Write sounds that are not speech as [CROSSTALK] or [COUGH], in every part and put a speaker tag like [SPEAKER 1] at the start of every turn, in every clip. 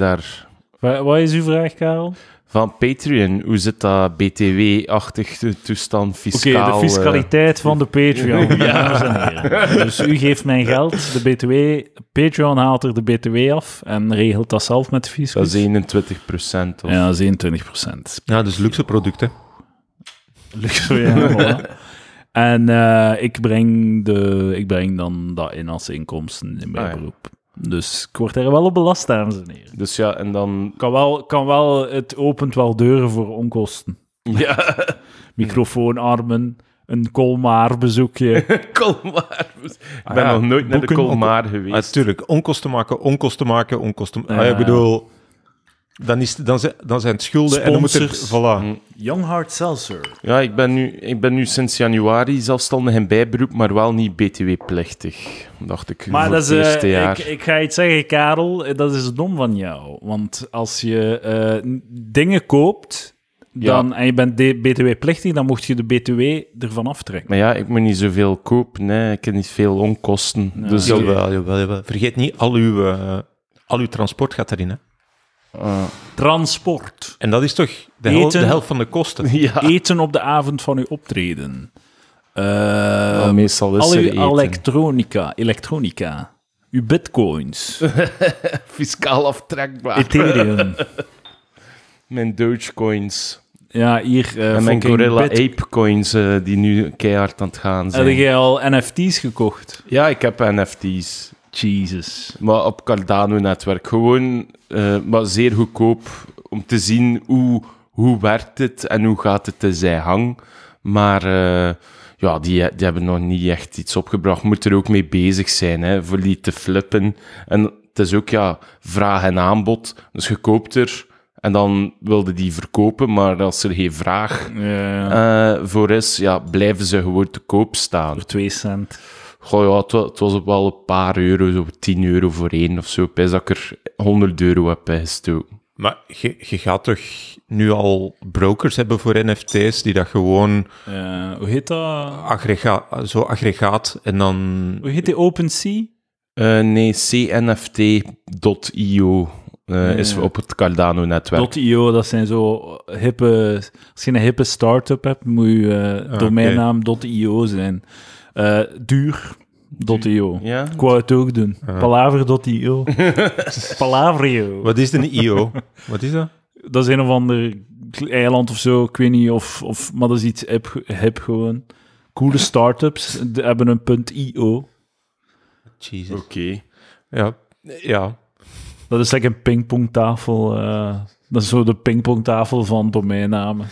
[SPEAKER 1] daar.
[SPEAKER 2] Wa- Wat is uw vraag, Karel?
[SPEAKER 1] Van Patreon, hoe zit dat BTW-achtig to- toestand
[SPEAKER 2] Oké,
[SPEAKER 1] fiscaal?
[SPEAKER 2] de
[SPEAKER 1] eh?
[SPEAKER 2] fiscaliteit van
[SPEAKER 1] [LAUGHS]
[SPEAKER 2] de Patreon. dames en heren. Dus u geeft mijn geld, de BTW. Patreon haalt er de BTW af en regelt dat zelf met de fiscus.
[SPEAKER 1] dat is 21 procent.
[SPEAKER 2] Ja, dat is 21 procent.
[SPEAKER 3] Ja, dus luxe producten.
[SPEAKER 2] Luxury,
[SPEAKER 1] [LAUGHS]
[SPEAKER 2] ja. voilà. En eh, ik, breng de, ik breng dan dat in als inkomsten in mijn
[SPEAKER 1] Ah, ja.
[SPEAKER 2] beroep. Dus ik word er wel op belast, dames en heren.
[SPEAKER 1] Dus ja, en dan...
[SPEAKER 2] Kan wel, kan wel, het opent wel deuren voor onkosten.
[SPEAKER 1] Ja,
[SPEAKER 2] Microfoonarmen, een Colmar-bezoekje.
[SPEAKER 1] [LAUGHS] Colmar. Ik
[SPEAKER 2] Ah
[SPEAKER 1] ben
[SPEAKER 3] ja,
[SPEAKER 1] nog nooit naar de
[SPEAKER 3] boeken op-
[SPEAKER 1] Colmar geweest.
[SPEAKER 3] Natuurlijk, onkosten maken, onkosten maken, onkosten maken. Ah, ja,
[SPEAKER 2] Ja.
[SPEAKER 3] ik bedoel, dan, is, dan, zijn, dan zijn het schulden en dan moet er...
[SPEAKER 2] Sponsors.
[SPEAKER 3] Voilà.
[SPEAKER 2] [LAUGHS] Young Heart Seltzer.
[SPEAKER 1] Ja, ik ben, nu, ik ben nu sinds januari zelfstandig in bijberoep, maar wel niet btw-plechtig, dacht ik.
[SPEAKER 2] Maar
[SPEAKER 1] voor
[SPEAKER 2] dat is,
[SPEAKER 1] het
[SPEAKER 2] eh,
[SPEAKER 1] eerste jaar.
[SPEAKER 2] ik, ik ga iets zeggen, Karel. eh, Dat is dom van jou. Want als je eh, n- dingen koopt dan, en je bent de- BTW-plichtig, dan mocht je de BTW ervan aftrekken.
[SPEAKER 1] Maar ja, ik moet niet zoveel kopen, hè. ik heb niet veel onkosten. Dus eh,
[SPEAKER 3] Jawel, jawel, jawel. Vergeet niet, al uw, eh, al uw transport gaat erin. Hè.
[SPEAKER 2] Transport.
[SPEAKER 3] En dat is toch de, hel-
[SPEAKER 2] Eten.
[SPEAKER 3] de helft van de kosten.
[SPEAKER 1] [LAUGHS] ja,
[SPEAKER 2] Eten op de avond van uw optreden. Eh,
[SPEAKER 1] Maar meestal is
[SPEAKER 2] al
[SPEAKER 1] er
[SPEAKER 2] uw
[SPEAKER 1] eten.
[SPEAKER 2] elektronica, elektronica. Uw
[SPEAKER 1] [LAUGHS]
[SPEAKER 2] bitcoins.
[SPEAKER 1] fiscaal aftrekbaar.
[SPEAKER 2] Ethereum.
[SPEAKER 1] Mijn Dogecoins
[SPEAKER 2] Ja, hier... eh
[SPEAKER 1] en mijn
[SPEAKER 2] fucking
[SPEAKER 1] Gorilla
[SPEAKER 2] bit-
[SPEAKER 1] Apecoins eh, die nu keihard aan het gaan
[SPEAKER 2] Heb
[SPEAKER 1] zijn.
[SPEAKER 2] jij al NFT's gekocht?
[SPEAKER 1] Ja, ik heb NFT's.
[SPEAKER 2] Jesus.
[SPEAKER 1] Maar op Cardano-netwerk. Gewoon, eh, maar zeer goedkoop om te zien hoe, hoe werkt het en hoe gaat het in zijn hang. Maar eh, ja, die, die hebben nog niet echt iets opgebracht. Moet er ook mee bezig zijn, hè, voor die te flippen. En het is ook, ja, vraag en aanbod. Dus je koopt er en dan wilde die verkopen, maar als er geen vraag
[SPEAKER 2] Ja,
[SPEAKER 1] eh, voor is, ja, blijven ze gewoon te koop staan.
[SPEAKER 2] voor twee cent.
[SPEAKER 1] Goh, ja, het, wa- het was op wel een paar euro, zo 10 euro voor één of zo. Pijs dat ik er 100 euro heb bij gestoken.
[SPEAKER 3] Maar je, je gaat toch nu al brokers hebben voor NFT's die dat gewoon
[SPEAKER 2] Eh, hoe heet dat?
[SPEAKER 3] aggregaat, zo aggregaat en dan...
[SPEAKER 2] Hoe heet die OpenSea?
[SPEAKER 1] Eh, nee, cnft.io eh, is op het Cardano-netwerk.
[SPEAKER 2] .io, dat zijn zo hippe... Als je een hippe start-up hebt, moet je eh domeinnaam .io zijn. Eh, duur .io.
[SPEAKER 1] Ja?
[SPEAKER 2] Ik wou het ook doen. Palaver.io. Palavrio.
[SPEAKER 3] Wat is een IO? [LAUGHS] Wat is dat?
[SPEAKER 2] Dat is een of ander eiland of zo, ik weet niet of... of maar dat is iets hip, hip gewoon. Coole start-ups die hebben een .io.
[SPEAKER 3] Jesus.
[SPEAKER 1] Oké.
[SPEAKER 3] Ja, ja.
[SPEAKER 2] Dat is like een pingpongtafel. eh, dat is zo de pingpongtafel van domeinnamen.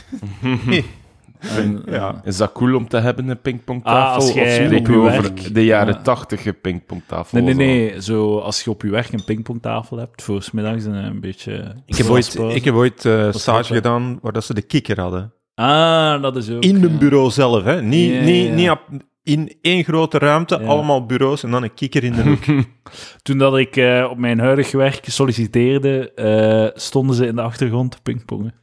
[SPEAKER 2] En,
[SPEAKER 3] ja.
[SPEAKER 1] Is dat cool om te hebben, een
[SPEAKER 2] Ah,
[SPEAKER 1] pingpongtafel?
[SPEAKER 2] als
[SPEAKER 1] of
[SPEAKER 2] jij op
[SPEAKER 1] spreken
[SPEAKER 2] je
[SPEAKER 1] we over
[SPEAKER 2] werk-
[SPEAKER 1] de jaren
[SPEAKER 2] Ja.
[SPEAKER 1] 80 een pingpongtafel?
[SPEAKER 2] Nee, nee,
[SPEAKER 1] was dat?
[SPEAKER 2] nee. Zo, als je op je werk een pingpongtafel hebt, voor 's middags een, een beetje...
[SPEAKER 3] Ik heb ooit,
[SPEAKER 2] glaspauze.
[SPEAKER 3] ik heb ooit eh,
[SPEAKER 2] heel
[SPEAKER 3] stage
[SPEAKER 2] fijn.
[SPEAKER 3] gedaan waar dat ze de kikker hadden.
[SPEAKER 2] Ah, dat is ook...
[SPEAKER 3] In
[SPEAKER 2] ja.
[SPEAKER 3] een bureau zelf, hè. Niet,
[SPEAKER 2] Ja,
[SPEAKER 3] niet,
[SPEAKER 2] ja.
[SPEAKER 3] niet op- in één grote ruimte,
[SPEAKER 2] Ja.
[SPEAKER 3] allemaal bureaus en dan een kikker in de hoek.
[SPEAKER 2] Toen dat ik eh, op mijn huidig werk solliciteerde, eh, stonden ze in de achtergrond te
[SPEAKER 3] [LAUGHS]
[SPEAKER 2] pingpongen.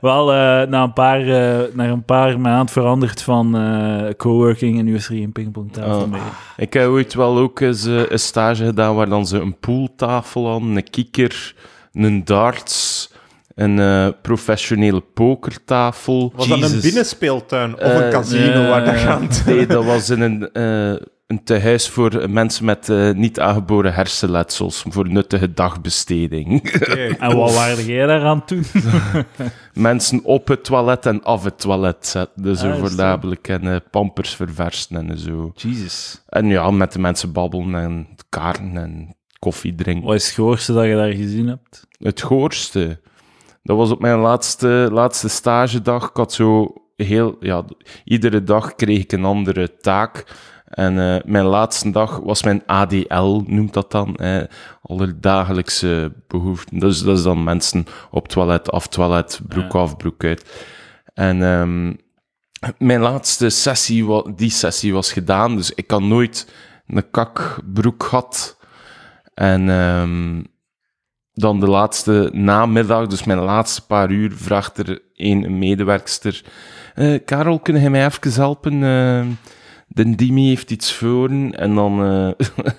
[SPEAKER 2] Wel, eh, na, een paar, eh, na een paar maand veranderd van eh, coworking en nu is er geen pingpongtafel
[SPEAKER 1] Oh.
[SPEAKER 2] meer.
[SPEAKER 1] Ik heb ooit wel ook eens eh, een stage gedaan waar dan ze een pooltafel hadden, een kikker, een darts, een eh, professionele pokertafel.
[SPEAKER 3] Was dat een
[SPEAKER 2] Jesus.
[SPEAKER 3] binnenspeeltuin of
[SPEAKER 1] Eh,
[SPEAKER 3] een casino
[SPEAKER 2] nee.
[SPEAKER 3] waar dat
[SPEAKER 2] [LAUGHS]
[SPEAKER 3] gaat?
[SPEAKER 1] Nee, dat was in een, eh, een tehuis voor mensen met eh, niet aangeboren hersenletsels, voor nuttige dagbesteding. [LAUGHS]
[SPEAKER 2] En wat waarde jij daaraan toen?
[SPEAKER 1] mensen op het toilet en af het toilet zetten, dus
[SPEAKER 2] Ah, is
[SPEAKER 1] zo
[SPEAKER 2] dat?
[SPEAKER 1] voornamelijk en eh, pampers verversen en zo.
[SPEAKER 2] Jesus.
[SPEAKER 1] En ja, met de mensen babbelen en kaarten en koffie drinken.
[SPEAKER 2] Wat is het goorste dat je daar gezien hebt?
[SPEAKER 1] Het goorste. Dat was op mijn laatste, laatste stagedag. Ik had zo heel... Ja, d- iedere dag kreeg ik een andere taak. En eh, mijn laatste dag was mijn ADL, noemt dat dan. Eh, allerdagelijkse behoeften. Dus dat is dan mensen op toilet, af toilet, broek af, broek uit. En ehm, mijn laatste sessie, wa- die sessie was gedaan. Dus ik had nooit een kakbroek gehad. En... ehm, dan de laatste namiddag, dus mijn laatste paar uur, vraagt er een medewerkster: eh, Karel, kunnen jij mij even helpen? eh, de Dimi heeft iets voor en dan eh, [LAUGHS]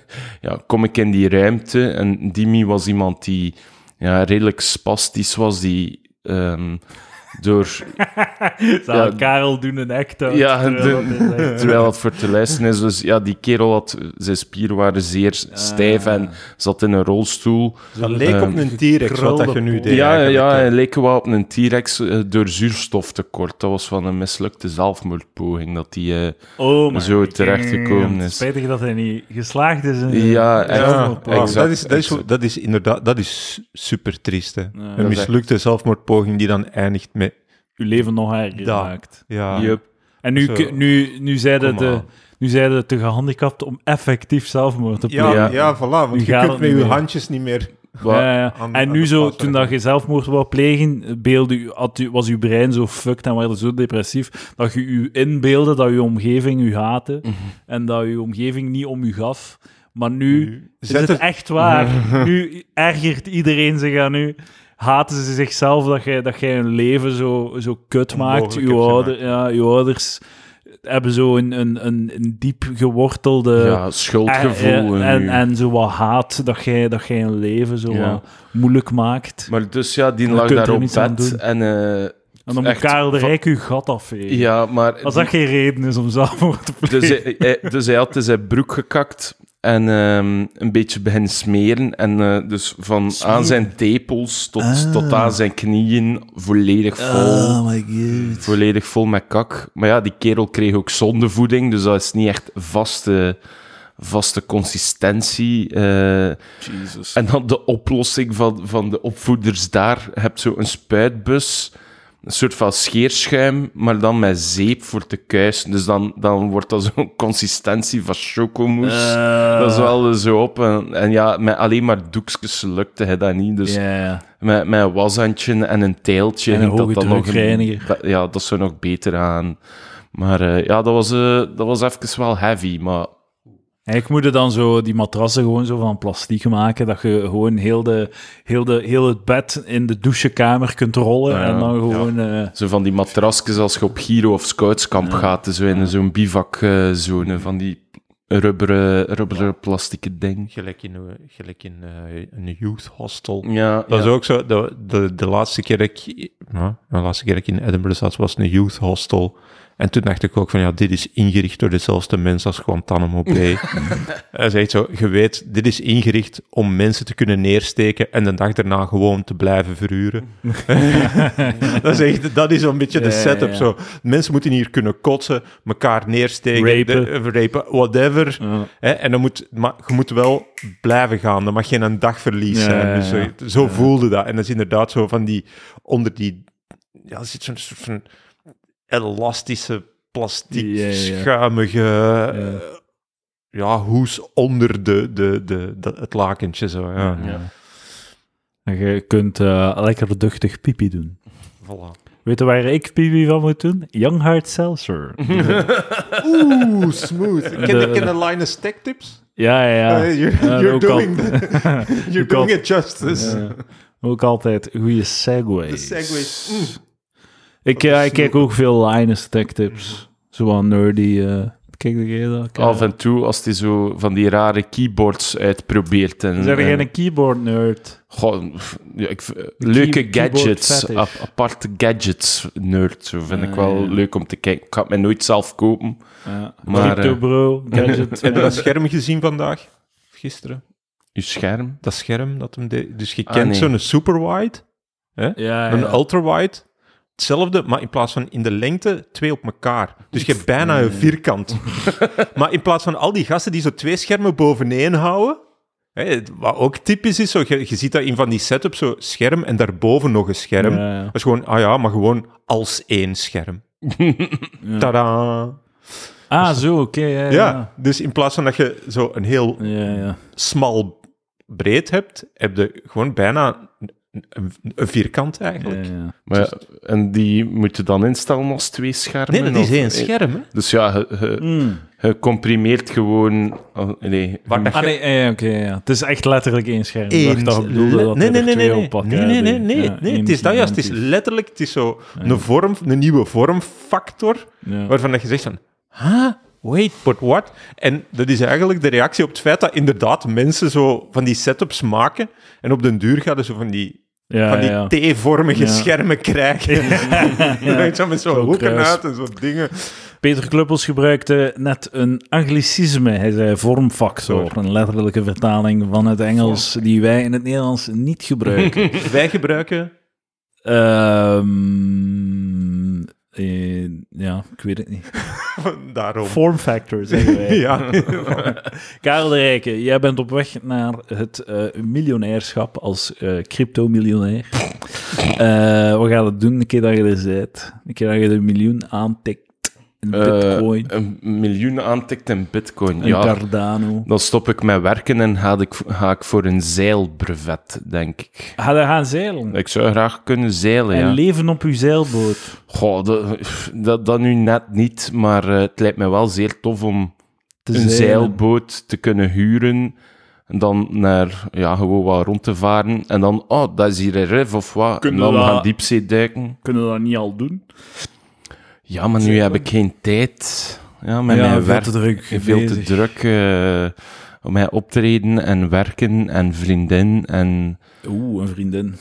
[SPEAKER 1] ja, kom ik in die ruimte. En Dimi was iemand die ja, redelijk spastisch was, die ehm, door
[SPEAKER 2] Zou
[SPEAKER 1] Ja.
[SPEAKER 2] Karel doen een act out,
[SPEAKER 1] Ja,
[SPEAKER 2] terwijl
[SPEAKER 1] de-
[SPEAKER 2] dat is echt-
[SPEAKER 1] Terwijl het voor te luisteren is. Dus ja, die kerel had... Zijn spieren waren zeer stijf en zat in een rolstoel.
[SPEAKER 3] Dat leek op
[SPEAKER 2] Ehm,
[SPEAKER 3] een T-Rex, wat dat je nu deed.
[SPEAKER 1] Ja, ja,
[SPEAKER 3] eigenlijk,
[SPEAKER 1] ja,
[SPEAKER 3] hè.
[SPEAKER 1] hij leek wel op een T-Rex eh, door zuurstoftekort. Dat was van een mislukte zelfmoordpoging dat die... eh,
[SPEAKER 2] Oh, maar
[SPEAKER 1] Zo terechtgekomen is.
[SPEAKER 2] Spijtig dat hij niet geslaagd is. In
[SPEAKER 1] Ja,
[SPEAKER 2] in-
[SPEAKER 1] echt.
[SPEAKER 3] Ja,
[SPEAKER 1] Zelfmoordpoging.
[SPEAKER 3] maar
[SPEAKER 1] Exact,
[SPEAKER 3] dat, is, dat, is,
[SPEAKER 1] exact.
[SPEAKER 3] dat is inderdaad dat is super triest. Hè.
[SPEAKER 1] is
[SPEAKER 3] een mislukte zelfmoordpoging die dan eindigt met.
[SPEAKER 2] Uw leven nog erger
[SPEAKER 3] Da.
[SPEAKER 2] maakt.
[SPEAKER 3] Ja,
[SPEAKER 1] Yup.
[SPEAKER 2] En nu,
[SPEAKER 3] Zo.
[SPEAKER 2] k- nu, nu zeiden
[SPEAKER 3] Kom
[SPEAKER 2] de...
[SPEAKER 3] aan.
[SPEAKER 2] Nu zeiden de te gehandicapt om effectief zelfmoord te plegen.
[SPEAKER 1] Ja.
[SPEAKER 3] ja, ja. voilà. Want je
[SPEAKER 2] gaat
[SPEAKER 3] kunt
[SPEAKER 2] het
[SPEAKER 3] met
[SPEAKER 2] niet
[SPEAKER 3] je
[SPEAKER 2] meer.
[SPEAKER 3] handjes niet meer.
[SPEAKER 1] wa-
[SPEAKER 2] Ja, ja.
[SPEAKER 3] aan-
[SPEAKER 2] en
[SPEAKER 3] aan
[SPEAKER 2] nu
[SPEAKER 3] de
[SPEAKER 2] zo,
[SPEAKER 3] plaats
[SPEAKER 2] toen dat
[SPEAKER 3] werken.
[SPEAKER 2] je zelfmoord wou plegen, beelde u, had u, was uw brein zo fucked en werd je zo depressief dat je u inbeelde dat uw omgeving u haatte en dat uw omgeving niet om u gaf. Maar
[SPEAKER 3] Mhm.
[SPEAKER 2] nu is
[SPEAKER 3] Zet
[SPEAKER 2] het
[SPEAKER 3] het-
[SPEAKER 2] echt
[SPEAKER 1] [LAUGHS]
[SPEAKER 2] waar. nu ergert iedereen zich aan u. Haten ze zichzelf dat jij, dat jij hun leven zo, zo kut maakt.
[SPEAKER 3] Onmogelijk
[SPEAKER 2] Uw,
[SPEAKER 3] hebt
[SPEAKER 2] ouder, ja, uw ouders hebben zo een, een, een, een diep gewortelde... eh,
[SPEAKER 1] ja, schuldgevoel.
[SPEAKER 2] En, en,
[SPEAKER 1] nu.
[SPEAKER 2] en zo wat haat dat jij, dat jij een leven zo
[SPEAKER 1] Ja.
[SPEAKER 2] wat moeilijk maakt.
[SPEAKER 1] maar dus ja, die
[SPEAKER 2] Je
[SPEAKER 1] lag
[SPEAKER 2] kunt er
[SPEAKER 1] daar op
[SPEAKER 2] niets aan
[SPEAKER 1] bed
[SPEAKER 2] doen.
[SPEAKER 1] en... eh,
[SPEAKER 2] en dan moet
[SPEAKER 1] echt
[SPEAKER 2] Karel de
[SPEAKER 1] van-
[SPEAKER 2] Rijk uw gat afvegen.
[SPEAKER 1] ja, maar...
[SPEAKER 2] Als dat geen reden is om zelfmoord te plegen.
[SPEAKER 1] Dus hij, hij- dus hij had in zijn broek gekakt en ehm, een beetje beginnen smeren. En eh, dus van aan zijn tepels tot,
[SPEAKER 3] Ah.
[SPEAKER 1] tot aan zijn knieën volledig vol.
[SPEAKER 2] Oh my god.
[SPEAKER 1] Volledig vol met kak. Maar ja, die kerel kreeg ook zondevoeding, dus dat is niet echt vaste, vaste consistentie. eh.
[SPEAKER 2] Jesus.
[SPEAKER 1] en dan de oplossing van, van de opvoeders daar. Je hebt zo een spuitbus, een soort van scheerschuim, maar dan met zeep voor te kuisen. Dus dan, dan wordt dat zo'n consistentie van chocomousse. Dat is wel eh, zo op. En, en ja, met alleen maar doekjes lukte hij dat niet. Dus
[SPEAKER 2] Ja,
[SPEAKER 1] met, met een washandje en een teeltje.
[SPEAKER 2] En een
[SPEAKER 1] ging
[SPEAKER 2] hoge
[SPEAKER 1] dat dan nog
[SPEAKER 2] drukreiniger.
[SPEAKER 1] be- Ja, dat zou nog beter aan. Maar eh, ja, dat was, eh, dat was even wel heavy. Maar
[SPEAKER 2] En ik moet er dan zo die matrassen gewoon zo van plastiek maken, dat je gewoon heel, de, heel, de, heel het bed in de douchekamer kunt rollen
[SPEAKER 1] Ja,
[SPEAKER 2] en dan gewoon... eh,
[SPEAKER 1] zo van die matrasjes als je op Giro of Scoutskamp gaat. Zo in zo'n bivakzone van die rubberen, rubberen plastieke ding.
[SPEAKER 3] Gelijk in, eh, gelijk in eh, een youth hostel.
[SPEAKER 1] Ja,
[SPEAKER 3] Dat
[SPEAKER 1] ja.
[SPEAKER 3] is ook zo. De, de, de laatste keer dat ik, ja, de laatste keer dat ik in Edinburgh zat, was een youth hostel. En toen dacht ik ook van, ja, dit is ingericht door dezelfde mensen als
[SPEAKER 2] [LAUGHS]
[SPEAKER 3] Guantanamo Bay. Hij zegt zo, je weet, dit is ingericht om mensen te kunnen neersteken en de dag daarna gewoon te blijven verhuren. [LAUGHS] dat, is echt, dat is zo'n beetje de
[SPEAKER 2] Ja, ja,
[SPEAKER 3] setup.
[SPEAKER 2] ja.
[SPEAKER 3] Zo. Mensen moeten hier kunnen kotsen, elkaar neersteken,
[SPEAKER 2] Rapen.
[SPEAKER 3] de- eh, rapen whatever.
[SPEAKER 1] [LAUGHS]
[SPEAKER 2] [LAUGHS] ja.
[SPEAKER 3] Hè, en dan moet, maar je moet wel blijven gaan. Er mag geen een dag verlies
[SPEAKER 2] Ja,
[SPEAKER 3] zijn.
[SPEAKER 2] ja,
[SPEAKER 3] Dus
[SPEAKER 2] ja.
[SPEAKER 3] zo, zo voelde dat. En dat is inderdaad zo van die... Onder die... Ja, er zit zo'n soort van elastische, plastiek,
[SPEAKER 2] Ja, ja, ja.
[SPEAKER 3] schuimige... eh, Ja. hoes onder de, de, de, de- het lakentje. Zo, ja.
[SPEAKER 1] Ja.
[SPEAKER 2] En je kunt eh, lekker duchtig pipi doen.
[SPEAKER 3] Voilà.
[SPEAKER 2] Weet je waar ik pipi van moet doen? Young Heart
[SPEAKER 1] [LAUGHS]
[SPEAKER 2] Seltzer.
[SPEAKER 3] Oeh,
[SPEAKER 2] [LAUGHS]
[SPEAKER 3] smooth. Ken
[SPEAKER 2] De-
[SPEAKER 3] je ken je Linus Tech Tips?
[SPEAKER 2] Ja, ja, ja.
[SPEAKER 3] Eh, you're
[SPEAKER 2] Ja,
[SPEAKER 3] you're
[SPEAKER 2] ook al.
[SPEAKER 3] doing,
[SPEAKER 2] [LAUGHS]
[SPEAKER 3] you're
[SPEAKER 2] Ook al.
[SPEAKER 3] doing it justice.
[SPEAKER 2] Ja. Ook altijd goede segues.
[SPEAKER 3] De segways. Mm.
[SPEAKER 2] Ik, ja, ik kijk ook veel Linus Tech Tips. Zo aan nerdy. eh, kijk de keer dat.
[SPEAKER 1] Af en toe, als hij zo van die rare keyboards uitprobeert. En,
[SPEAKER 2] Zijn
[SPEAKER 1] en-
[SPEAKER 2] jij een keyboard nerd?
[SPEAKER 1] Goh, pff, ja, ik, v- leuke
[SPEAKER 2] keyboard
[SPEAKER 1] gadgets,
[SPEAKER 2] fetish.
[SPEAKER 1] ap- aparte gadgets nerd, zo vind ik
[SPEAKER 2] Ah,
[SPEAKER 1] wel
[SPEAKER 2] ja.
[SPEAKER 1] leuk om te kijken. Ik ga het mij nooit zelf kopen.
[SPEAKER 2] Ja.
[SPEAKER 1] Maar,
[SPEAKER 2] Crypto
[SPEAKER 1] eh,
[SPEAKER 2] bro, gadget.
[SPEAKER 3] [LAUGHS] Heb je dat scherm gezien vandaag? Of Gisteren?
[SPEAKER 1] Uw scherm.
[SPEAKER 3] dat scherm dat hem deed. Dus je
[SPEAKER 1] Ah,
[SPEAKER 3] kent
[SPEAKER 1] nee.
[SPEAKER 3] zo'n superwide, hè?
[SPEAKER 2] ja, Ah, ja.
[SPEAKER 3] een ultrawide. Hetzelfde, maar in plaats van in de lengte, twee op elkaar. Dus je hebt bijna
[SPEAKER 2] Hmm.
[SPEAKER 3] een
[SPEAKER 2] [LAUGHS]
[SPEAKER 3] vierkant. maar in plaats van al die gasten die zo twee schermen boveneen houden, hè, het- wat ook typisch is, zo, je, je ziet dat in van die setups, zo scherm en daarboven nog een scherm.
[SPEAKER 2] Ja, ja.
[SPEAKER 3] Dat is gewoon, ah ja, maar gewoon als
[SPEAKER 2] [LAUGHS]
[SPEAKER 3] één scherm. Tadaa.
[SPEAKER 2] Ah, zo, oké. ja, ja.
[SPEAKER 3] Ja, dus in plaats van dat je zo een heel
[SPEAKER 2] Ja, ja.
[SPEAKER 3] smal breed hebt, heb je gewoon bijna een, een- een vierkant
[SPEAKER 2] Ja,
[SPEAKER 3] eigenlijk.
[SPEAKER 2] ja.
[SPEAKER 1] Maar, ja, en die moet je dan instellen als twee schermen?
[SPEAKER 3] Nee, dat is
[SPEAKER 1] of-
[SPEAKER 3] één scherm. Hè?
[SPEAKER 1] Dus ja, je- je-
[SPEAKER 2] Mm.
[SPEAKER 1] je comprimeert gewoon... oh, nee,
[SPEAKER 3] Waar dat
[SPEAKER 2] Ah,
[SPEAKER 3] je
[SPEAKER 2] nee, eh, oké, ja. Het is echt letterlijk één scherm. Ik
[SPEAKER 3] één
[SPEAKER 2] dacht dat ik bedoelde
[SPEAKER 3] le-
[SPEAKER 2] dat
[SPEAKER 3] nee,
[SPEAKER 2] hij
[SPEAKER 3] nee,
[SPEAKER 2] er
[SPEAKER 3] nee, nee,
[SPEAKER 2] twee
[SPEAKER 3] nee.
[SPEAKER 2] op pakt.
[SPEAKER 3] nee,
[SPEAKER 2] Ja,
[SPEAKER 3] nee, nee,
[SPEAKER 2] die-
[SPEAKER 3] nee,
[SPEAKER 2] ja,
[SPEAKER 3] nee.
[SPEAKER 2] één
[SPEAKER 3] Het is dat juist. Het is
[SPEAKER 2] gigantisch.
[SPEAKER 3] letterlijk het is zo een vorm, een nieuwe vormfactor,
[SPEAKER 2] Ja.
[SPEAKER 3] waarvan dat je zegt van, huh? wait, but what? En dat is eigenlijk de reactie op het feit dat inderdaad mensen zo van die setups maken en op den duur gaan ze zo van die,
[SPEAKER 2] Ja,
[SPEAKER 3] van die
[SPEAKER 2] ja. [LAUGHS]
[SPEAKER 3] T-vormige
[SPEAKER 2] Ja.
[SPEAKER 3] schermen krijgen. Weet [LAUGHS] je wel, met zo'n
[SPEAKER 2] Zo'n
[SPEAKER 3] hoeken
[SPEAKER 2] kruis.
[SPEAKER 3] uit en zo'n dingen.
[SPEAKER 2] Peter Kluppels gebruikte net een anglicisme. Hij zei vormfactor, een letterlijke vertaling van het Engels die wij in het Nederlands niet [LAUGHS] gebruiken.
[SPEAKER 3] Wij gebruiken
[SPEAKER 2] Ehm, eh, ja, ik weet het niet.
[SPEAKER 3] [LAUGHS] daarom.
[SPEAKER 2] Form
[SPEAKER 1] [LAUGHS]
[SPEAKER 2] factor, zeggen wij.
[SPEAKER 3] [LAUGHS] Ja,
[SPEAKER 2] Karel de Rijke, jij bent op weg naar het eh, miljonairschap als eh,
[SPEAKER 1] [LAUGHS]
[SPEAKER 2] crypto-miljonair. Eh, we gaan het doen een keer dat je er bent. Een keer dat je de miljoen aantikt in
[SPEAKER 1] Eh,
[SPEAKER 2] bitcoin,
[SPEAKER 1] een miljoen aantikt in bitcoin.
[SPEAKER 2] in
[SPEAKER 1] ja,
[SPEAKER 2] Cardano.
[SPEAKER 1] dan stop ik met werken en ga ik, ga ik voor een zeilbrevet, denk ik.
[SPEAKER 2] Ga daar gaan zeilen.
[SPEAKER 1] Ik zou graag kunnen zeilen,
[SPEAKER 2] En
[SPEAKER 1] Eh, ja.
[SPEAKER 2] leven op uw zeilboot
[SPEAKER 1] Goh, dat, dat, dat nu net niet, maar eh, het lijkt me wel zeer tof om
[SPEAKER 2] te
[SPEAKER 1] een
[SPEAKER 2] zeilen.
[SPEAKER 1] zeilboot te kunnen huren. En dan naar, ja, gewoon wat rond te varen. En dan, oh, dat is hier een rif of wat.
[SPEAKER 2] Kunnen
[SPEAKER 1] en
[SPEAKER 2] we
[SPEAKER 1] dan
[SPEAKER 2] dat-
[SPEAKER 1] gaan diepzee duiken.
[SPEAKER 2] Kunnen we dat niet al doen?
[SPEAKER 1] Ja, maar nu heb ik geen tijd. Ja, met
[SPEAKER 2] ja,
[SPEAKER 1] mijn
[SPEAKER 2] veel
[SPEAKER 1] werk
[SPEAKER 2] te druk.
[SPEAKER 1] veel te
[SPEAKER 2] bezig.
[SPEAKER 1] druk eh, om mij optreden en werken en vriendin en,
[SPEAKER 2] Oeh, een vriendin.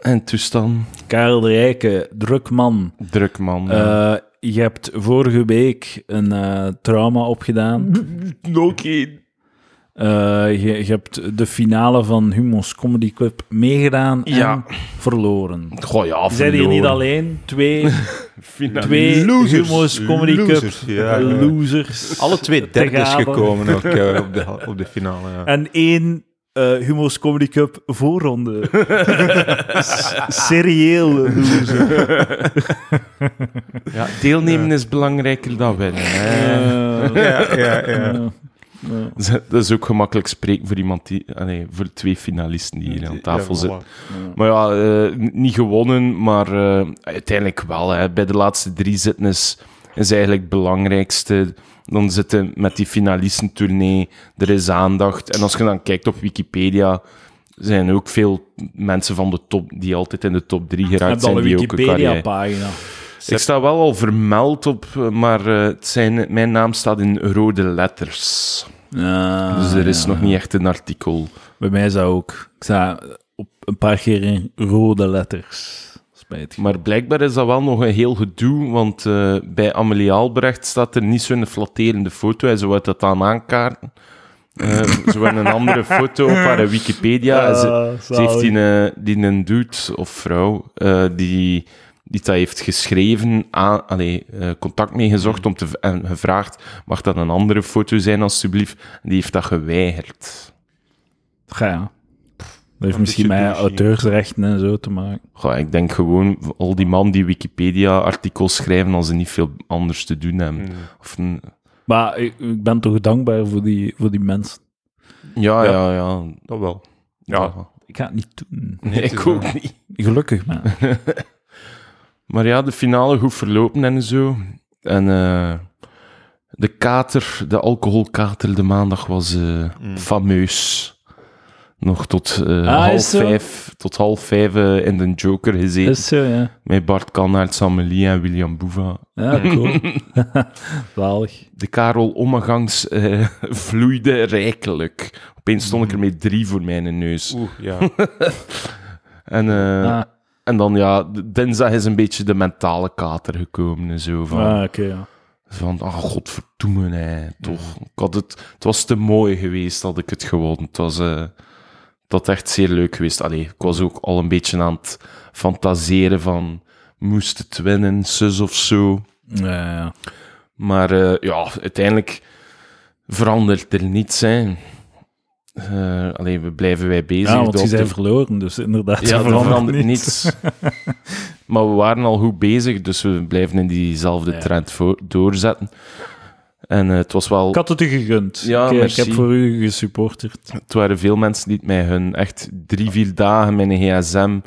[SPEAKER 1] en toestand.
[SPEAKER 2] Karel de Rijke, druk man.
[SPEAKER 1] Druk man. ja.
[SPEAKER 2] Eh, je hebt vorige week een eh, trauma [LAUGHS] opgedaan. Eh, je, je hebt de finale van Humo's Comedy Club meegedaan en
[SPEAKER 1] Ja.
[SPEAKER 2] verloren.
[SPEAKER 1] Goh, ja,
[SPEAKER 2] Je bent hier niet
[SPEAKER 1] verloren.
[SPEAKER 2] alleen.
[SPEAKER 3] [LAUGHS]
[SPEAKER 2] Twee,
[SPEAKER 1] Fina-
[SPEAKER 2] twee
[SPEAKER 3] Losers.
[SPEAKER 2] Humo's Comedy
[SPEAKER 3] Losers,
[SPEAKER 2] Cup
[SPEAKER 3] ja, ja.
[SPEAKER 2] losers.
[SPEAKER 3] Alle twee
[SPEAKER 2] Te
[SPEAKER 3] derdes
[SPEAKER 2] gaven.
[SPEAKER 3] gekomen
[SPEAKER 2] [LAUGHS]
[SPEAKER 3] ook, eh, op, de, op de finale. Ja.
[SPEAKER 2] En één eh, Humo's Comedy Cup
[SPEAKER 3] [LAUGHS]
[SPEAKER 2] voorronde. S- Serieel loser.
[SPEAKER 1] Ja, deelnemen is belangrijker dan winnen.
[SPEAKER 2] Eh,
[SPEAKER 1] hè.
[SPEAKER 3] Ja, ja, ja.
[SPEAKER 2] Ja. Ja.
[SPEAKER 1] Dat is ook gemakkelijk spreken voor iemand die... ah, nee, voor twee finalisten die hier aan tafel
[SPEAKER 3] Ja,
[SPEAKER 1] zitten.
[SPEAKER 3] voilà.
[SPEAKER 1] Maar ja, eh, n- niet gewonnen, maar eh, uiteindelijk wel. Hè. Bij de laatste drie zitten is, is eigenlijk het belangrijkste. Dan zitten met die finalistentournee, er is aandacht. En als je dan kijkt op Wikipedia, zijn ook veel mensen van de top die altijd in de top drie geraakt
[SPEAKER 2] Heb al
[SPEAKER 1] zijn.
[SPEAKER 2] een
[SPEAKER 1] Die ook een carrière.
[SPEAKER 2] Wikipedia-pagina.
[SPEAKER 1] Ik sta wel al vermeld op, eh, maar eh, het zijn, mijn naam staat in rode letters. Dus er is nog niet echt een artikel.
[SPEAKER 2] Eh, Bij mij is dat ook. Ik sta op een paar keer in rode letters. Spijtig.
[SPEAKER 1] Maar blijkbaar is dat wel nog een heel gedoe, want eh, bij Amelie Albrecht staat er niet zo'n flatterende foto. Hij zou dat aan aankaarten. Eh, zo in een andere foto op haar Wikipedia.
[SPEAKER 2] [LAUGHS] Eh,
[SPEAKER 1] En ze, ze heeft die, eh, die een dude of vrouw eh, die, die dat heeft geschreven, aan, allee, eh, contact mee gezocht om te, v- en gevraagd: mag dat een andere foto zijn, alstublieft? Die heeft dat geweigerd.
[SPEAKER 2] Ga ja. Dat heeft misschien
[SPEAKER 3] beetje
[SPEAKER 2] met
[SPEAKER 3] douche,
[SPEAKER 2] auteursrechten en zo te maken.
[SPEAKER 1] Goh, ik denk gewoon, al die man die Wikipedia-artikels schrijven als ze niet veel anders te doen hebben. Of een,
[SPEAKER 2] Maar ik, ik ben toch dankbaar voor die, voor die mensen.
[SPEAKER 1] Ja,
[SPEAKER 3] Ja.
[SPEAKER 1] ja, ja.
[SPEAKER 3] Dat wel.
[SPEAKER 1] ja.
[SPEAKER 2] Ik ga het niet doen.
[SPEAKER 1] Nee, eh,
[SPEAKER 3] het is
[SPEAKER 1] [LAUGHS] ik ook
[SPEAKER 3] wel-
[SPEAKER 1] niet. [LAUGHS]
[SPEAKER 2] Gelukkig, maar.
[SPEAKER 1] Maar ja, de finale goed verlopen en zo. En eh, de kater, de alcoholkater de maandag was eh, fameus. Nog tot, eh, half,
[SPEAKER 2] Ah, is zo.
[SPEAKER 1] vijf, tot half vijf eh, in de Joker gezeten.
[SPEAKER 2] Is zo, ja.
[SPEAKER 1] Met Bart Kannaert, Samelie en William Boeva.
[SPEAKER 2] Ja,
[SPEAKER 1] [LAUGHS]
[SPEAKER 2] cool. Zalig.
[SPEAKER 1] De Karel Ommegangs eh, [LAUGHS] vloeide rijkelijk. Opeens stond ik er met drie voor mijn neus.
[SPEAKER 3] Oeh, [LAUGHS] ja.
[SPEAKER 1] En, eh,
[SPEAKER 2] Ah,
[SPEAKER 1] En dan ja, d- dinsdag is een beetje de mentale kater gekomen en zo. Van,
[SPEAKER 2] ah, oké, ja.
[SPEAKER 1] van ah, godverdoemen, hè, toch. Ik had het, het was te mooi geweest, had ik het gewonnen. Het was, eh, dat echt zeer leuk geweest. Allee, ik was ook al een beetje aan het fantaseren van... Moest het winnen, zus of zo.
[SPEAKER 2] Ja, ja.
[SPEAKER 1] Maar eh, ja, uiteindelijk verandert er niets, hè. Eh, alleen we blijven wij bezig.
[SPEAKER 2] Ja, want
[SPEAKER 1] Dat
[SPEAKER 2] ze zijn
[SPEAKER 1] de-
[SPEAKER 2] verloren, dus inderdaad.
[SPEAKER 1] ja,
[SPEAKER 2] ze
[SPEAKER 1] er
[SPEAKER 2] veranderen
[SPEAKER 1] verandert niets. maar we waren al goed bezig, dus we blijven in diezelfde
[SPEAKER 2] Ja.
[SPEAKER 1] trend voor, doorzetten. En eh, het was wel...
[SPEAKER 2] Ik had het u gegund.
[SPEAKER 1] Ja,
[SPEAKER 2] ik, eh, ik
[SPEAKER 1] merci.
[SPEAKER 2] heb voor u gesupporterd.
[SPEAKER 1] Het waren veel mensen die het mij hun echt drie, vier dagen met een gsm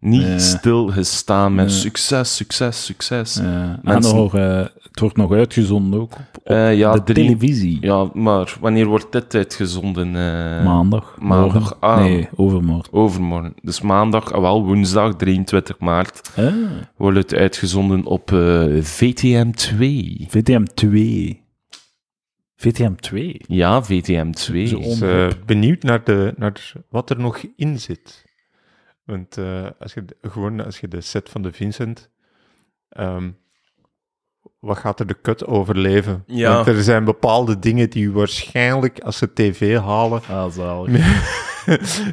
[SPEAKER 1] niet
[SPEAKER 2] Ja.
[SPEAKER 1] stilgestaan met
[SPEAKER 2] Ja.
[SPEAKER 1] succes, succes, succes.
[SPEAKER 2] Eh, en
[SPEAKER 1] Mensen-
[SPEAKER 2] nog, eh, het wordt nog uitgezonden ook op, op
[SPEAKER 1] Eh, ja,
[SPEAKER 2] de
[SPEAKER 1] drie-
[SPEAKER 2] televisie.
[SPEAKER 1] Ja, maar wanneer wordt dit uitgezonden? eh,
[SPEAKER 2] maandag.
[SPEAKER 1] maandag.
[SPEAKER 2] Morgen.
[SPEAKER 1] Ah.
[SPEAKER 2] Nee, overmorgen.
[SPEAKER 1] Overmorgen. Dus maandag, ah, wel woensdag 23 maart,
[SPEAKER 2] Eh,
[SPEAKER 1] wordt het uitgezonden op eh, VTM 2.
[SPEAKER 2] VTM 2. VTM 2.
[SPEAKER 1] Ja, VTM 2.
[SPEAKER 2] Zo
[SPEAKER 3] Dus,
[SPEAKER 2] Omroep.
[SPEAKER 3] eh, benieuwd naar, de, naar wat er nog in zit. Want eh, als, je, de- gewoon, als je de set van de Vincent. ehm, wat gaat er de cut overleven?
[SPEAKER 1] Ja.
[SPEAKER 3] Want er zijn bepaalde dingen die waarschijnlijk als ze tv halen. [LAUGHS]
[SPEAKER 2] Ah, zalig.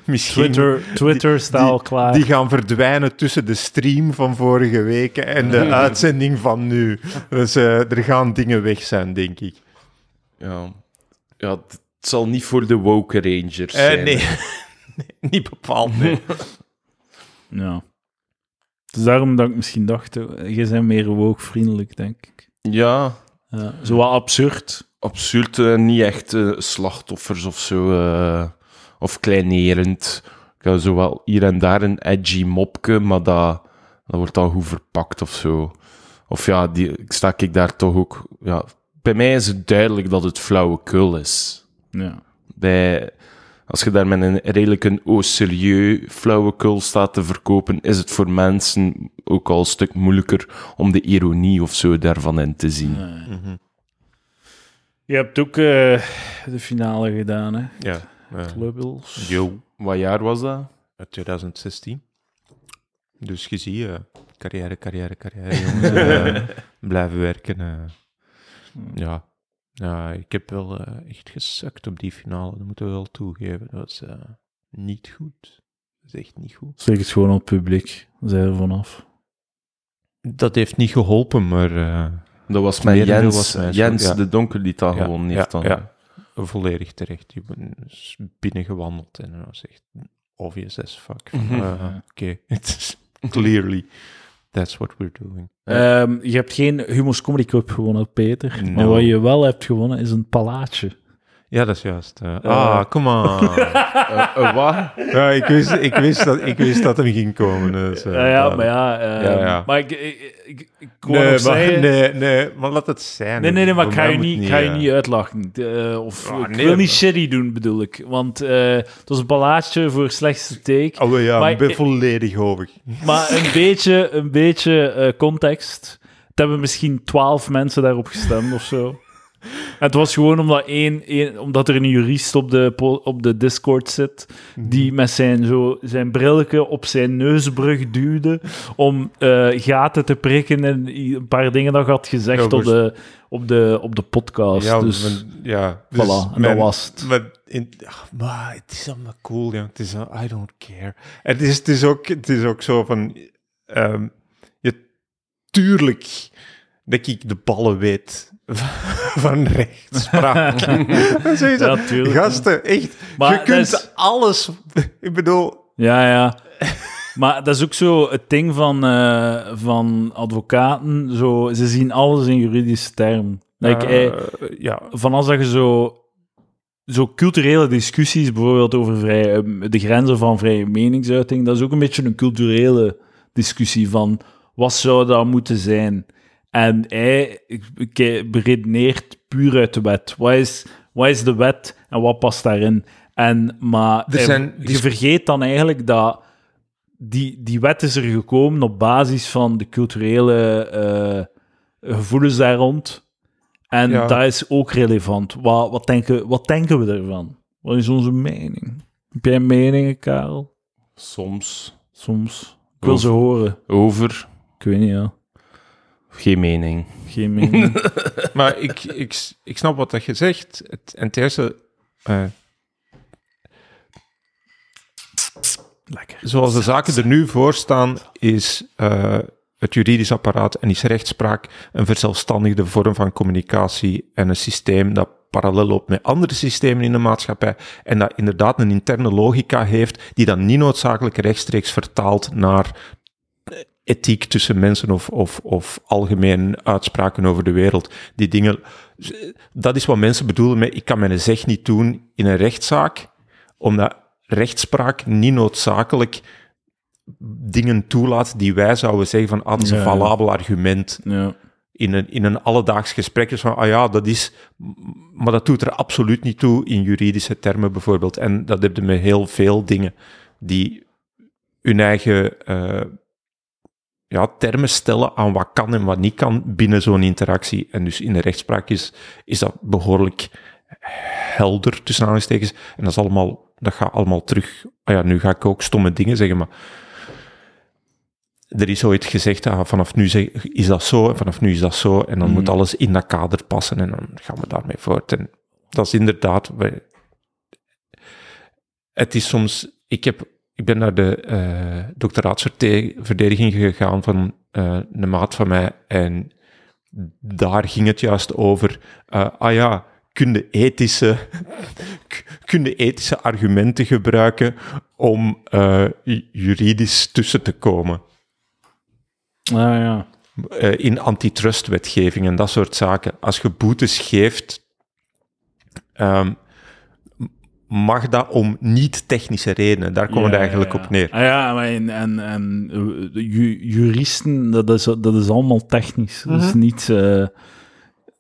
[SPEAKER 3] misschien.
[SPEAKER 2] Twitter, Twitter staat al klaar.
[SPEAKER 3] Die gaan verdwijnen tussen de stream van vorige week en de uitzending van nu. Dus eh, er gaan dingen weg zijn, denk ik.
[SPEAKER 1] Ja. ja, het zal niet voor de woke rangers
[SPEAKER 3] Eh,
[SPEAKER 1] zijn.
[SPEAKER 3] nee. [LAUGHS] Nee, niet bepaald. Nee.
[SPEAKER 2] Ja. Dus daarom dat ik misschien dacht, eh, jij bent meer woke-vriendelijk, denk ik.
[SPEAKER 1] Ja,
[SPEAKER 2] Ja. Zo wat absurd.
[SPEAKER 1] absurd, eh, niet echt eh, slachtoffers of zo. eh, of kleinerend. Ik heb zo wel hier en daar een edgy mopje, maar dat, dat wordt al goed verpakt of zo. Of ja, die, ik sta ik daar toch ook... Ja, bij mij is het duidelijk dat het flauwekul is.
[SPEAKER 2] Ja.
[SPEAKER 1] bij, als je daar met een redelijk een oh, serieus flauwekul staat te verkopen, is het voor mensen ook al een stuk moeilijker om de ironie of zo daarvan in te zien.
[SPEAKER 3] Mhm.
[SPEAKER 2] Je hebt ook eh, de finale gedaan, hè?
[SPEAKER 3] Ja. eh,
[SPEAKER 2] Clubbels.
[SPEAKER 3] yo.
[SPEAKER 1] Wat jaar was dat?
[SPEAKER 3] Uit 2016. Dus je ziet, eh, carrière, carrière, carrière, jongens. eh, blijven werken. eh. Ja. ja, ik heb wel eh, echt gesukt op die finale, dat moeten we wel toegeven. Dat was eh, niet goed. Dat is echt niet
[SPEAKER 2] [LAUGHS]
[SPEAKER 3] goed.
[SPEAKER 2] Zeg het gewoon aan het publiek. Zij er vanaf.
[SPEAKER 3] Dat heeft niet geholpen, maar eh,
[SPEAKER 1] Dat was met
[SPEAKER 3] Merendeel
[SPEAKER 1] Jens,
[SPEAKER 3] was mijn
[SPEAKER 1] Jens
[SPEAKER 3] schuld, ja.
[SPEAKER 1] de Donker die dat
[SPEAKER 3] Ja,
[SPEAKER 1] gewoon
[SPEAKER 3] ja,
[SPEAKER 1] heeft dan.
[SPEAKER 3] ja. volledig terecht. Die is binnengewandeld en dat was echt obvious as fuck. Van,
[SPEAKER 1] Mhm.
[SPEAKER 3] eh, Oké, [LAUGHS] het is clearly that's what we're doing.
[SPEAKER 2] Ehm, je hebt geen Humo's Comedy Cup gewonnen, Peter. Maar
[SPEAKER 3] No.
[SPEAKER 2] wat je wel hebt gewonnen is een palaatje.
[SPEAKER 3] Ja, dat is juist. eh. ah, come on.
[SPEAKER 2] [LAUGHS]
[SPEAKER 1] Eh, eh, wat?
[SPEAKER 3] Ja, ik wist, ik wist, dat, ik wist dat hem ging komen. Dus, eh,
[SPEAKER 2] Ja, ja,
[SPEAKER 3] daarom.
[SPEAKER 2] maar ja. ehm,
[SPEAKER 3] Ja, ja.
[SPEAKER 2] Maar ik, ik, ik, ik wou
[SPEAKER 3] Nee,
[SPEAKER 2] nog
[SPEAKER 3] maar,
[SPEAKER 2] zeggen-
[SPEAKER 3] nee, nee, maar laat het zijn.
[SPEAKER 2] Nee, nee, nee, maar ik
[SPEAKER 3] Voor
[SPEAKER 2] ga
[SPEAKER 3] mij
[SPEAKER 2] je
[SPEAKER 3] moet
[SPEAKER 2] niet, ik ga je
[SPEAKER 3] eh,
[SPEAKER 2] niet uitlachen. Eh, of,
[SPEAKER 3] Ah,
[SPEAKER 2] ik
[SPEAKER 3] nee,
[SPEAKER 2] wil
[SPEAKER 3] maar-
[SPEAKER 2] niet shitty doen, bedoel ik. Want eh, het was een palaatje voor slechtste take.
[SPEAKER 3] Oh ja,
[SPEAKER 2] Maar
[SPEAKER 3] ik ben
[SPEAKER 2] ik-
[SPEAKER 3] volledig hoog.
[SPEAKER 2] Maar een beetje, een beetje eh, context. Het hebben misschien twaalf mensen daarop gestemd of zo. En het was gewoon omdat, één, één- omdat er een jurist op de, po- op de Discord zit.
[SPEAKER 3] Mhm.
[SPEAKER 2] die met zijn, zo, zijn brilke op zijn neusbrug duwde. om eh, gaten te prikken en i- een paar dingen dat had gezegd
[SPEAKER 3] Ja,
[SPEAKER 2] op, de, op, de, op de podcast.
[SPEAKER 3] Ja,
[SPEAKER 2] dus
[SPEAKER 3] maar- ja,
[SPEAKER 2] voilà, en
[SPEAKER 3] mijn-
[SPEAKER 2] dat was het.
[SPEAKER 3] Maar, in, ach, maar het is allemaal cool, jong. Het is, al- I don't care. Het is, het is, ook, het is ook zo van... ehm, je, tuurlijk dat ik de ballen weet [LAUGHS] van, van
[SPEAKER 2] [LAUGHS]
[SPEAKER 3] rechtspraak. Sowieso.
[SPEAKER 2] Ja, tuurlijk.
[SPEAKER 3] Gasten, echt.
[SPEAKER 2] Maar
[SPEAKER 3] je
[SPEAKER 2] dat
[SPEAKER 3] kunt
[SPEAKER 2] is-
[SPEAKER 3] alles... Ik bedoel...
[SPEAKER 2] Ja, ja. Maar dat is ook zo het ding van, eh, van advocaten. Zo, ze zien alles in juridische term. Like, eh,
[SPEAKER 3] eh, ja,
[SPEAKER 2] van als dat je zo, zo culturele discussies, bijvoorbeeld over vrij, eh, de grenzen van vrije meningsuiting, dat is ook een beetje een culturele discussie van wat zou dat moeten zijn. En hij ik- ik- beredeneert puur uit de wet. Wat is, wat is de wet en wat past daarin? En, maar
[SPEAKER 3] Er
[SPEAKER 2] hij-
[SPEAKER 3] zijn
[SPEAKER 2] je vergeet dan eigenlijk dat die, die wet is er gekomen op basis van de culturele eh, gevoelens daar rond. En
[SPEAKER 3] Ja.
[SPEAKER 2] dat is ook relevant. Wat, wat, denken, wat denken we daarvan? Wat is onze mening? Heb jij meningen, Karel?
[SPEAKER 1] Soms
[SPEAKER 2] Soms. Ik wil
[SPEAKER 1] Over.
[SPEAKER 2] ze horen.
[SPEAKER 1] over,
[SPEAKER 2] Ik weet niet, ja.
[SPEAKER 1] geen mening.
[SPEAKER 2] Geen
[SPEAKER 3] [LAUGHS]
[SPEAKER 2] mening.
[SPEAKER 3] maar ik, ik, ik snap wat dat je zegt. Het, en het eerste, eh,
[SPEAKER 2] Lekker.
[SPEAKER 3] zoals de zaken er nu voor staan, is eh, het juridisch apparaat en is rechtspraak een verzelfstandigde vorm van communicatie en een systeem dat parallel loopt met andere systemen in de maatschappij en dat inderdaad een interne logica heeft die dan niet noodzakelijk rechtstreeks vertaalt naar ethiek tussen mensen of, of, of algemeen uitspraken over de wereld. Die dingen, dat is wat mensen bedoelen met ik kan mijn zeg niet doen in een rechtszaak, omdat rechtspraak niet noodzakelijk dingen toelaat die wij zouden zeggen van, ah, dat is een
[SPEAKER 2] Ja.
[SPEAKER 3] valabel argument
[SPEAKER 2] Ja.
[SPEAKER 3] in een, in een alledaags gesprek is van, ah ja, dat is, maar dat doet er absoluut niet toe in juridische termen bijvoorbeeld. En dat heb je met heel veel dingen die hun eigen eh, ja, termen stellen aan wat kan en wat niet kan binnen zo'n interactie. En dus in de rechtspraak is, is dat behoorlijk helder, tussen aanhalingstekens. En dat, is allemaal, dat gaat allemaal terug. Ah ja, nu ga ik ook stomme dingen zeggen, maar er is ooit gezegd, ah, vanaf nu zeg- is dat zo en vanaf nu is dat zo. En dan moet alles in dat kader passen en dan gaan we daarmee voort. En dat is inderdaad... we- Het is soms... Ik, heb, ik ben naar de eh doctoraatsverdediging gegaan van eh een maat van mij en daar ging het juist over. eh, ah ja, kun je ethische, [LAUGHS] k- kun je ethische argumenten gebruiken om eh, ju- juridisch tussen te komen?
[SPEAKER 2] Ah, ja.
[SPEAKER 3] eh, in antitrustwetgeving en dat soort zaken. Als je boetes geeft, ehm, mag dat om niet-technische redenen. Daar komen we
[SPEAKER 2] Ja,
[SPEAKER 3] eigenlijk
[SPEAKER 2] ja, ja.
[SPEAKER 3] op neer.
[SPEAKER 2] Ah, ja, maar en, en, en eh, ju- juristen, dat is, dat is allemaal technisch. Dat
[SPEAKER 3] Mhm.
[SPEAKER 2] is niet... eh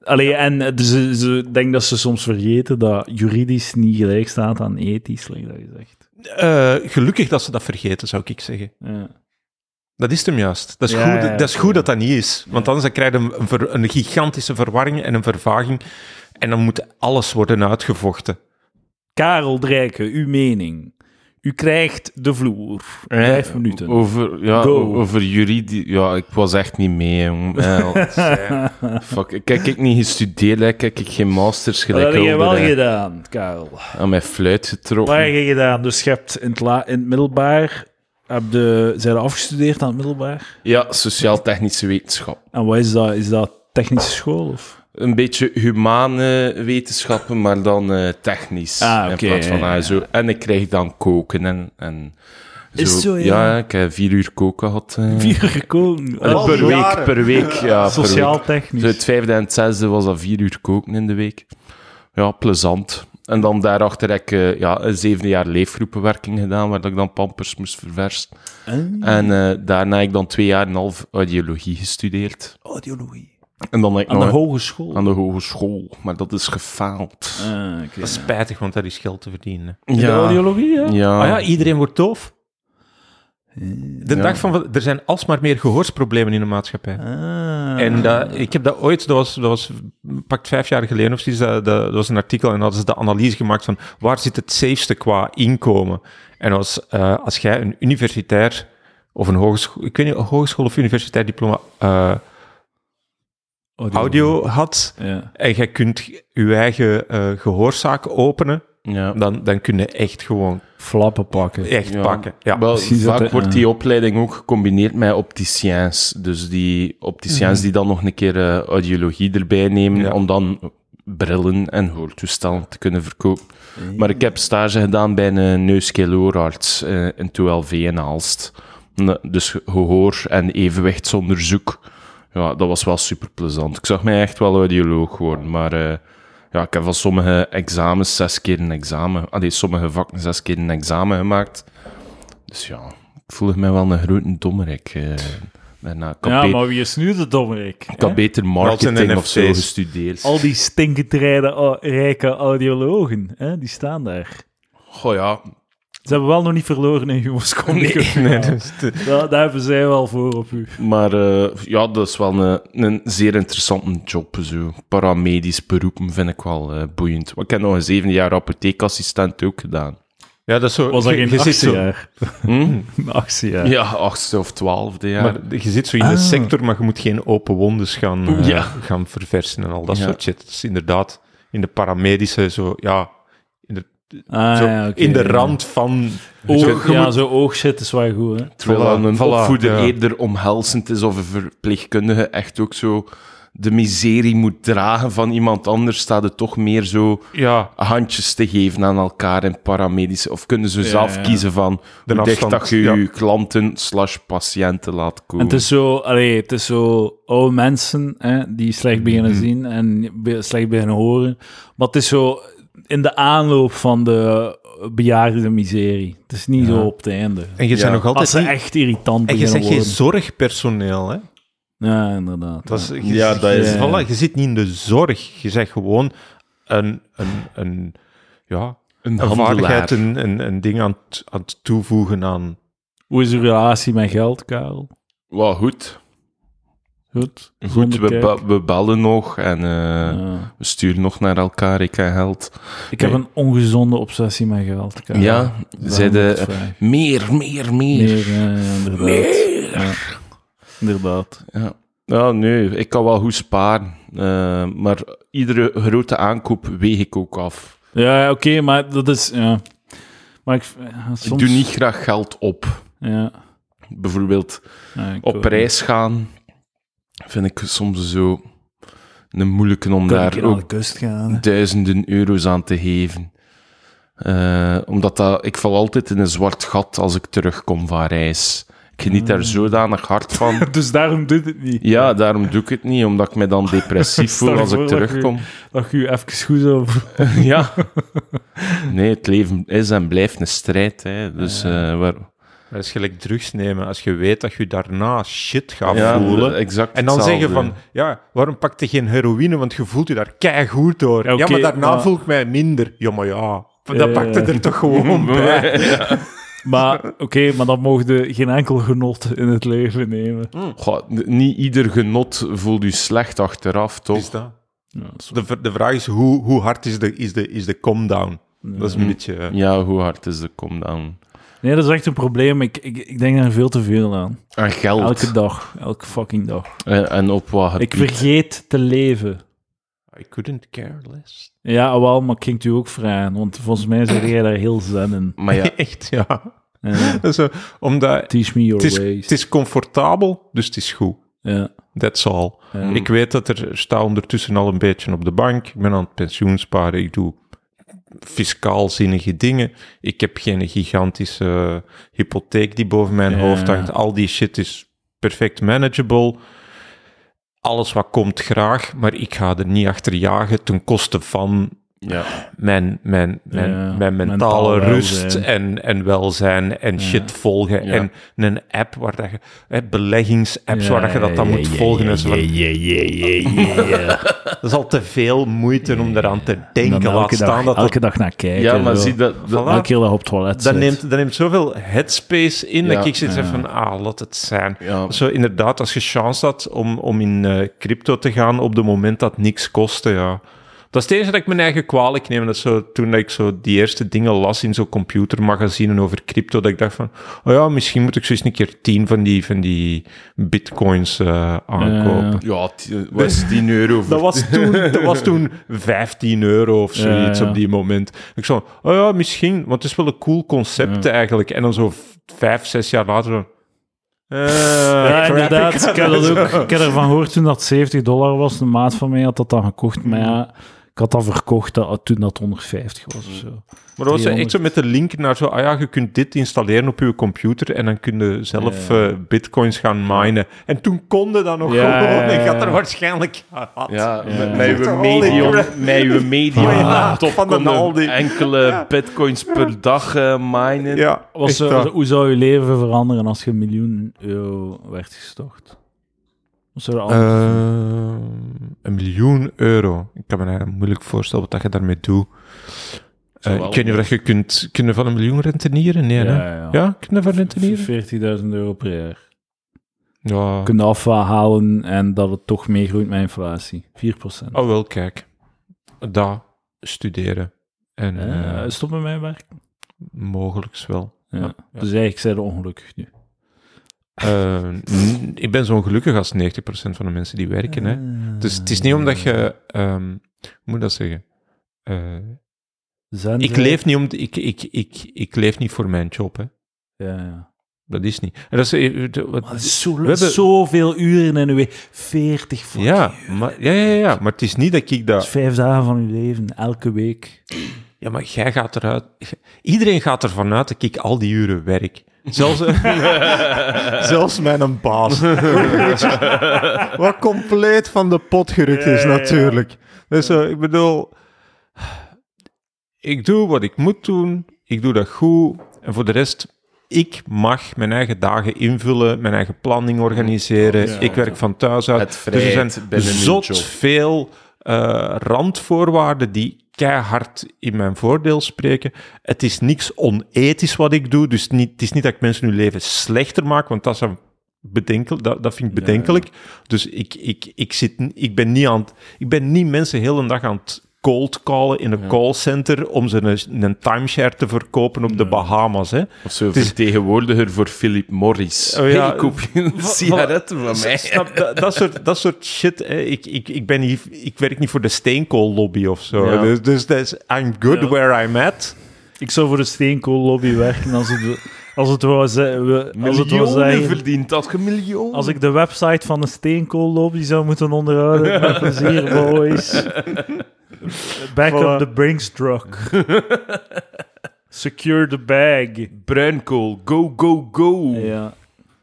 [SPEAKER 2] Allee, en eh, dus, ze- ze- ik denk dat ze soms vergeten dat juridisch niet gelijk staat aan ethisch, like dat je zegt.
[SPEAKER 3] Eh, gelukkig dat ze dat vergeten, zou ik zeggen.
[SPEAKER 2] Ja.
[SPEAKER 3] Dat is het hem juist. Dat is,
[SPEAKER 2] Ja,
[SPEAKER 3] goed,
[SPEAKER 2] ja, ja,
[SPEAKER 3] dat, is
[SPEAKER 2] oké, ja.
[SPEAKER 3] goed dat dat niet is. Want anders dan krijg je een, een ver- een gigantische verwarring en een vervaging. En dan moet alles worden uitgevochten.
[SPEAKER 2] Karel Drijken, uw mening. U krijgt de vloer.
[SPEAKER 1] Eh,
[SPEAKER 2] Vijf minuten.
[SPEAKER 1] Over, ja,
[SPEAKER 2] Go.
[SPEAKER 1] over juridie... Ja, ik was echt niet mee,
[SPEAKER 3] [LAUGHS]
[SPEAKER 1] jong. Eh, Fuck, ik heb ik niet gestudeerd, hè. ik heb ik geen masters
[SPEAKER 2] dat
[SPEAKER 1] gelijk
[SPEAKER 2] heb je
[SPEAKER 1] Hulder,
[SPEAKER 2] wel
[SPEAKER 1] hè.
[SPEAKER 2] gedaan, Karel.
[SPEAKER 1] aan mijn fluit
[SPEAKER 2] Wat heb
[SPEAKER 1] getrokken.
[SPEAKER 2] je gedaan? Dus je hebt in het, la- in het middelbaar... Heb de, zijn afgestudeerd aan het middelbaar?
[SPEAKER 1] Ja, sociaal-technische wetenschap.
[SPEAKER 2] En wat is dat? Is dat technische school? Of?
[SPEAKER 1] Een beetje humane wetenschappen, maar dan eh, technisch.
[SPEAKER 2] Ah,
[SPEAKER 1] In
[SPEAKER 2] oké,
[SPEAKER 1] plaats van
[SPEAKER 2] ja,
[SPEAKER 1] ah,
[SPEAKER 2] ja.
[SPEAKER 1] zo. En ik kreeg dan koken en... en zo.
[SPEAKER 2] Is zo, ja.
[SPEAKER 1] ik heb vier uur koken gehad. eh.
[SPEAKER 2] Vier gekomen.
[SPEAKER 1] Eh,
[SPEAKER 2] Oh,
[SPEAKER 1] per, week,
[SPEAKER 3] jaren.
[SPEAKER 1] per week, ja. per week.
[SPEAKER 2] Sociaal
[SPEAKER 1] Zo
[SPEAKER 2] technisch.
[SPEAKER 1] het vijfde en het zesde was dat vier uur koken in de week. Ja, plezant. En dan daarachter heb ik eh, ja, een zevende jaar leefgroepenwerking gedaan, waar dat ik dan pampers moest verversen. En eh, daarna heb ik dan twee jaar en een half audiologie gestudeerd.
[SPEAKER 2] Audiologie.
[SPEAKER 1] En dan heb ik
[SPEAKER 2] Aan de
[SPEAKER 1] nog
[SPEAKER 2] hogeschool.
[SPEAKER 1] Oh, aan de hogeschool, maar dat is gefaald.
[SPEAKER 2] Ah, oké.
[SPEAKER 3] Dat is spijtig, want daar is geld te verdienen.
[SPEAKER 2] In de audiologie, hè?
[SPEAKER 1] ja.
[SPEAKER 3] Ah ja, iedereen wordt doof. De
[SPEAKER 1] Ja.
[SPEAKER 3] dag van... va- Er zijn alsmaar meer gehoorsproblemen in de maatschappij.
[SPEAKER 2] Ah.
[SPEAKER 3] En dat, ik heb dat ooit, dat was, dat was pakt vijf jaar geleden of zoiets, dat, dat, dat was een artikel en hadden ze de analyse gemaakt van waar zit het safeste qua inkomen. En als, eh, als jij een universitair of een hogeschool, ik weet niet, een hogeschool of universitair diploma eh, audio had
[SPEAKER 2] Ja.
[SPEAKER 3] en jij kunt je eigen eh, gehoorzaak openen,
[SPEAKER 1] ja.
[SPEAKER 3] dan, dan kun je echt gewoon
[SPEAKER 2] Flappen pakken.
[SPEAKER 3] echt
[SPEAKER 1] Ja.
[SPEAKER 3] pakken. Ja.
[SPEAKER 1] Wel,
[SPEAKER 2] precies dat
[SPEAKER 1] vaak
[SPEAKER 2] het-
[SPEAKER 1] wordt
[SPEAKER 2] ja.
[SPEAKER 1] die opleiding ook gecombineerd met opticiens. Dus die opticiens die dan nog een keer eh, audiologie erbij nemen,
[SPEAKER 3] Ja.
[SPEAKER 1] om dan brillen en hoortoestellen te kunnen verkopen. Maar ik heb stage gedaan bij een neuskeeloorarts eh in 12V in Aalst. Ne- Dus gehoor- en evenwichtsonderzoek. Ja, dat was wel super plezant. Ik zag mij echt wel audioloog worden, maar... eh, ja, ik heb van sommige examens zes keer een examen... Allee, sommige vakken zes keer een examen gemaakt. Dus ja, ik voelde mij wel een grote dommerik. eh daarna. Ik had,
[SPEAKER 2] Ja,
[SPEAKER 1] be-
[SPEAKER 2] maar wie is nu de dommerik?
[SPEAKER 1] ik had beter marketing
[SPEAKER 3] Wat
[SPEAKER 1] of zo
[SPEAKER 3] NFT's?
[SPEAKER 1] gestudeerd.
[SPEAKER 2] Al die stinkend rijde, o- rijke audiologen, hè? die staan daar.
[SPEAKER 1] Goh ja,
[SPEAKER 2] Ze hebben wel nog niet verloren in Jugoslavie.
[SPEAKER 3] Nee, dus dat is te-
[SPEAKER 2] daar, daar hebben zij [LAUGHS] wel voor op u.
[SPEAKER 1] Maar eh, ja, dat is wel een, een zeer interessante job. Zo. Paramedisch beroepen vind ik wel eh, boeiend. Maar Ik heb nog een zeven jaar apotheekassistent ook gedaan.
[SPEAKER 3] ja, dat is zo.
[SPEAKER 2] Was dat
[SPEAKER 3] je-
[SPEAKER 2] geen
[SPEAKER 3] je zit
[SPEAKER 2] achtste
[SPEAKER 3] zo-
[SPEAKER 2] jaar?
[SPEAKER 1] Hm?
[SPEAKER 3] Hmm?
[SPEAKER 2] [LAUGHS] Een achtste jaar.
[SPEAKER 1] Ja, achtste of twaalfde jaar.
[SPEAKER 3] Maar je zit zo in de
[SPEAKER 2] Ah.
[SPEAKER 3] sector, maar je moet geen open wondes gaan, eh,
[SPEAKER 1] Ja.
[SPEAKER 3] gaan verversen en al dat
[SPEAKER 1] Ja.
[SPEAKER 3] soort shit. Dat is inderdaad in de paramedische, zo, ja, in de,
[SPEAKER 2] Ah,
[SPEAKER 3] zo
[SPEAKER 2] ja, oké,
[SPEAKER 3] in de
[SPEAKER 2] ja.
[SPEAKER 3] rand van... Zo,
[SPEAKER 2] Oog,
[SPEAKER 3] je
[SPEAKER 2] ja,
[SPEAKER 3] moet-
[SPEAKER 2] zo oogshit is wel goed, hè?
[SPEAKER 1] Terwijl
[SPEAKER 3] Voilà,
[SPEAKER 1] een
[SPEAKER 3] voilà,
[SPEAKER 1] opvoeder
[SPEAKER 3] ja.
[SPEAKER 1] eerder omhelzend is of een verpleegkundige echt ook zo de miserie moet dragen van iemand anders, staat het toch meer zo
[SPEAKER 3] ja,
[SPEAKER 1] handjes te geven aan elkaar in paramedische... Of kunnen ze zelf
[SPEAKER 2] ja.
[SPEAKER 1] kiezen van
[SPEAKER 3] De
[SPEAKER 1] hoe dicht
[SPEAKER 3] afstand,
[SPEAKER 1] dat je
[SPEAKER 3] ja.
[SPEAKER 1] je klanten slash patiënten laat komen.
[SPEAKER 2] En het is zo, allee, het is zo oude mensen hè, die slecht beginnen
[SPEAKER 3] Mhm.
[SPEAKER 2] zien en be- slecht beginnen horen. Maar het is zo in de aanloop van de bejaarde miserie. Het is niet zo op het einde.
[SPEAKER 3] en je
[SPEAKER 1] Ja.
[SPEAKER 3] bent
[SPEAKER 2] Als
[SPEAKER 3] nog altijd
[SPEAKER 2] ze
[SPEAKER 3] niet-
[SPEAKER 2] echt irritant
[SPEAKER 3] En je
[SPEAKER 2] beginnen
[SPEAKER 3] bent geen
[SPEAKER 2] worden.
[SPEAKER 3] zorgpersoneel, hè.
[SPEAKER 2] Ja, inderdaad.
[SPEAKER 3] Dat is, je,
[SPEAKER 1] Ja, dat is-
[SPEAKER 3] je- voilà, je zit niet in de zorg. Je bent gewoon een... een, een ja,
[SPEAKER 1] een
[SPEAKER 3] een
[SPEAKER 1] handelaar.
[SPEAKER 3] vaardigheid, een, een, een ding aan het, aan het toevoegen aan...
[SPEAKER 2] Hoe is uw relatie met geld, Karel?
[SPEAKER 1] Wel goed.
[SPEAKER 2] Goed.
[SPEAKER 1] Goed,
[SPEAKER 2] Zonder
[SPEAKER 1] we,
[SPEAKER 2] kijk.
[SPEAKER 1] be- we bellen nog en eh,
[SPEAKER 2] Ja.
[SPEAKER 1] we sturen nog naar elkaar. Ik en geld.
[SPEAKER 2] Ik heb een ongezonde obsessie met geld. Ik,
[SPEAKER 1] Ja,
[SPEAKER 2] eh, daarom
[SPEAKER 1] zeiden
[SPEAKER 2] moet ik vragen.
[SPEAKER 1] meer, meer, meer.
[SPEAKER 2] Meer, eh, inderdaad. Ja. Inderdaad.
[SPEAKER 1] Ja. Ja, nee, ik kan wel goed sparen. eh, maar iedere grote aankoop weeg ik ook af.
[SPEAKER 2] Ja, ja, oké, maar dat is... Ja. Maar ik... ja, soms-
[SPEAKER 1] Ik doe niet graag geld op.
[SPEAKER 2] Ja.
[SPEAKER 1] Bijvoorbeeld
[SPEAKER 2] Ja, ik
[SPEAKER 1] op
[SPEAKER 2] ook
[SPEAKER 1] reis gaan vind ik soms zo een moeilijke om
[SPEAKER 2] niet. Kan ik
[SPEAKER 1] daar
[SPEAKER 2] hier aan de
[SPEAKER 1] ook
[SPEAKER 2] kust gaan. hè?
[SPEAKER 1] duizenden euro's aan te geven. Eh, omdat dat, ik val altijd in een zwart gat als ik terugkom van reis. Ik geniet
[SPEAKER 2] Ah.
[SPEAKER 1] daar zodanig hard van.
[SPEAKER 2] Dus daarom doet het niet.
[SPEAKER 1] Ja, daarom doe ik het niet, omdat ik me
[SPEAKER 2] [LAUGHS]
[SPEAKER 1] dan depressief
[SPEAKER 2] Stel
[SPEAKER 1] voel als
[SPEAKER 2] je
[SPEAKER 1] ik
[SPEAKER 2] voor dat je-
[SPEAKER 1] terugkom.
[SPEAKER 2] Dat je je even goed zo...
[SPEAKER 3] [LAUGHS]
[SPEAKER 1] Ja. [LAUGHS] Nee, het leven is en blijft een strijd. Hè. Dus eh, waar...
[SPEAKER 3] Dat is gelijk drugs nemen als je weet dat je daarna shit gaat
[SPEAKER 1] ja,
[SPEAKER 3] voelen.
[SPEAKER 1] exact
[SPEAKER 3] En dan
[SPEAKER 1] hetzelfde.
[SPEAKER 3] zeggen
[SPEAKER 1] [LAUGHS]
[SPEAKER 3] van, ja, waarom pak je geen heroïne, want je voelt je daar keigoed door.
[SPEAKER 2] Ja,
[SPEAKER 3] Ja,
[SPEAKER 2] oké,
[SPEAKER 3] maar daarna
[SPEAKER 2] maar- Eh.
[SPEAKER 3] voel ik mij minder. Ja, maar ja, dat
[SPEAKER 2] Ja,
[SPEAKER 3] pakt het
[SPEAKER 2] ja.
[SPEAKER 3] er toch
[SPEAKER 2] [LAUGHS]
[SPEAKER 3] gewoon bij.
[SPEAKER 2] Maar oké, maar dan mogen je geen enkel genot in het leven nemen.
[SPEAKER 1] Goh, n- niet ieder genot voelt u slecht achteraf,
[SPEAKER 3] Is
[SPEAKER 1] toch?
[SPEAKER 3] dat?
[SPEAKER 2] Ja, dat is-
[SPEAKER 3] De, v- de vraag is, hoe, hoe hard is de, is de, is de come-down? Dat
[SPEAKER 2] Mm.
[SPEAKER 3] is een beetje... eh,
[SPEAKER 1] Ja, hoe hard is de kom dan?
[SPEAKER 2] Nee, dat is echt een probleem. Ik, ik, ik denk daar veel te veel aan.
[SPEAKER 1] En geld.
[SPEAKER 2] Elke dag. Elke fucking dag.
[SPEAKER 1] En, Eh, en op wat
[SPEAKER 2] Ik
[SPEAKER 1] gebied?
[SPEAKER 2] vergeet te leven.
[SPEAKER 3] I couldn't care less.
[SPEAKER 2] Ja, wel, maar ik ging het u ook vragen. Want volgens mij zeg jij daar heel zen in.
[SPEAKER 1] Maar [LAUGHS] ja,
[SPEAKER 3] [LAUGHS] Echt, ja.
[SPEAKER 2] Ja.
[SPEAKER 3] Dat is, eh, omdat
[SPEAKER 2] Teach me your
[SPEAKER 3] het is,
[SPEAKER 2] ways.
[SPEAKER 3] het is comfortabel, dus het is goed.
[SPEAKER 2] Ja,
[SPEAKER 3] That's all.
[SPEAKER 2] ja.
[SPEAKER 3] Ik weet dat er, er sta ondertussen al een beetje op de bank. Ik ben aan het pensioensparen. Ik doe fiscaal zinnige dingen. Ik heb geen gigantische eh, hypotheek die boven mijn
[SPEAKER 2] Ja.
[SPEAKER 3] hoofd hangt. Al die shit is perfect manageable. Alles wat komt graag, maar ik ga er niet achter jagen ten koste van
[SPEAKER 1] ja.
[SPEAKER 3] mijn, mijn, mijn,
[SPEAKER 2] Ja,
[SPEAKER 3] mijn mentale
[SPEAKER 2] mentaal
[SPEAKER 3] rust
[SPEAKER 2] welzijn.
[SPEAKER 3] en, en welzijn en shit volgen.
[SPEAKER 1] Ja.
[SPEAKER 3] En een app waar dat je, hè, beleggingsapps
[SPEAKER 2] Ja,
[SPEAKER 3] waar dat je dat dan
[SPEAKER 2] ja,
[SPEAKER 3] moet
[SPEAKER 2] ja,
[SPEAKER 3] volgen.
[SPEAKER 2] ja,
[SPEAKER 3] en zo van, [LAUGHS] Dat is al te veel moeite om eraan te
[SPEAKER 2] En
[SPEAKER 3] denken.
[SPEAKER 2] dan
[SPEAKER 3] Laat
[SPEAKER 2] elke,
[SPEAKER 3] staan
[SPEAKER 2] dag,
[SPEAKER 3] dat
[SPEAKER 2] elke
[SPEAKER 3] dat,
[SPEAKER 2] dag naar kijken.
[SPEAKER 1] ja, maar
[SPEAKER 2] zo.
[SPEAKER 1] zie dat... dat-
[SPEAKER 3] Voilà.
[SPEAKER 2] Elke keer dat je op het toilet
[SPEAKER 3] dat
[SPEAKER 2] zit.
[SPEAKER 3] neemt, dat neemt zoveel headspace in
[SPEAKER 1] Ja,
[SPEAKER 3] dat ik zit van, ah, laat het zijn.
[SPEAKER 1] Ja.
[SPEAKER 3] Zo inderdaad, als je chance had om, om in eh, crypto te gaan op het moment dat niks kostte, ja. Dat is het enige dat ik mijn eigen kwalijk neem. Dat is zo, toen dat ik zo die eerste dingen las in zo'n computermagazine over crypto, dat ik dacht van, oh ja, misschien moet ik zo eens een keer tien van die, van die bitcoins eh, aankopen.
[SPEAKER 2] Ja.
[SPEAKER 1] Ja, t- wat
[SPEAKER 3] [LAUGHS]
[SPEAKER 1] is 10 euro voor...
[SPEAKER 3] Dat was, toen, dat was toen 15 euro of zoiets
[SPEAKER 2] Ja, ja.
[SPEAKER 3] op die moment. Ik zo, oh ja, misschien, want het is wel een cool concept eigenlijk. En dan zo v- vijf, zes jaar later. dan, eh,
[SPEAKER 2] Ja,
[SPEAKER 3] [LAUGHS] crap,
[SPEAKER 2] inderdaad.
[SPEAKER 3] had
[SPEAKER 2] Ik heb, dat
[SPEAKER 3] [LAUGHS] zo.
[SPEAKER 2] ook, ik heb ervan gehoord toen dat 70 dollar was. Een maat van mij had dat dan gekocht. Maar ja, ik had dat verkocht dat, toen dat 150 was of zo.
[SPEAKER 3] Maar dat was
[SPEAKER 2] 300.
[SPEAKER 3] echt zo met de link naar zo, ah ja, je kunt dit installeren op je computer en dan kun je zelf eh, bitcoins gaan minen. En toen kon je dat nog
[SPEAKER 2] Ja,
[SPEAKER 3] gewoon.
[SPEAKER 2] ja, ja.
[SPEAKER 3] Ik had er waarschijnlijk gehad.
[SPEAKER 1] Ja, met-
[SPEAKER 3] Ja.
[SPEAKER 1] met uw
[SPEAKER 3] Holy
[SPEAKER 1] medium,
[SPEAKER 3] crap.
[SPEAKER 1] met uw medium
[SPEAKER 3] Ah,
[SPEAKER 1] [LAUGHS] laptop
[SPEAKER 3] van de
[SPEAKER 1] kon je
[SPEAKER 3] Aldi.
[SPEAKER 1] enkele bitcoins per dag eh, minen.
[SPEAKER 3] Ja,
[SPEAKER 2] Was,
[SPEAKER 3] echt
[SPEAKER 2] zo-
[SPEAKER 3] waar.
[SPEAKER 2] hoe zou je leven veranderen als je een miljoen euro werd gestort? Wat zou er anders zijn?
[SPEAKER 3] Ehm, een miljoen euro. Ik kan me eigenlijk moeilijk voorstellen wat dat je daarmee doet. Eh,
[SPEAKER 1] Zowel-
[SPEAKER 3] ik weet niet of dat je kunt, kun je van een miljoen rentenieren. Nee, hè?
[SPEAKER 2] ja.
[SPEAKER 3] Ja, kun je van rentenieren?
[SPEAKER 2] 40.000 euro per jaar.
[SPEAKER 3] Ja.
[SPEAKER 2] Kunnen afhalen en dat het toch meegroeit met inflatie. 4%.
[SPEAKER 3] Oh, wel, kijk. Dat studeren. En
[SPEAKER 2] Eh,
[SPEAKER 3] eh
[SPEAKER 2] stop met mijn werk.
[SPEAKER 3] mogelijks wel.
[SPEAKER 2] Ja.
[SPEAKER 3] Ja.
[SPEAKER 2] Dus eigenlijk zijn we ongelukkig nu.
[SPEAKER 3] Eh, n- ik ben zo ongelukkig als 90% van de mensen die werken. Hè.
[SPEAKER 2] Eh,
[SPEAKER 3] Dus het is niet omdat je... ehm, hoe moet ik dat zeggen? Eh,
[SPEAKER 2] Zen
[SPEAKER 3] ik,
[SPEAKER 2] zijn.
[SPEAKER 3] leef niet om, ik, ik, ik, ik leef niet voor mijn job, hè.
[SPEAKER 2] Ja, ja.
[SPEAKER 3] Dat is niet. En dat is, eh, de- wat-
[SPEAKER 2] Maar zo,
[SPEAKER 3] we hebben-
[SPEAKER 2] Zoveel uren in een week. 40 fucking
[SPEAKER 3] ja,
[SPEAKER 2] uur.
[SPEAKER 3] maar, ja, ja, ja, maar het is niet dat ik
[SPEAKER 2] Dat is
[SPEAKER 3] dat...
[SPEAKER 2] vijf dagen van je leven, elke week.
[SPEAKER 3] Ja, maar jij gaat eruit... Iedereen gaat ervan uit dat ik al die uren werk. Zelfs, eh, zelfs mijn
[SPEAKER 2] [LAUGHS]
[SPEAKER 3] baas. Wat compleet van de pot gerukt is, natuurlijk. Dus eh, ik bedoel... Ik doe wat ik moet doen. Ik doe dat goed. En voor de rest... Ik mag mijn eigen dagen invullen, mijn eigen planning organiseren. ik werk van thuis uit.
[SPEAKER 1] Het
[SPEAKER 3] Dus er
[SPEAKER 1] vrijheid
[SPEAKER 3] zijn
[SPEAKER 1] binnen uw
[SPEAKER 3] zot
[SPEAKER 1] job.
[SPEAKER 3] veel eh, randvoorwaarden die keihard in mijn voordeel spreken. Het is niks onethisch wat ik doe, dus niet, het is niet dat ik mensen hun leven slechter maak, want dat zou bedenkelijk. Dat, dat vind ik bedenkelijk. Dus ik, ik, ik, zit, n- ik, ben niet aan, het- ik ben niet mensen heel een dag aan het cold callen in een callcenter om ze een, een timeshare te verkopen op de Bahamas. Hè.
[SPEAKER 1] Of zo vertegenwoordiger voor Philip Morris.
[SPEAKER 3] Oh ja.
[SPEAKER 1] Hey, koop je een sigaret van mij?
[SPEAKER 3] Snap, dat, dat, soort, dat soort shit. Hè. Ik, ik, ik, ben niet, ik werk niet voor de steenkoollobby of zo.
[SPEAKER 1] Ja.
[SPEAKER 3] Dus, dus dat is I'm good
[SPEAKER 2] Ja.
[SPEAKER 3] where I'm at.
[SPEAKER 2] Ik zou voor de steenkoollobby werken als het, als het wou ze- we- als het wou
[SPEAKER 1] Miljoenen
[SPEAKER 2] zeggen.
[SPEAKER 1] verdient dat, je miljoenen.
[SPEAKER 2] Als ik de website van de steenkoollobby zou moeten onderhouden, met plezier, boys. Back
[SPEAKER 3] Voilà.
[SPEAKER 2] up the Brinks truck. Secure the bag.
[SPEAKER 1] Bruinkool, go, go, go.
[SPEAKER 3] Eh,
[SPEAKER 2] Ja.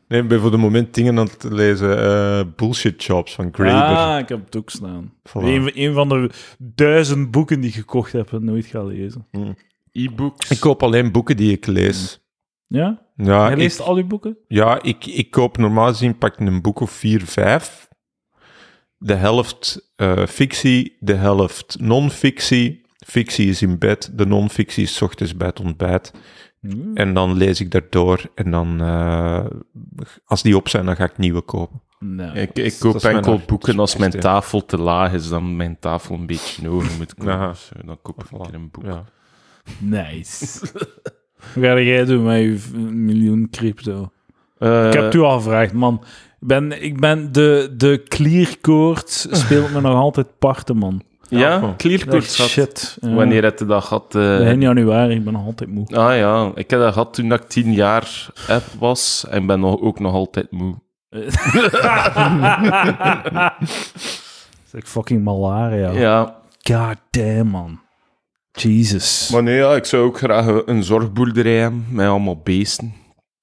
[SPEAKER 3] Nee, ik ben voor de moment dingen aan het lezen. eh, bullshit Jobs van Graeber.
[SPEAKER 2] Ah, ik heb het ook staan.
[SPEAKER 3] Voilà.
[SPEAKER 2] Een, een van de duizend boeken die ik gekocht heb en nooit ga lezen.
[SPEAKER 1] E-books.
[SPEAKER 3] Ik koop alleen boeken die ik lees.
[SPEAKER 2] Ja?
[SPEAKER 3] Ja,
[SPEAKER 2] Hmm. Jij
[SPEAKER 3] Ah, ik,
[SPEAKER 2] leest al uw boeken?
[SPEAKER 3] ja ik, ik koop normaal gezien pak ik een boek of vier, vijf. De helft eh, fictie, de helft non-fictie. Fictie is in bed, de non-fictie is 's ochtends bij het ontbijt.
[SPEAKER 2] Hmm.
[SPEAKER 3] En dan lees ik daardoor en dan, eh, als die op zijn, dan ga ik nieuwe kopen.
[SPEAKER 2] Nou.
[SPEAKER 3] [LAUGHS]
[SPEAKER 1] Ik, ik
[SPEAKER 3] Dat
[SPEAKER 1] koop
[SPEAKER 3] is eh, mijn
[SPEAKER 1] enkel
[SPEAKER 3] hart.
[SPEAKER 1] boeken als mijn
[SPEAKER 3] Ja.
[SPEAKER 1] tafel te laag is, dan mijn tafel een beetje hoger moet komen.
[SPEAKER 3] Aha.
[SPEAKER 1] Dus, eh, dan koop ik een keer een boek.
[SPEAKER 3] Ja.
[SPEAKER 2] Nice. Wat ga jij doen met je v- miljoen crypto?
[SPEAKER 1] Eh,
[SPEAKER 2] ik heb het u al gevraagd, man. Ik ben, ik ben de, de clearkoorts speelt me [LAUGHS] nog altijd parten, man.
[SPEAKER 1] Ja,
[SPEAKER 3] Oh.
[SPEAKER 1] clearcourt
[SPEAKER 2] Echt
[SPEAKER 1] gehad.
[SPEAKER 2] shit. Ja.
[SPEAKER 1] Wanneer heb je dat gehad? eh,
[SPEAKER 2] Begin januari, ik ben nog altijd
[SPEAKER 1] [LAUGHS]
[SPEAKER 2] moe. [LAUGHS]
[SPEAKER 1] Ah ja, ik heb dat gehad toen ik tien jaar app was en ben nog, ook nog altijd moe.
[SPEAKER 2] Is ik fucking malaria.
[SPEAKER 1] Ja.
[SPEAKER 2] God damn, man. Jesus.
[SPEAKER 1] Maar nee, ja, ik zou ook graag een een zorgboerderij hebben met allemaal beesten.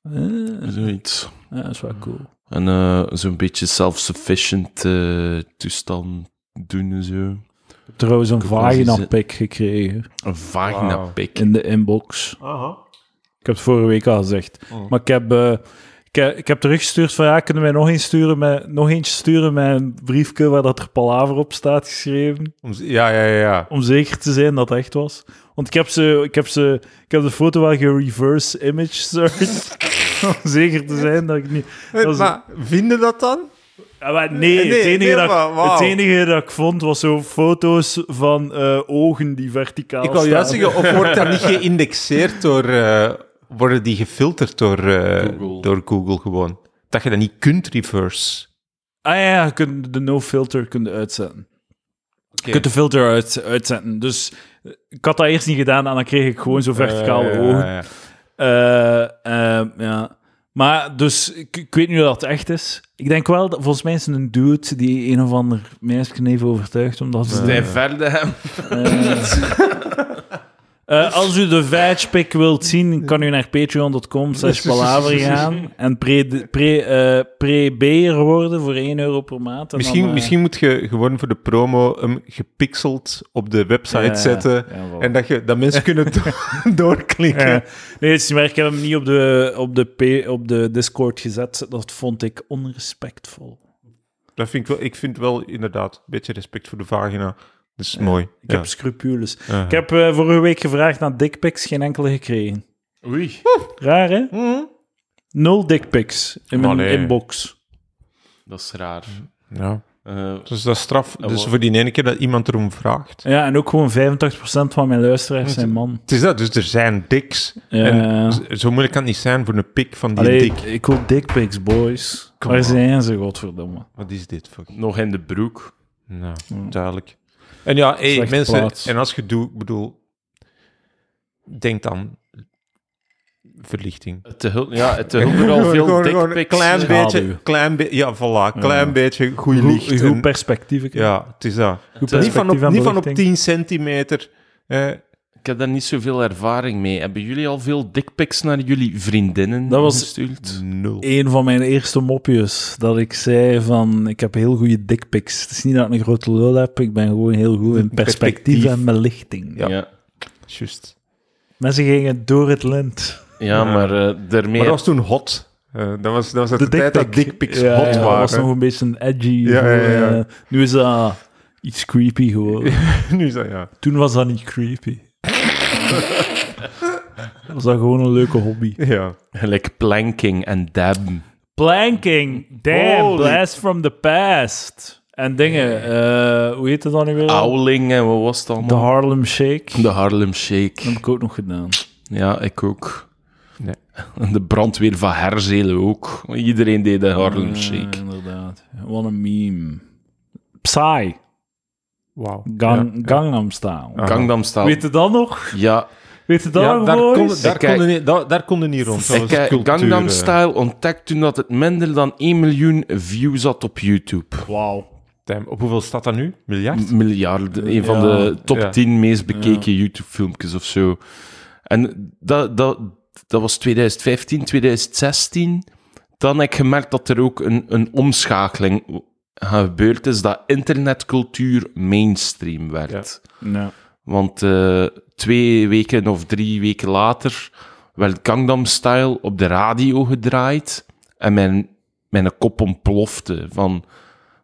[SPEAKER 2] Eh,
[SPEAKER 1] Zoiets.
[SPEAKER 2] ja, dat is wel cool.
[SPEAKER 1] En eh, zo'n beetje self-sufficient eh, toestand doen en zo.
[SPEAKER 2] Ik heb Trouwens, een
[SPEAKER 1] heb wel eh, eens
[SPEAKER 2] vagina
[SPEAKER 1] iets-
[SPEAKER 2] pick gekregen
[SPEAKER 1] Een vagina pik.
[SPEAKER 2] in de inbox. Ik heb het vorige week al gezegd.
[SPEAKER 3] Oh.
[SPEAKER 2] Maar ik heb, eh, ik, heb- ik heb teruggestuurd van ja, kunnen wij nog eens sturen met, nog eentje sturen met een briefje waar dat er palaver op staat geschreven.
[SPEAKER 3] Om- Ja, ja, ja. ja.
[SPEAKER 2] Om zeker te zijn dat het echt was. Want ik heb ze, ik heb ze, ik heb de foto wel gereverse image searched. [LAUGHS] om zeker te zijn dat ik niet. dat is-
[SPEAKER 3] Maar vinden dat dan?
[SPEAKER 2] Ja, maar nee,
[SPEAKER 3] Nee,
[SPEAKER 2] het, enige
[SPEAKER 3] nee,
[SPEAKER 2] dat, ik-
[SPEAKER 3] maar wauw.
[SPEAKER 2] het enige dat ik vond was zo foto's van eh, ogen die verticaal
[SPEAKER 3] Ik wou juist
[SPEAKER 2] staan.
[SPEAKER 3] zeggen, of wordt dat niet geïndexeerd door... eh, worden die gefilterd door, eh,
[SPEAKER 1] Google.
[SPEAKER 3] door Google gewoon? Dat je dat niet kunt reverse.
[SPEAKER 2] Ah ja, ja, je kunt de no-filter kunt uitzetten. Je kunt de filter uit, uitzetten. Dus eh, ik had dat eerst niet gedaan en dan kreeg ik gewoon zo verticale
[SPEAKER 3] Eh,
[SPEAKER 2] ogen.
[SPEAKER 3] ja.
[SPEAKER 2] Eh, eh, ja. Maar dus, ik, ik weet niet of dat echt is. Ik denk wel, dat, volgens mij is het een dude die een of ander meisje heeft overtuigd. Omdat ze
[SPEAKER 1] Zij verder hem.
[SPEAKER 2] Eh, als u de vijfspik wilt zien, kan u naar patreon.com slash palaver gaan en pre-beer pre, eh, pre-beer worden voor 1 euro per maand. En
[SPEAKER 3] Misschien,
[SPEAKER 2] dan, eh,
[SPEAKER 3] misschien moet je gewoon voor de promo hem gepixeld op de website
[SPEAKER 2] Ja,
[SPEAKER 3] zetten.
[SPEAKER 2] ja, voilà.
[SPEAKER 3] En dat, je, dat mensen kunnen [LAUGHS] do- doorklikken.
[SPEAKER 2] Ja. eh, Nee, het is niet waar. Ik heb hem niet op de, op, de P- op de Discord gezet. Dat vond ik onrespectvol.
[SPEAKER 3] Dat vind ik, wel, ik vind wel inderdaad een beetje respect voor de vagina. Dat is mooi.
[SPEAKER 2] Ik
[SPEAKER 3] Ja.
[SPEAKER 2] heb scrupules.
[SPEAKER 3] Ja.
[SPEAKER 2] Ik heb eh, vorige week gevraagd naar dickpics, geen enkele gekregen.
[SPEAKER 1] Oei.
[SPEAKER 2] Raar, hè?
[SPEAKER 3] Mm.
[SPEAKER 2] Nul dickpics in
[SPEAKER 3] Maar
[SPEAKER 2] mijn
[SPEAKER 3] nee.
[SPEAKER 2] inbox.
[SPEAKER 1] Dat is raar.
[SPEAKER 3] Ja.
[SPEAKER 1] Eh,
[SPEAKER 3] Dus dat is straf. Dus
[SPEAKER 1] wel.
[SPEAKER 3] voor die ene keer dat iemand erom vraagt.
[SPEAKER 2] Ja, en ook gewoon 85% van mijn luisteraars zijn man.
[SPEAKER 3] Het is dat, dus er zijn diks.
[SPEAKER 2] Ja.
[SPEAKER 3] En z- zo moeilijk kan het niet zijn voor een pik van die
[SPEAKER 2] Allee,
[SPEAKER 3] dik.
[SPEAKER 2] ik wil dickpics, boys.
[SPEAKER 3] Kom
[SPEAKER 2] Waar
[SPEAKER 3] op.
[SPEAKER 2] zijn ze, godverdomme?
[SPEAKER 3] Wat is dit? Fuck.
[SPEAKER 1] nog in de broek.
[SPEAKER 3] Nou, duidelijk. En ja, hey,
[SPEAKER 2] Slechte
[SPEAKER 3] mensen,
[SPEAKER 2] plaats.
[SPEAKER 3] en als je doet, ik bedoel, denk dan verlichting.
[SPEAKER 1] Te hul- ja, het [LAUGHS] te hulde al veel
[SPEAKER 3] een
[SPEAKER 1] dikpiks. eh.
[SPEAKER 3] klein
[SPEAKER 2] Schaduw.
[SPEAKER 3] beetje, klein be ja, voilà, klein beetje goed licht.
[SPEAKER 2] Goed,
[SPEAKER 3] en-
[SPEAKER 2] goed perspectief. ik-
[SPEAKER 3] ja, het is dat.
[SPEAKER 2] goed
[SPEAKER 3] Niet van
[SPEAKER 2] perspectief
[SPEAKER 3] op,
[SPEAKER 2] en
[SPEAKER 3] niet van op
[SPEAKER 2] belichting.
[SPEAKER 3] 10 centimeter. eh,
[SPEAKER 1] Ik heb daar niet zoveel ervaring mee. Hebben jullie al veel dikpiks naar jullie vriendinnen
[SPEAKER 2] Dat was-
[SPEAKER 1] gestuurd?
[SPEAKER 3] nul.
[SPEAKER 2] een van mijn eerste mopjes. Dat ik zei van, ik heb heel goede dickpics. Het is niet dat ik een grote lul heb, ik ben gewoon heel goed in perspectief,
[SPEAKER 3] Perspectief.
[SPEAKER 2] en belichting.
[SPEAKER 1] Ja,
[SPEAKER 3] Ja.
[SPEAKER 1] ja.
[SPEAKER 3] Juist.
[SPEAKER 2] Mensen gingen door het lint.
[SPEAKER 1] maar eh, daarmee...
[SPEAKER 3] Maar dat was toen hot. Eh, dat was, dat was uit de, tijd dat
[SPEAKER 2] dickpic.
[SPEAKER 3] dickpics
[SPEAKER 2] Ja,
[SPEAKER 3] hot
[SPEAKER 2] ja,
[SPEAKER 3] waren.
[SPEAKER 2] Dat was nog een beetje een edgy.
[SPEAKER 3] Ja,
[SPEAKER 2] voor,
[SPEAKER 3] ja, ja.
[SPEAKER 2] eh, nu is dat iets creepy geworden.
[SPEAKER 3] [LAUGHS] nu is dat, ja.
[SPEAKER 2] Toen was dat niet
[SPEAKER 3] [LAUGHS]
[SPEAKER 2] creepy. was dat gewoon een leuke hobby.
[SPEAKER 3] ja.
[SPEAKER 1] Gelijk planking en dabben.
[SPEAKER 2] Planking. Damn,
[SPEAKER 1] Holy-
[SPEAKER 2] blast from the past. En dingen. eh, hoe heet het dan nu weer?
[SPEAKER 1] Owling en wat was het
[SPEAKER 2] De
[SPEAKER 1] allemaal?
[SPEAKER 2] Harlem Shake.
[SPEAKER 1] De Harlem
[SPEAKER 2] Dat
[SPEAKER 1] Shake.
[SPEAKER 2] heb ik ook nog gedaan.
[SPEAKER 1] Ja, ik ook.
[SPEAKER 3] Nee.
[SPEAKER 1] En [LAUGHS] De brandweer van Herzelen ook. Iedereen deed de
[SPEAKER 3] Mm.
[SPEAKER 1] Harlem
[SPEAKER 2] Ja,
[SPEAKER 1] Shake.
[SPEAKER 2] Eh, inderdaad. Wat een meme. Psy.
[SPEAKER 3] Wauw.
[SPEAKER 2] Gang, Gangnam Style.
[SPEAKER 3] Ah.
[SPEAKER 1] Gangnam Style.
[SPEAKER 2] Weet je dat nog?
[SPEAKER 1] Ja,
[SPEAKER 2] Weet je dat
[SPEAKER 3] Ja,
[SPEAKER 2] nog,
[SPEAKER 3] daar kon,
[SPEAKER 2] boys?
[SPEAKER 3] daar,
[SPEAKER 1] Ik kijk-
[SPEAKER 3] kon niet, daar, daar kon je niet rond. Dat
[SPEAKER 1] ik,
[SPEAKER 3] was
[SPEAKER 1] eh,
[SPEAKER 3] cultuur,
[SPEAKER 1] Gangnam
[SPEAKER 3] eh.
[SPEAKER 1] Style ontdekt toen dat het minder dan 1 miljoen views had op YouTube.
[SPEAKER 2] Wauw.
[SPEAKER 3] Damn, Op hoeveel staat dat nu? Miljard?
[SPEAKER 1] Miljarden. Een van
[SPEAKER 2] Ja.
[SPEAKER 1] de top
[SPEAKER 3] Ja.
[SPEAKER 1] 10 meest bekeken YouTube-filmpjes of zo. En dat, dat, dat was 2015, 2016. Dan heb ik gemerkt dat er ook een, een omschakeling gebeurd is, dat internetcultuur mainstream werd.
[SPEAKER 2] Ja.
[SPEAKER 1] Want eh, twee weken of drie weken later werd Gangnam Style op de radio gedraaid. En mijn, mijn kop ontplofte van...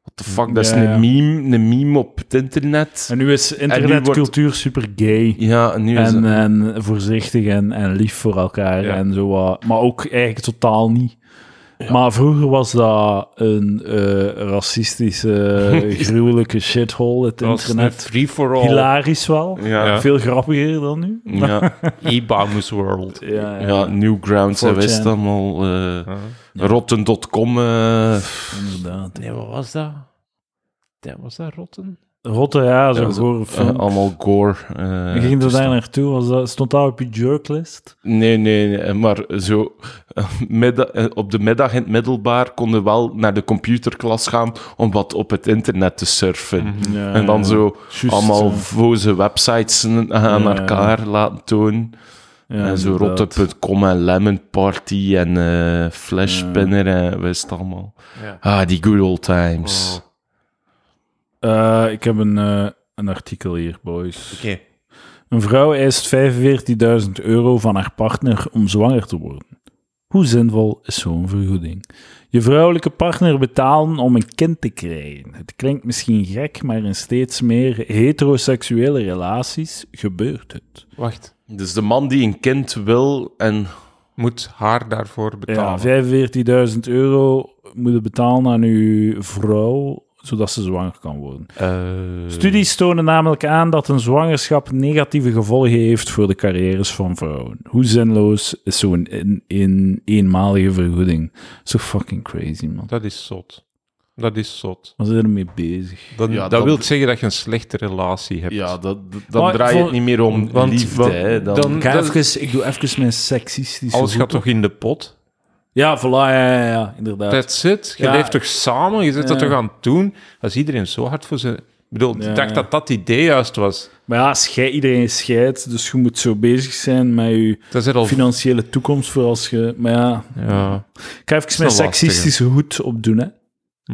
[SPEAKER 1] What the fuck, dat is
[SPEAKER 2] Ja, ja.
[SPEAKER 1] een meme, een meme op het internet.
[SPEAKER 2] En nu is internetcultuur super gay.
[SPEAKER 1] ja, en nu is
[SPEAKER 2] En,
[SPEAKER 1] het...
[SPEAKER 2] en voorzichtig en, en lief voor elkaar.
[SPEAKER 3] Ja.
[SPEAKER 2] En zo, wat. maar ook eigenlijk totaal niet. Maar vroeger was dat een eh, racistische, gruwelijke shithole, het
[SPEAKER 3] Dat was een
[SPEAKER 2] internet.
[SPEAKER 3] free-for-all [LAUGHS]
[SPEAKER 2] Hilarisch wel.
[SPEAKER 1] Ja, ja.
[SPEAKER 2] Veel grappiger dan nu.
[SPEAKER 1] ja,
[SPEAKER 3] e-bamus world.
[SPEAKER 2] Ja, [LAUGHS]
[SPEAKER 1] Newgrounds en
[SPEAKER 2] 4chan.
[SPEAKER 1] wist het allemaal. eh,
[SPEAKER 3] Huh?
[SPEAKER 1] Rotten.com. eh,
[SPEAKER 2] inderdaad.
[SPEAKER 3] Nee, wat was dat? Damn, was dat rotten?
[SPEAKER 2] Rotte, ja, zo'n
[SPEAKER 1] Ja,
[SPEAKER 2] ja,
[SPEAKER 1] zo-
[SPEAKER 2] gore
[SPEAKER 1] eh,
[SPEAKER 2] film.
[SPEAKER 1] allemaal gore. eh,
[SPEAKER 2] ging er daar
[SPEAKER 1] toestand.
[SPEAKER 2] naartoe, was dat, stond dat op je jerklist?
[SPEAKER 1] Nee, nee, nee, maar zo eh, midda- eh, op de middag in het middelbaar konden we wel naar de computerklas gaan om wat op het internet te surfen.
[SPEAKER 3] Mhm.
[SPEAKER 2] Ja,
[SPEAKER 1] En dan zo
[SPEAKER 2] Juist,
[SPEAKER 1] allemaal
[SPEAKER 2] eh,
[SPEAKER 1] voze websites aan aan
[SPEAKER 2] Ja.
[SPEAKER 1] elkaar laten tonen.
[SPEAKER 2] ja,
[SPEAKER 1] en zo
[SPEAKER 2] inderdaad.
[SPEAKER 1] rotte.com en Lemon Party en eh Flashpinner en wist het allemaal.
[SPEAKER 3] Ja.
[SPEAKER 1] Ah, die good old times.
[SPEAKER 3] Oh.
[SPEAKER 2] Eh, ik heb een, eh, een artikel hier, boys.
[SPEAKER 3] Oké.
[SPEAKER 2] Een vrouw eist 45.000 euro van haar partner om zwanger te worden. Hoe zinvol is zo'n vergoeding? Je vrouwelijke partner betalen om een kind te krijgen. Het klinkt misschien gek, maar in steeds meer heteroseksuele relaties gebeurt het.
[SPEAKER 3] Wacht.
[SPEAKER 1] Dus de man die een kind wil en...
[SPEAKER 3] Moet haar daarvoor
[SPEAKER 2] Ja,
[SPEAKER 3] betalen?
[SPEAKER 2] 45.000 euro moet je betalen aan uw vrouw, zodat ze zwanger kan worden.
[SPEAKER 3] Eh,
[SPEAKER 2] Studies tonen namelijk aan dat een zwangerschap negatieve gevolgen heeft voor de carrières van vrouwen. Hoe zinloos is zo'n in, in eenmalige vergoeding? Zo fucking crazy, man.
[SPEAKER 3] Dat is zot. Dat is zot.
[SPEAKER 2] Waar zijn we ermee bezig?
[SPEAKER 3] Dan,
[SPEAKER 1] Ja,
[SPEAKER 3] dat
[SPEAKER 1] dan-
[SPEAKER 3] wil zeggen dat je een slechte relatie hebt.
[SPEAKER 1] Ja, dat, dat- dan
[SPEAKER 2] Maar
[SPEAKER 1] draai je het
[SPEAKER 2] voor-
[SPEAKER 1] niet meer om
[SPEAKER 3] want-
[SPEAKER 1] liefde.
[SPEAKER 3] want-
[SPEAKER 1] hè, dan,
[SPEAKER 3] dan-
[SPEAKER 2] Ik, ga
[SPEAKER 3] Dat-
[SPEAKER 2] even, ik doe even mijn seksistische...
[SPEAKER 3] Alles gaat
[SPEAKER 2] route.
[SPEAKER 3] toch in de pot?
[SPEAKER 2] Ja, voilà, ja, ja, ja, inderdaad.
[SPEAKER 3] That's it. Je
[SPEAKER 2] Ja.
[SPEAKER 3] leeft toch samen? Je zit dat
[SPEAKER 2] Ja.
[SPEAKER 3] toch aan het doen? Als iedereen zo hard voor zijn... Ik bedoel,
[SPEAKER 2] Ja.
[SPEAKER 3] ik dacht dat dat idee juist was.
[SPEAKER 2] Maar ja, schei- iedereen scheidt, dus je moet zo bezig zijn met je
[SPEAKER 3] Dat is al...
[SPEAKER 2] financiële toekomst voor als je... Maar ja,
[SPEAKER 3] Ja.
[SPEAKER 2] ik ga even
[SPEAKER 3] een
[SPEAKER 2] mijn
[SPEAKER 3] lastige.
[SPEAKER 2] seksistische hoed opdoen, hè.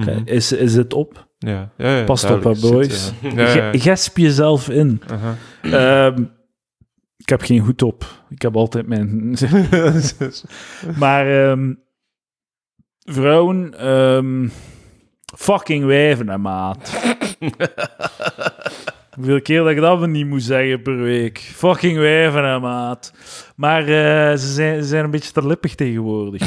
[SPEAKER 2] Oké,
[SPEAKER 3] Mhm.
[SPEAKER 2] Is, is het op?
[SPEAKER 3] ja. ja, ja,
[SPEAKER 2] Past op,
[SPEAKER 3] duidelijk.
[SPEAKER 2] hè, boys.
[SPEAKER 3] Zit, eh, ja,
[SPEAKER 2] [LAUGHS]
[SPEAKER 3] ja,
[SPEAKER 2] Ge- Gesp jezelf in.
[SPEAKER 3] aha.
[SPEAKER 2] Ehm, ik heb geen hoed op. Ik heb altijd mijn. dus- [LAUGHS] maar ehm, vrouwen, ehm, fucking wijven, hè, maat. Hoeveel keer dat ik dat wel niet moet zeggen per week. Fucking wijven, hè, maat. Maar eh, ze, zijn, ze zijn een beetje te lippig tegenwoordig.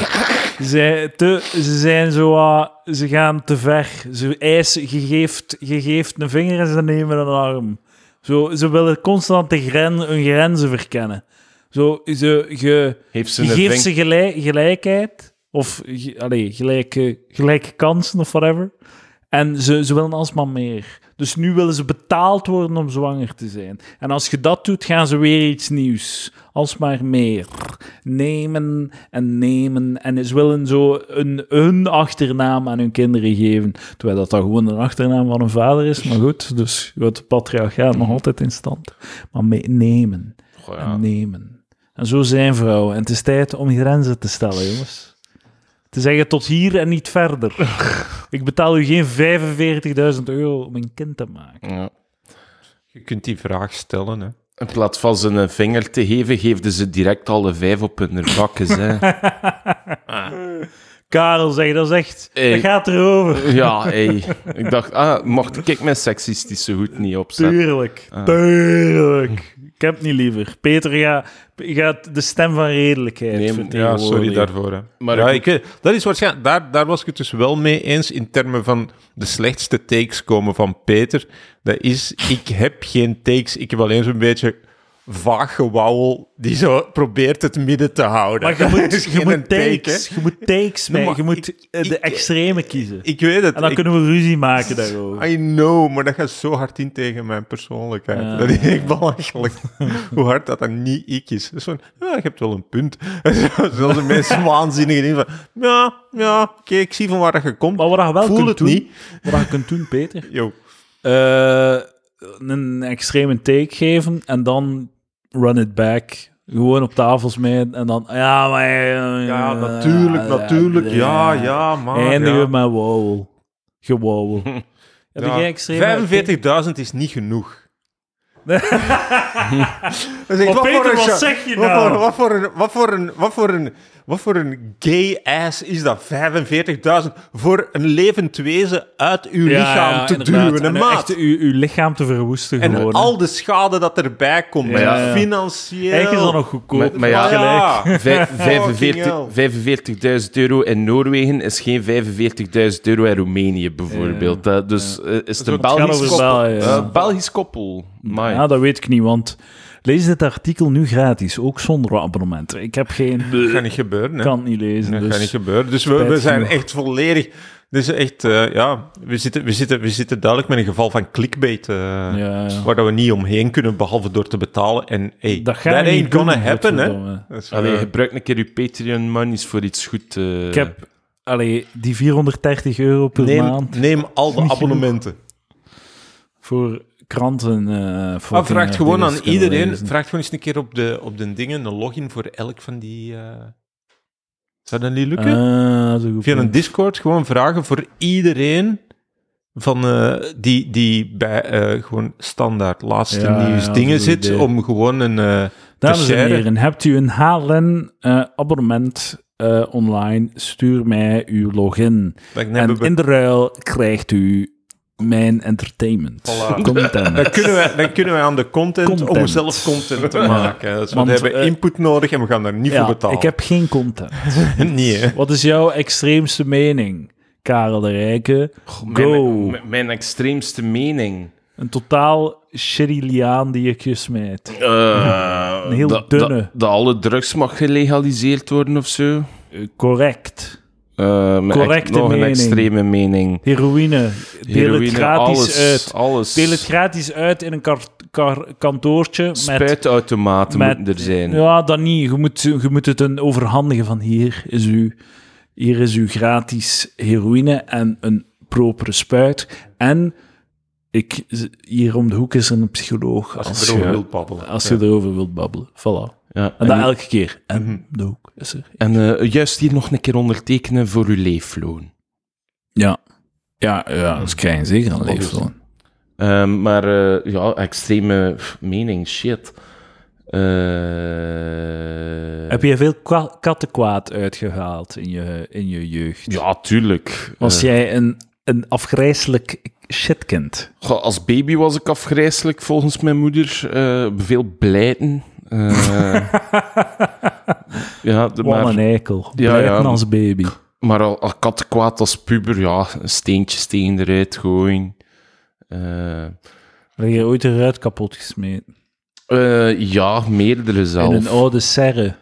[SPEAKER 2] Ze zijn, te, ze zijn zo, ah, ze gaan te ver. Ze eisen, je geeft, je geeft een vinger en ze nemen een arm. Zo, ze willen constant de gren, hun grenzen verkennen. Zo, ze, ge,
[SPEAKER 1] heeft ze
[SPEAKER 2] je
[SPEAKER 1] een
[SPEAKER 2] geeft
[SPEAKER 1] vink-
[SPEAKER 2] ze gelij- gelijkheid, of ge- allee, gelijke, gelijke kansen of whatever. En ze, ze willen alsmaar meer. Dus nu willen ze betaald worden om zwanger te zijn. En als je dat doet, gaan ze weer iets nieuws. Alsmaar meer. Nemen en nemen. En ze willen zo een, hun achternaam aan hun kinderen geven. Terwijl dat dan gewoon een achternaam van hun vader is. Maar goed, dus je houdt het patriarchaat nog altijd in stand. Maar mee, nemen
[SPEAKER 1] Goh, ja.
[SPEAKER 2] en nemen. En zo zijn vrouwen. En het is tijd om grenzen te stellen, jongens. Te zeggen tot hier en niet
[SPEAKER 3] [LAUGHS]
[SPEAKER 2] verder. Ik betaal u geen 45.000 euro om een kind te maken.
[SPEAKER 1] Ja.
[SPEAKER 3] Je kunt die vraag stellen, hè.
[SPEAKER 1] In plaats van ze een vinger te geven, geefden ze direct alle vijf op hun bakken. hè.
[SPEAKER 2] Karel, zeg, dat is echt...
[SPEAKER 1] Hey.
[SPEAKER 2] Dat gaat erover.
[SPEAKER 1] Ja, hey. Ik dacht, ah, mocht ik mijn seksistische hoed niet opzetten?
[SPEAKER 2] Tuurlijk. Tuurlijk. Ik Ik heb het niet liever. Peter gaat, gaat de stem van redelijkheid
[SPEAKER 1] Nee, maar-
[SPEAKER 3] Ja,
[SPEAKER 2] vertegenwoordigen.
[SPEAKER 3] sorry daarvoor. Hè.
[SPEAKER 1] Maar
[SPEAKER 3] ja,
[SPEAKER 1] ik-
[SPEAKER 3] ik, weet- dat is waarschijnlijk, daar, daar was ik het dus wel mee eens in termen van de slechtste takes komen van Peter. Dat is, ik heb geen takes, ik heb alleen zo'n beetje vaag gewauwel die zo probeert het midden te houden. [LAUGHS]
[SPEAKER 2] Maar je
[SPEAKER 3] Dat
[SPEAKER 2] moet,
[SPEAKER 3] is
[SPEAKER 2] je
[SPEAKER 3] geen
[SPEAKER 2] moet
[SPEAKER 3] take,
[SPEAKER 2] takes,
[SPEAKER 3] hè.
[SPEAKER 2] je moet takes
[SPEAKER 3] Nee,
[SPEAKER 2] mee.
[SPEAKER 3] maar
[SPEAKER 2] je moet
[SPEAKER 3] ik-
[SPEAKER 2] eh, de
[SPEAKER 3] ik-
[SPEAKER 2] extreme kiezen.
[SPEAKER 3] Ik weet het.
[SPEAKER 2] en dan
[SPEAKER 3] ik- Ah,
[SPEAKER 2] kunnen we ruzie maken daarover.
[SPEAKER 3] I know, maar dat gaat zo hard in tegen mijn persoonlijkheid.
[SPEAKER 2] Ja.
[SPEAKER 3] Dat is echt
[SPEAKER 2] [LAUGHS]
[SPEAKER 3] belachelijk. Hoe hard dat dan niet ik is. Dat is van, ja, je hebt wel een punt. [LAUGHS] Zelfs
[SPEAKER 2] [LAUGHS]
[SPEAKER 3] de meest waanzinnige dingen van, ja, ja, oké, ik zie van waar dat je komt.
[SPEAKER 2] Maar wat je wel
[SPEAKER 3] Voel
[SPEAKER 2] kunt
[SPEAKER 3] het
[SPEAKER 2] doen,
[SPEAKER 3] niet.
[SPEAKER 2] wat je kunt doen, Peter,
[SPEAKER 3] Yo.
[SPEAKER 2] Eh, een extreme take geven en dan run it back. Gewoon op tafel smijten en dan... Ja, maar... eh,
[SPEAKER 3] Ja, natuurlijk, natuurlijk. Ja, ja, maar...
[SPEAKER 2] Eindigen
[SPEAKER 3] ja.
[SPEAKER 2] met wauw.
[SPEAKER 3] [LAUGHS]
[SPEAKER 2] Gewauwel. Heb
[SPEAKER 3] Ja.
[SPEAKER 2] jij extreme...
[SPEAKER 3] 45.000 is niet
[SPEAKER 2] [LAUGHS]
[SPEAKER 3] genoeg. Dus Dan zeg ik,
[SPEAKER 2] Maar Peter,
[SPEAKER 3] een
[SPEAKER 2] wat
[SPEAKER 3] cha-
[SPEAKER 2] zeg je
[SPEAKER 3] wat
[SPEAKER 2] nou?
[SPEAKER 3] voor- Wat voor een- wat voor een- wat voor een- wat voor een gay ass is dat? 45.000 voor een levend wezen uit uw
[SPEAKER 2] Ja,
[SPEAKER 3] lichaam
[SPEAKER 2] ja,
[SPEAKER 3] te
[SPEAKER 2] inderdaad.
[SPEAKER 3] duwen,
[SPEAKER 2] En
[SPEAKER 3] en maat.
[SPEAKER 2] echt uw, uw lichaam te verwoesten
[SPEAKER 3] en
[SPEAKER 2] gewoon. hè.
[SPEAKER 3] al de schade dat erbij komt,
[SPEAKER 2] Ja,
[SPEAKER 3] ja,
[SPEAKER 2] ja.
[SPEAKER 3] financieel.
[SPEAKER 2] Eigenlijk is dat nog goedkoop.
[SPEAKER 1] Maar- maar ja,
[SPEAKER 3] Ja.
[SPEAKER 1] Vijf-
[SPEAKER 3] hell.
[SPEAKER 1] 45 45.000 euro in Noorwegen is geen 45.000 euro in Roemenië, bijvoorbeeld. Dat- dus eh, is het een
[SPEAKER 2] het gaat
[SPEAKER 1] Belgisch
[SPEAKER 2] over
[SPEAKER 1] koppel.
[SPEAKER 2] België, ja.
[SPEAKER 1] Eh, Belgisch koppel. Amai.
[SPEAKER 2] Ja, dat weet ik niet, want lees dit artikel nu gratis, ook zonder abonnement. Ik heb geen...
[SPEAKER 3] [LAUGHS] Dat gaat niet gebeuren, hè.
[SPEAKER 2] kan het niet lezen.
[SPEAKER 3] Dat
[SPEAKER 2] dus.
[SPEAKER 3] gaat niet gebeuren. Dus we,
[SPEAKER 2] spijtig
[SPEAKER 3] we zijn
[SPEAKER 2] genoeg.
[SPEAKER 3] echt volledig... Dus echt, eh, ja, we zitten, we, zitten, we zitten duidelijk met een geval van clickbait... eh,
[SPEAKER 2] ja, ja.
[SPEAKER 3] waar dat we niet omheen kunnen, behalve door te betalen. En hey,
[SPEAKER 2] Dat
[SPEAKER 3] dat
[SPEAKER 2] gaan we
[SPEAKER 3] that
[SPEAKER 2] niet
[SPEAKER 3] ain't gonna
[SPEAKER 2] doen,
[SPEAKER 3] happen, hè.
[SPEAKER 2] godverdomme.
[SPEAKER 3] Dat is, eh,
[SPEAKER 1] Allee, gebruik een keer uw Patreon monies voor iets goed. eh.
[SPEAKER 2] Ik heb allee, die 430 euro per
[SPEAKER 3] neem,
[SPEAKER 2] maand
[SPEAKER 3] neem
[SPEAKER 2] [LAUGHS]
[SPEAKER 3] al de
[SPEAKER 2] Niet
[SPEAKER 3] abonnementen.
[SPEAKER 2] voor kranten. eh voor
[SPEAKER 3] Maar vraag
[SPEAKER 2] dingen
[SPEAKER 3] gewoon
[SPEAKER 2] die
[SPEAKER 3] aan
[SPEAKER 2] eens kunnen
[SPEAKER 3] iedereen,
[SPEAKER 2] lezen.
[SPEAKER 3] vraag gewoon eens een keer op de, op de dingen, een login voor elk van die... eh, Zou dat niet lukken?
[SPEAKER 2] Ah, dat is een goed
[SPEAKER 3] Via
[SPEAKER 2] punt.
[SPEAKER 3] een Discord gewoon vragen voor iedereen van, eh, die, die bij eh, gewoon standaard laatste
[SPEAKER 2] Ja,
[SPEAKER 3] nieuws
[SPEAKER 2] ja,
[SPEAKER 3] dingen
[SPEAKER 2] goed
[SPEAKER 3] zit,
[SPEAKER 2] idee.
[SPEAKER 3] om gewoon een... eh,
[SPEAKER 2] Dames en
[SPEAKER 3] sharen.
[SPEAKER 2] heren, hebt u een HLN-abonnement eh, online? Stuur mij uw login.
[SPEAKER 3] dat hebben
[SPEAKER 2] En
[SPEAKER 3] we-
[SPEAKER 2] in de ruil krijgt u mijn entertainment.
[SPEAKER 3] Voilà.
[SPEAKER 2] [LAUGHS] Content.
[SPEAKER 3] Dan kunnen, we, dan kunnen we aan de content,
[SPEAKER 2] Content.
[SPEAKER 3] om zelf
[SPEAKER 2] [LAUGHS]
[SPEAKER 3] content te maken. Dus
[SPEAKER 2] Want,
[SPEAKER 3] we hebben
[SPEAKER 2] eh,
[SPEAKER 3] input nodig en we gaan daar niet
[SPEAKER 2] Ja,
[SPEAKER 3] voor betalen.
[SPEAKER 2] ik heb geen content.
[SPEAKER 3] niet, hè.
[SPEAKER 2] Wat is jouw extreemste mening, Karel de Rijke? Go!
[SPEAKER 1] Mijn, mijn- mijn extreemste mening.
[SPEAKER 2] Een totaal shitty liaan die ik je smijt.
[SPEAKER 1] Eh,
[SPEAKER 2] Een heel
[SPEAKER 1] dat-
[SPEAKER 2] dunne.
[SPEAKER 1] Dat, dat alle drugs mag gelegaliseerd worden of zo.
[SPEAKER 2] Eh, Correct.
[SPEAKER 1] Eh, mijn ex-
[SPEAKER 2] Correcte
[SPEAKER 1] nog
[SPEAKER 2] mening.
[SPEAKER 1] een extreme mening.
[SPEAKER 2] Heroïne. Deel het
[SPEAKER 1] Heroïne,
[SPEAKER 2] gratis
[SPEAKER 1] alles,
[SPEAKER 2] uit.
[SPEAKER 1] Alles.
[SPEAKER 2] Deel het gratis uit in een kar- kar- kantoortje. Met,
[SPEAKER 1] Spuitautomaten
[SPEAKER 2] met-
[SPEAKER 1] moeten er zijn.
[SPEAKER 2] Ja, dat niet. Je moet, je moet het een overhandigen van hier is uw, hier is uw gratis heroïne en een propere spuit. En ik, hier om de hoek is er een psycholoog. Als,
[SPEAKER 3] Als je erover wilt babbelen.
[SPEAKER 2] als je erover wilt babbelen. Voilà.
[SPEAKER 1] Ja,
[SPEAKER 2] En
[SPEAKER 1] en
[SPEAKER 2] dat elke keer. En de hoek is er.
[SPEAKER 1] en eh, juist hier nog een keer ondertekenen voor uw leefloon.
[SPEAKER 2] Ja. Ja,
[SPEAKER 1] Hmm.
[SPEAKER 2] ja dat krijg je zeker een leefloon.
[SPEAKER 1] Ehm, maar eh, ja, extreme pff, mening, shit. Eh,
[SPEAKER 2] Heb je veel kwa- kattenkwaad uitgehaald in je, in je jeugd?
[SPEAKER 1] Ja, Eh. tuurlijk.
[SPEAKER 2] Was jij een, een afgrijselijk shitkind?
[SPEAKER 1] Goh, als baby was ik afgrijselijk, volgens mijn moeder. Eh, veel blijten. Eh, [LAUGHS] ja, de-
[SPEAKER 2] Wat een
[SPEAKER 1] maar,
[SPEAKER 2] eikel.
[SPEAKER 1] Ja,
[SPEAKER 2] Blijven
[SPEAKER 1] ja.
[SPEAKER 2] als baby.
[SPEAKER 1] maar al, al kat kwaad als puber, ja, een steentje tegen eruit gooien. Eh,
[SPEAKER 2] Heb je ooit een ruit kapot gesmeten?
[SPEAKER 1] eh, ja, meerdere
[SPEAKER 2] In
[SPEAKER 1] zelf.
[SPEAKER 2] een oude serre.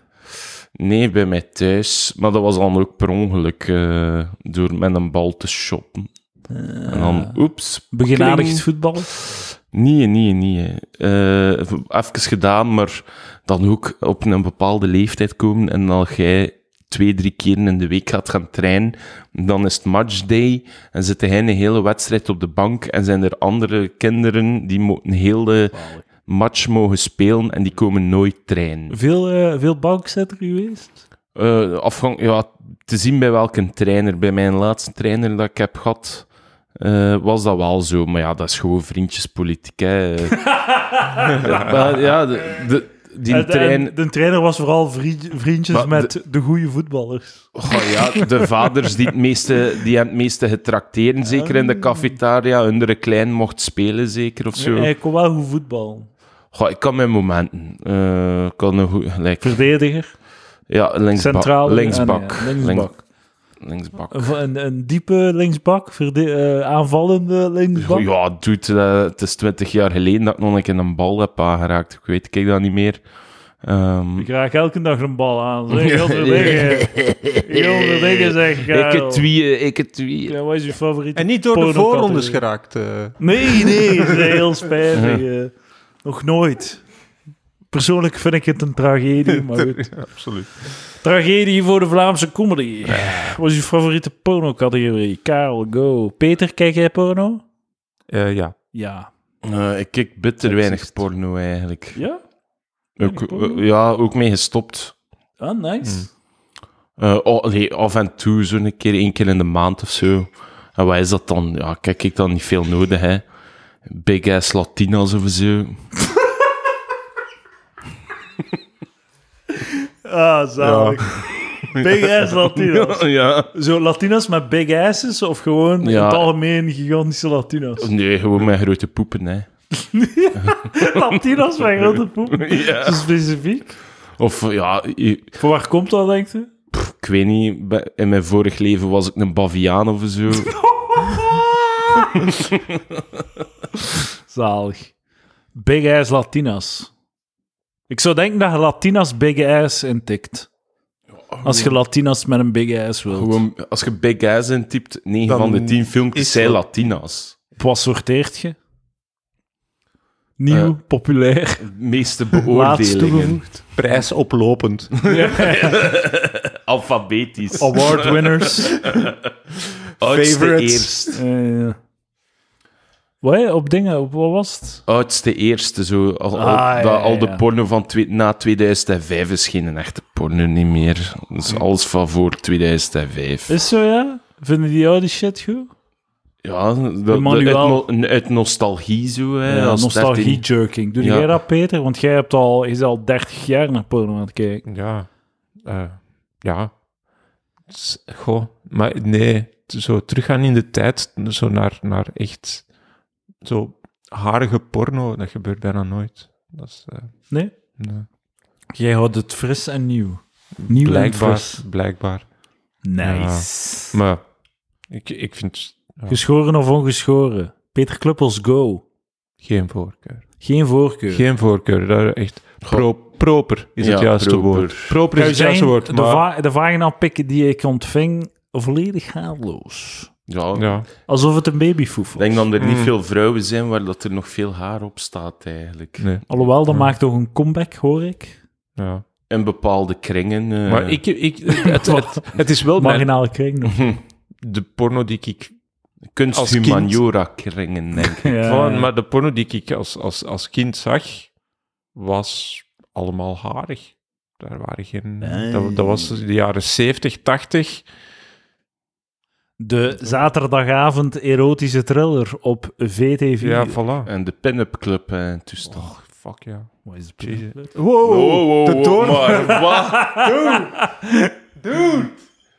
[SPEAKER 1] Nee, bij mij thuis. Maar dat was dan ook per ongeluk eh, door met een bal te shoppen.
[SPEAKER 2] Eh,
[SPEAKER 1] en dan, oeps.
[SPEAKER 2] Begenadigd
[SPEAKER 1] kling.
[SPEAKER 2] voetballen?
[SPEAKER 1] Nee, nee, nee. Eh even gedaan, maar dan ook op een bepaalde leeftijd komen. En als jij twee, drie keer in de week gaat gaan trainen, dan is het matchday. En zit hij een hele wedstrijd op de bank. En zijn er andere kinderen die mo- een hele match mogen spelen. En die komen nooit trainen.
[SPEAKER 2] Veel, eh veel bankzitter geweest?
[SPEAKER 1] Eh, afhang, ja, te zien bij welke trainer. Bij mijn laatste trainer dat ik heb gehad, eh, was dat wel zo. Maar ja, dat is gewoon vriendjespolitiek.
[SPEAKER 2] [LAUGHS]
[SPEAKER 1] Hè. ja, maar ja, de, de- die
[SPEAKER 2] En- en
[SPEAKER 1] trein...
[SPEAKER 2] Eh, de trainer was vooral vriend- vriendjes
[SPEAKER 1] Maar
[SPEAKER 2] met de, goede voetballers.
[SPEAKER 1] Goh, ja, de vaders die het meeste, die hem het meeste getracteerden,
[SPEAKER 2] Ah.
[SPEAKER 1] zeker in de cafetaria, hun er een klein mocht spelen, zeker of zo.
[SPEAKER 2] Hij kon wel goed voetballen.
[SPEAKER 1] Goh, ik kan mijn momenten. Eh, ik kan een goed, gelijk,
[SPEAKER 2] Verdediger,
[SPEAKER 1] ja, linksbak.
[SPEAKER 2] centraal.
[SPEAKER 1] linksbak.
[SPEAKER 2] en, ja, linksbak.
[SPEAKER 1] Link- linksbak.
[SPEAKER 2] Een, een, een diepe linksbak, verde- eh, aanvallende linksbak.
[SPEAKER 1] Goh, ja, dude, eh, het is twintig jaar geleden dat ik nog een keer een bal heb aangeraakt. Ik weet, ik kijk dat niet meer. Ehm,
[SPEAKER 2] Ik raak elke dag een bal aan. Zeg, heel veel dingen. Heel veel dingen zeg
[SPEAKER 1] ik
[SPEAKER 2] Karel.
[SPEAKER 1] het wie, eh, ik het wie.
[SPEAKER 2] Ja, wat is je favoriet?
[SPEAKER 3] En niet door de
[SPEAKER 2] Pornocategorie.
[SPEAKER 3] voorrondes geraakt. eh.
[SPEAKER 2] Nee, nee,
[SPEAKER 1] [LAUGHS]
[SPEAKER 2] dat is heel spijtig. eh. Nog nooit. Persoonlijk vind ik het een tragedie, maar
[SPEAKER 1] [LAUGHS]
[SPEAKER 2] goed.
[SPEAKER 3] Ja, absoluut.
[SPEAKER 2] Tragedie voor de Vlaamse comedy. Wat is je favoriete porno-categorie? Karel, go. Peter, kijk jij porno?
[SPEAKER 3] Eh, ja.
[SPEAKER 2] Ja.
[SPEAKER 1] Eh, ik kijk bitter
[SPEAKER 2] Dat
[SPEAKER 1] weinig
[SPEAKER 2] zegt-
[SPEAKER 1] porno eigenlijk.
[SPEAKER 2] Ja?
[SPEAKER 1] Ook,
[SPEAKER 2] porno?
[SPEAKER 1] eh, ja, ook mee gestopt.
[SPEAKER 2] Ah, nice.
[SPEAKER 1] Eh, oh, allee, af en toe, zo'n keer, één keer in de maand of zo. En wat is dat dan? Ja, kijk, ik dan niet veel nodig, hè. Big ass Latina's of zo.
[SPEAKER 2] Ah, zalig. [LAUGHS] Big ass Latino's.
[SPEAKER 1] [LAUGHS] Mm. ja.
[SPEAKER 2] Zo Latino's met big asses of gewoon in
[SPEAKER 1] Ja.
[SPEAKER 2] het algemeen gigantische
[SPEAKER 1] [LAUGHS]
[SPEAKER 2] Latino's?
[SPEAKER 1] Nee, gewoon mijn grote poepen, hè.
[SPEAKER 2] Latinos mijn grote [LAUGHS] poep. Zo specifiek.
[SPEAKER 1] Of eh, ja, i-
[SPEAKER 2] Voor waar komt dat, denkt u?
[SPEAKER 1] pff, ik weet niet. bij- In mijn vorig leven was ik een baviaan of
[SPEAKER 2] [LAUGHS]
[SPEAKER 1] zo.
[SPEAKER 2] Zalig. Big ass Latinas. Ik zou denken dat je Latinas big ass intikt. Als je Latinas met een big ass wilt.
[SPEAKER 1] gewoon, als je Big ass intypt, 9
[SPEAKER 3] Dan
[SPEAKER 1] van de 10
[SPEAKER 3] is
[SPEAKER 1] filmpjes zijn
[SPEAKER 3] dat-
[SPEAKER 1] Latina's.
[SPEAKER 2] Wat sorteert je? Nieuw, populair,
[SPEAKER 1] De
[SPEAKER 2] [LAUGHS]
[SPEAKER 1] meeste
[SPEAKER 2] laatst
[SPEAKER 1] beoordelingen.
[SPEAKER 2] toegevoegd.
[SPEAKER 3] Prijs [LAUGHS] oplopend.
[SPEAKER 1] Alfabetisch.
[SPEAKER 2] Award winners.
[SPEAKER 1] Oudste
[SPEAKER 3] favorites.
[SPEAKER 1] eerst.
[SPEAKER 2] Eh, wat, hè? op dingen, op wat was het?
[SPEAKER 1] oudste eerste, zo. Al, al-
[SPEAKER 2] Ah, ja,
[SPEAKER 1] dat,
[SPEAKER 2] ja,
[SPEAKER 1] al de
[SPEAKER 2] ja.
[SPEAKER 1] porno van twee- na 2005 is geen echte porno niet meer. Dus alles van voor 2005.
[SPEAKER 2] Is zo, ja? Vinden die oude shit goed?
[SPEAKER 1] Ja, dat, dat- uit,
[SPEAKER 2] Emmanuel.
[SPEAKER 1] no- uit nostalgie zo. Hè,
[SPEAKER 2] Ja,
[SPEAKER 1] als dertien-
[SPEAKER 2] nostalgie-jerking. Doe
[SPEAKER 1] Ja.
[SPEAKER 2] jij dat, Peter? Want jij hebt al, is al 30 jaar naar porno aan het kijken.
[SPEAKER 3] Ja. eh, ja. Het is- Goh. Maar nee, t- zo teruggaan in de tijd, zo naar, naar echt zo harige porno, dat gebeurt bijna nooit. Dat is, eh,
[SPEAKER 2] Nee?
[SPEAKER 3] nee.
[SPEAKER 2] Jij houdt het fris en nieuw. Nieuw en
[SPEAKER 3] Blijkbaar,
[SPEAKER 2] fris.
[SPEAKER 3] blijkbaar.
[SPEAKER 2] Nice.
[SPEAKER 3] Maar ik, ik vind ja,
[SPEAKER 2] Geschoren of ongeschoren? Peter Kluppels, go.
[SPEAKER 3] geen voorkeur.
[SPEAKER 2] Geen voorkeur.
[SPEAKER 3] Geen voorkeur, daar echt pro, proper is het
[SPEAKER 1] Ja,
[SPEAKER 3] juiste
[SPEAKER 1] proper.
[SPEAKER 3] woord. Proper is
[SPEAKER 2] Kan
[SPEAKER 3] het
[SPEAKER 2] je
[SPEAKER 3] juiste
[SPEAKER 2] zeggen,
[SPEAKER 3] woord,
[SPEAKER 2] de,
[SPEAKER 3] maar...
[SPEAKER 2] va- de vaginapik die ik ontving, volledig haarloos.
[SPEAKER 1] Ja,
[SPEAKER 3] Ja,
[SPEAKER 2] Alsof het een babyfoef
[SPEAKER 1] Ik
[SPEAKER 2] was.
[SPEAKER 1] denk dat er niet
[SPEAKER 3] Mm.
[SPEAKER 1] veel vrouwen zijn waar dat er nog veel haar op staat, eigenlijk.
[SPEAKER 3] nee,
[SPEAKER 2] Alhoewel, dat
[SPEAKER 3] Ja.
[SPEAKER 2] maakt toch een comeback, hoor ik.
[SPEAKER 3] ja.
[SPEAKER 1] In bepaalde kringen. eh.
[SPEAKER 3] Maar ik, ik, het, het, het
[SPEAKER 2] [LAUGHS]
[SPEAKER 3] is wel mijn,
[SPEAKER 2] Marginale kring nog.
[SPEAKER 3] de porno die ik als kind-
[SPEAKER 1] Kunsthumaniora-kringen, denk ik.
[SPEAKER 2] Ja.
[SPEAKER 3] Van, maar de porno die ik als, als, als kind zag, was allemaal harig. Daar waren geen... Dat, dat was de jaren 70, 80.
[SPEAKER 2] De zaterdagavond erotische thriller op VTV.
[SPEAKER 3] Ja, voilà.
[SPEAKER 1] En de pin-up club eh, toestand.
[SPEAKER 3] Oh, fuck ja.
[SPEAKER 2] Wat is het?
[SPEAKER 3] Jezus.
[SPEAKER 1] Oh,
[SPEAKER 3] de door-
[SPEAKER 1] maar wat?
[SPEAKER 3] [LAUGHS] Dude!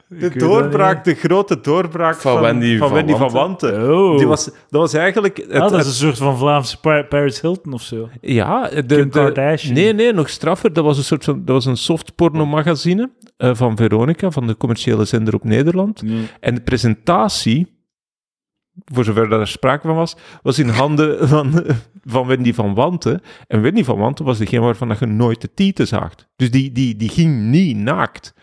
[SPEAKER 3] De
[SPEAKER 2] weet doorbraak,
[SPEAKER 3] de grote doorbraak
[SPEAKER 1] Van van- Wendy van van Wendy van Wanten.
[SPEAKER 2] Oh. Die was-
[SPEAKER 3] dat was eigenlijk... eh, Het,
[SPEAKER 2] Ah, dat is een soort van Vlaamse Pa- Paris Hilton of zo.
[SPEAKER 3] Ja, de,
[SPEAKER 2] Kim
[SPEAKER 3] de-
[SPEAKER 2] Kardashian.
[SPEAKER 3] Nee, nee, nog straffer. Dat was een soort van, dat was een soft porno magazine eh, van Veronica, van de commerciële zender op Nederland. En de presentatie, voor zover daar sprake van was, was in handen [LAUGHS] van, van Wendy van Wanten. En Wendy van Wanten was degene waarvan dat je nooit de tieten zaagt. Dus die, die, die ging niet naakt.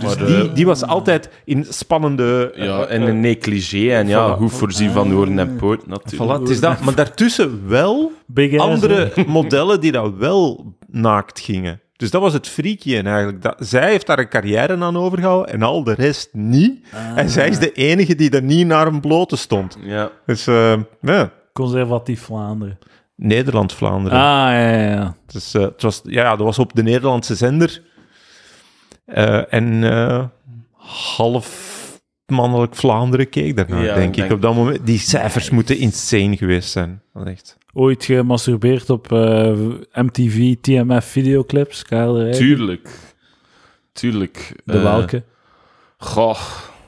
[SPEAKER 3] Dus
[SPEAKER 1] Maar,
[SPEAKER 3] die,
[SPEAKER 1] eh,
[SPEAKER 3] die was altijd in spannende...
[SPEAKER 1] Ja,
[SPEAKER 3] eh,
[SPEAKER 1] en
[SPEAKER 3] eh,
[SPEAKER 1] een negligé. En ja,
[SPEAKER 3] Voilà. Ah.
[SPEAKER 1] goed voorzien van oren en poot, natuurlijk.
[SPEAKER 3] voilà, het is dat. [LAUGHS] Maar daartussen wel
[SPEAKER 2] Big ass, hè?
[SPEAKER 3] andere modellen die dat wel naakt gingen. Dus dat was het freakje in eigenlijk. Dat, zij heeft daar een carrière aan overgehouden en al de rest niet.
[SPEAKER 2] Ah,
[SPEAKER 3] En zij is de enige die er niet naar een blote stond.
[SPEAKER 1] Ja.
[SPEAKER 3] Dus eh, ja,
[SPEAKER 2] Conservatief Vlaanderen.
[SPEAKER 3] Nederland-Vlaanderen.
[SPEAKER 2] Ah, ja, ja, ja.
[SPEAKER 3] Dus, eh, het was, ja, dat was op de Nederlandse zender. Eh, en eh, half mannelijk Vlaanderen keek daarna,
[SPEAKER 1] Ja,
[SPEAKER 3] denk
[SPEAKER 1] denk
[SPEAKER 3] ik. Op dat moment, die cijfers moeten insane geweest zijn. Dat is echt.
[SPEAKER 2] Ooit gemasturbeerd op eh, MTV, TMF videoclips. Karel de Rij,
[SPEAKER 1] Tuurlijk. Tuurlijk.
[SPEAKER 2] De
[SPEAKER 1] Eh,
[SPEAKER 2] welke?
[SPEAKER 1] Goh,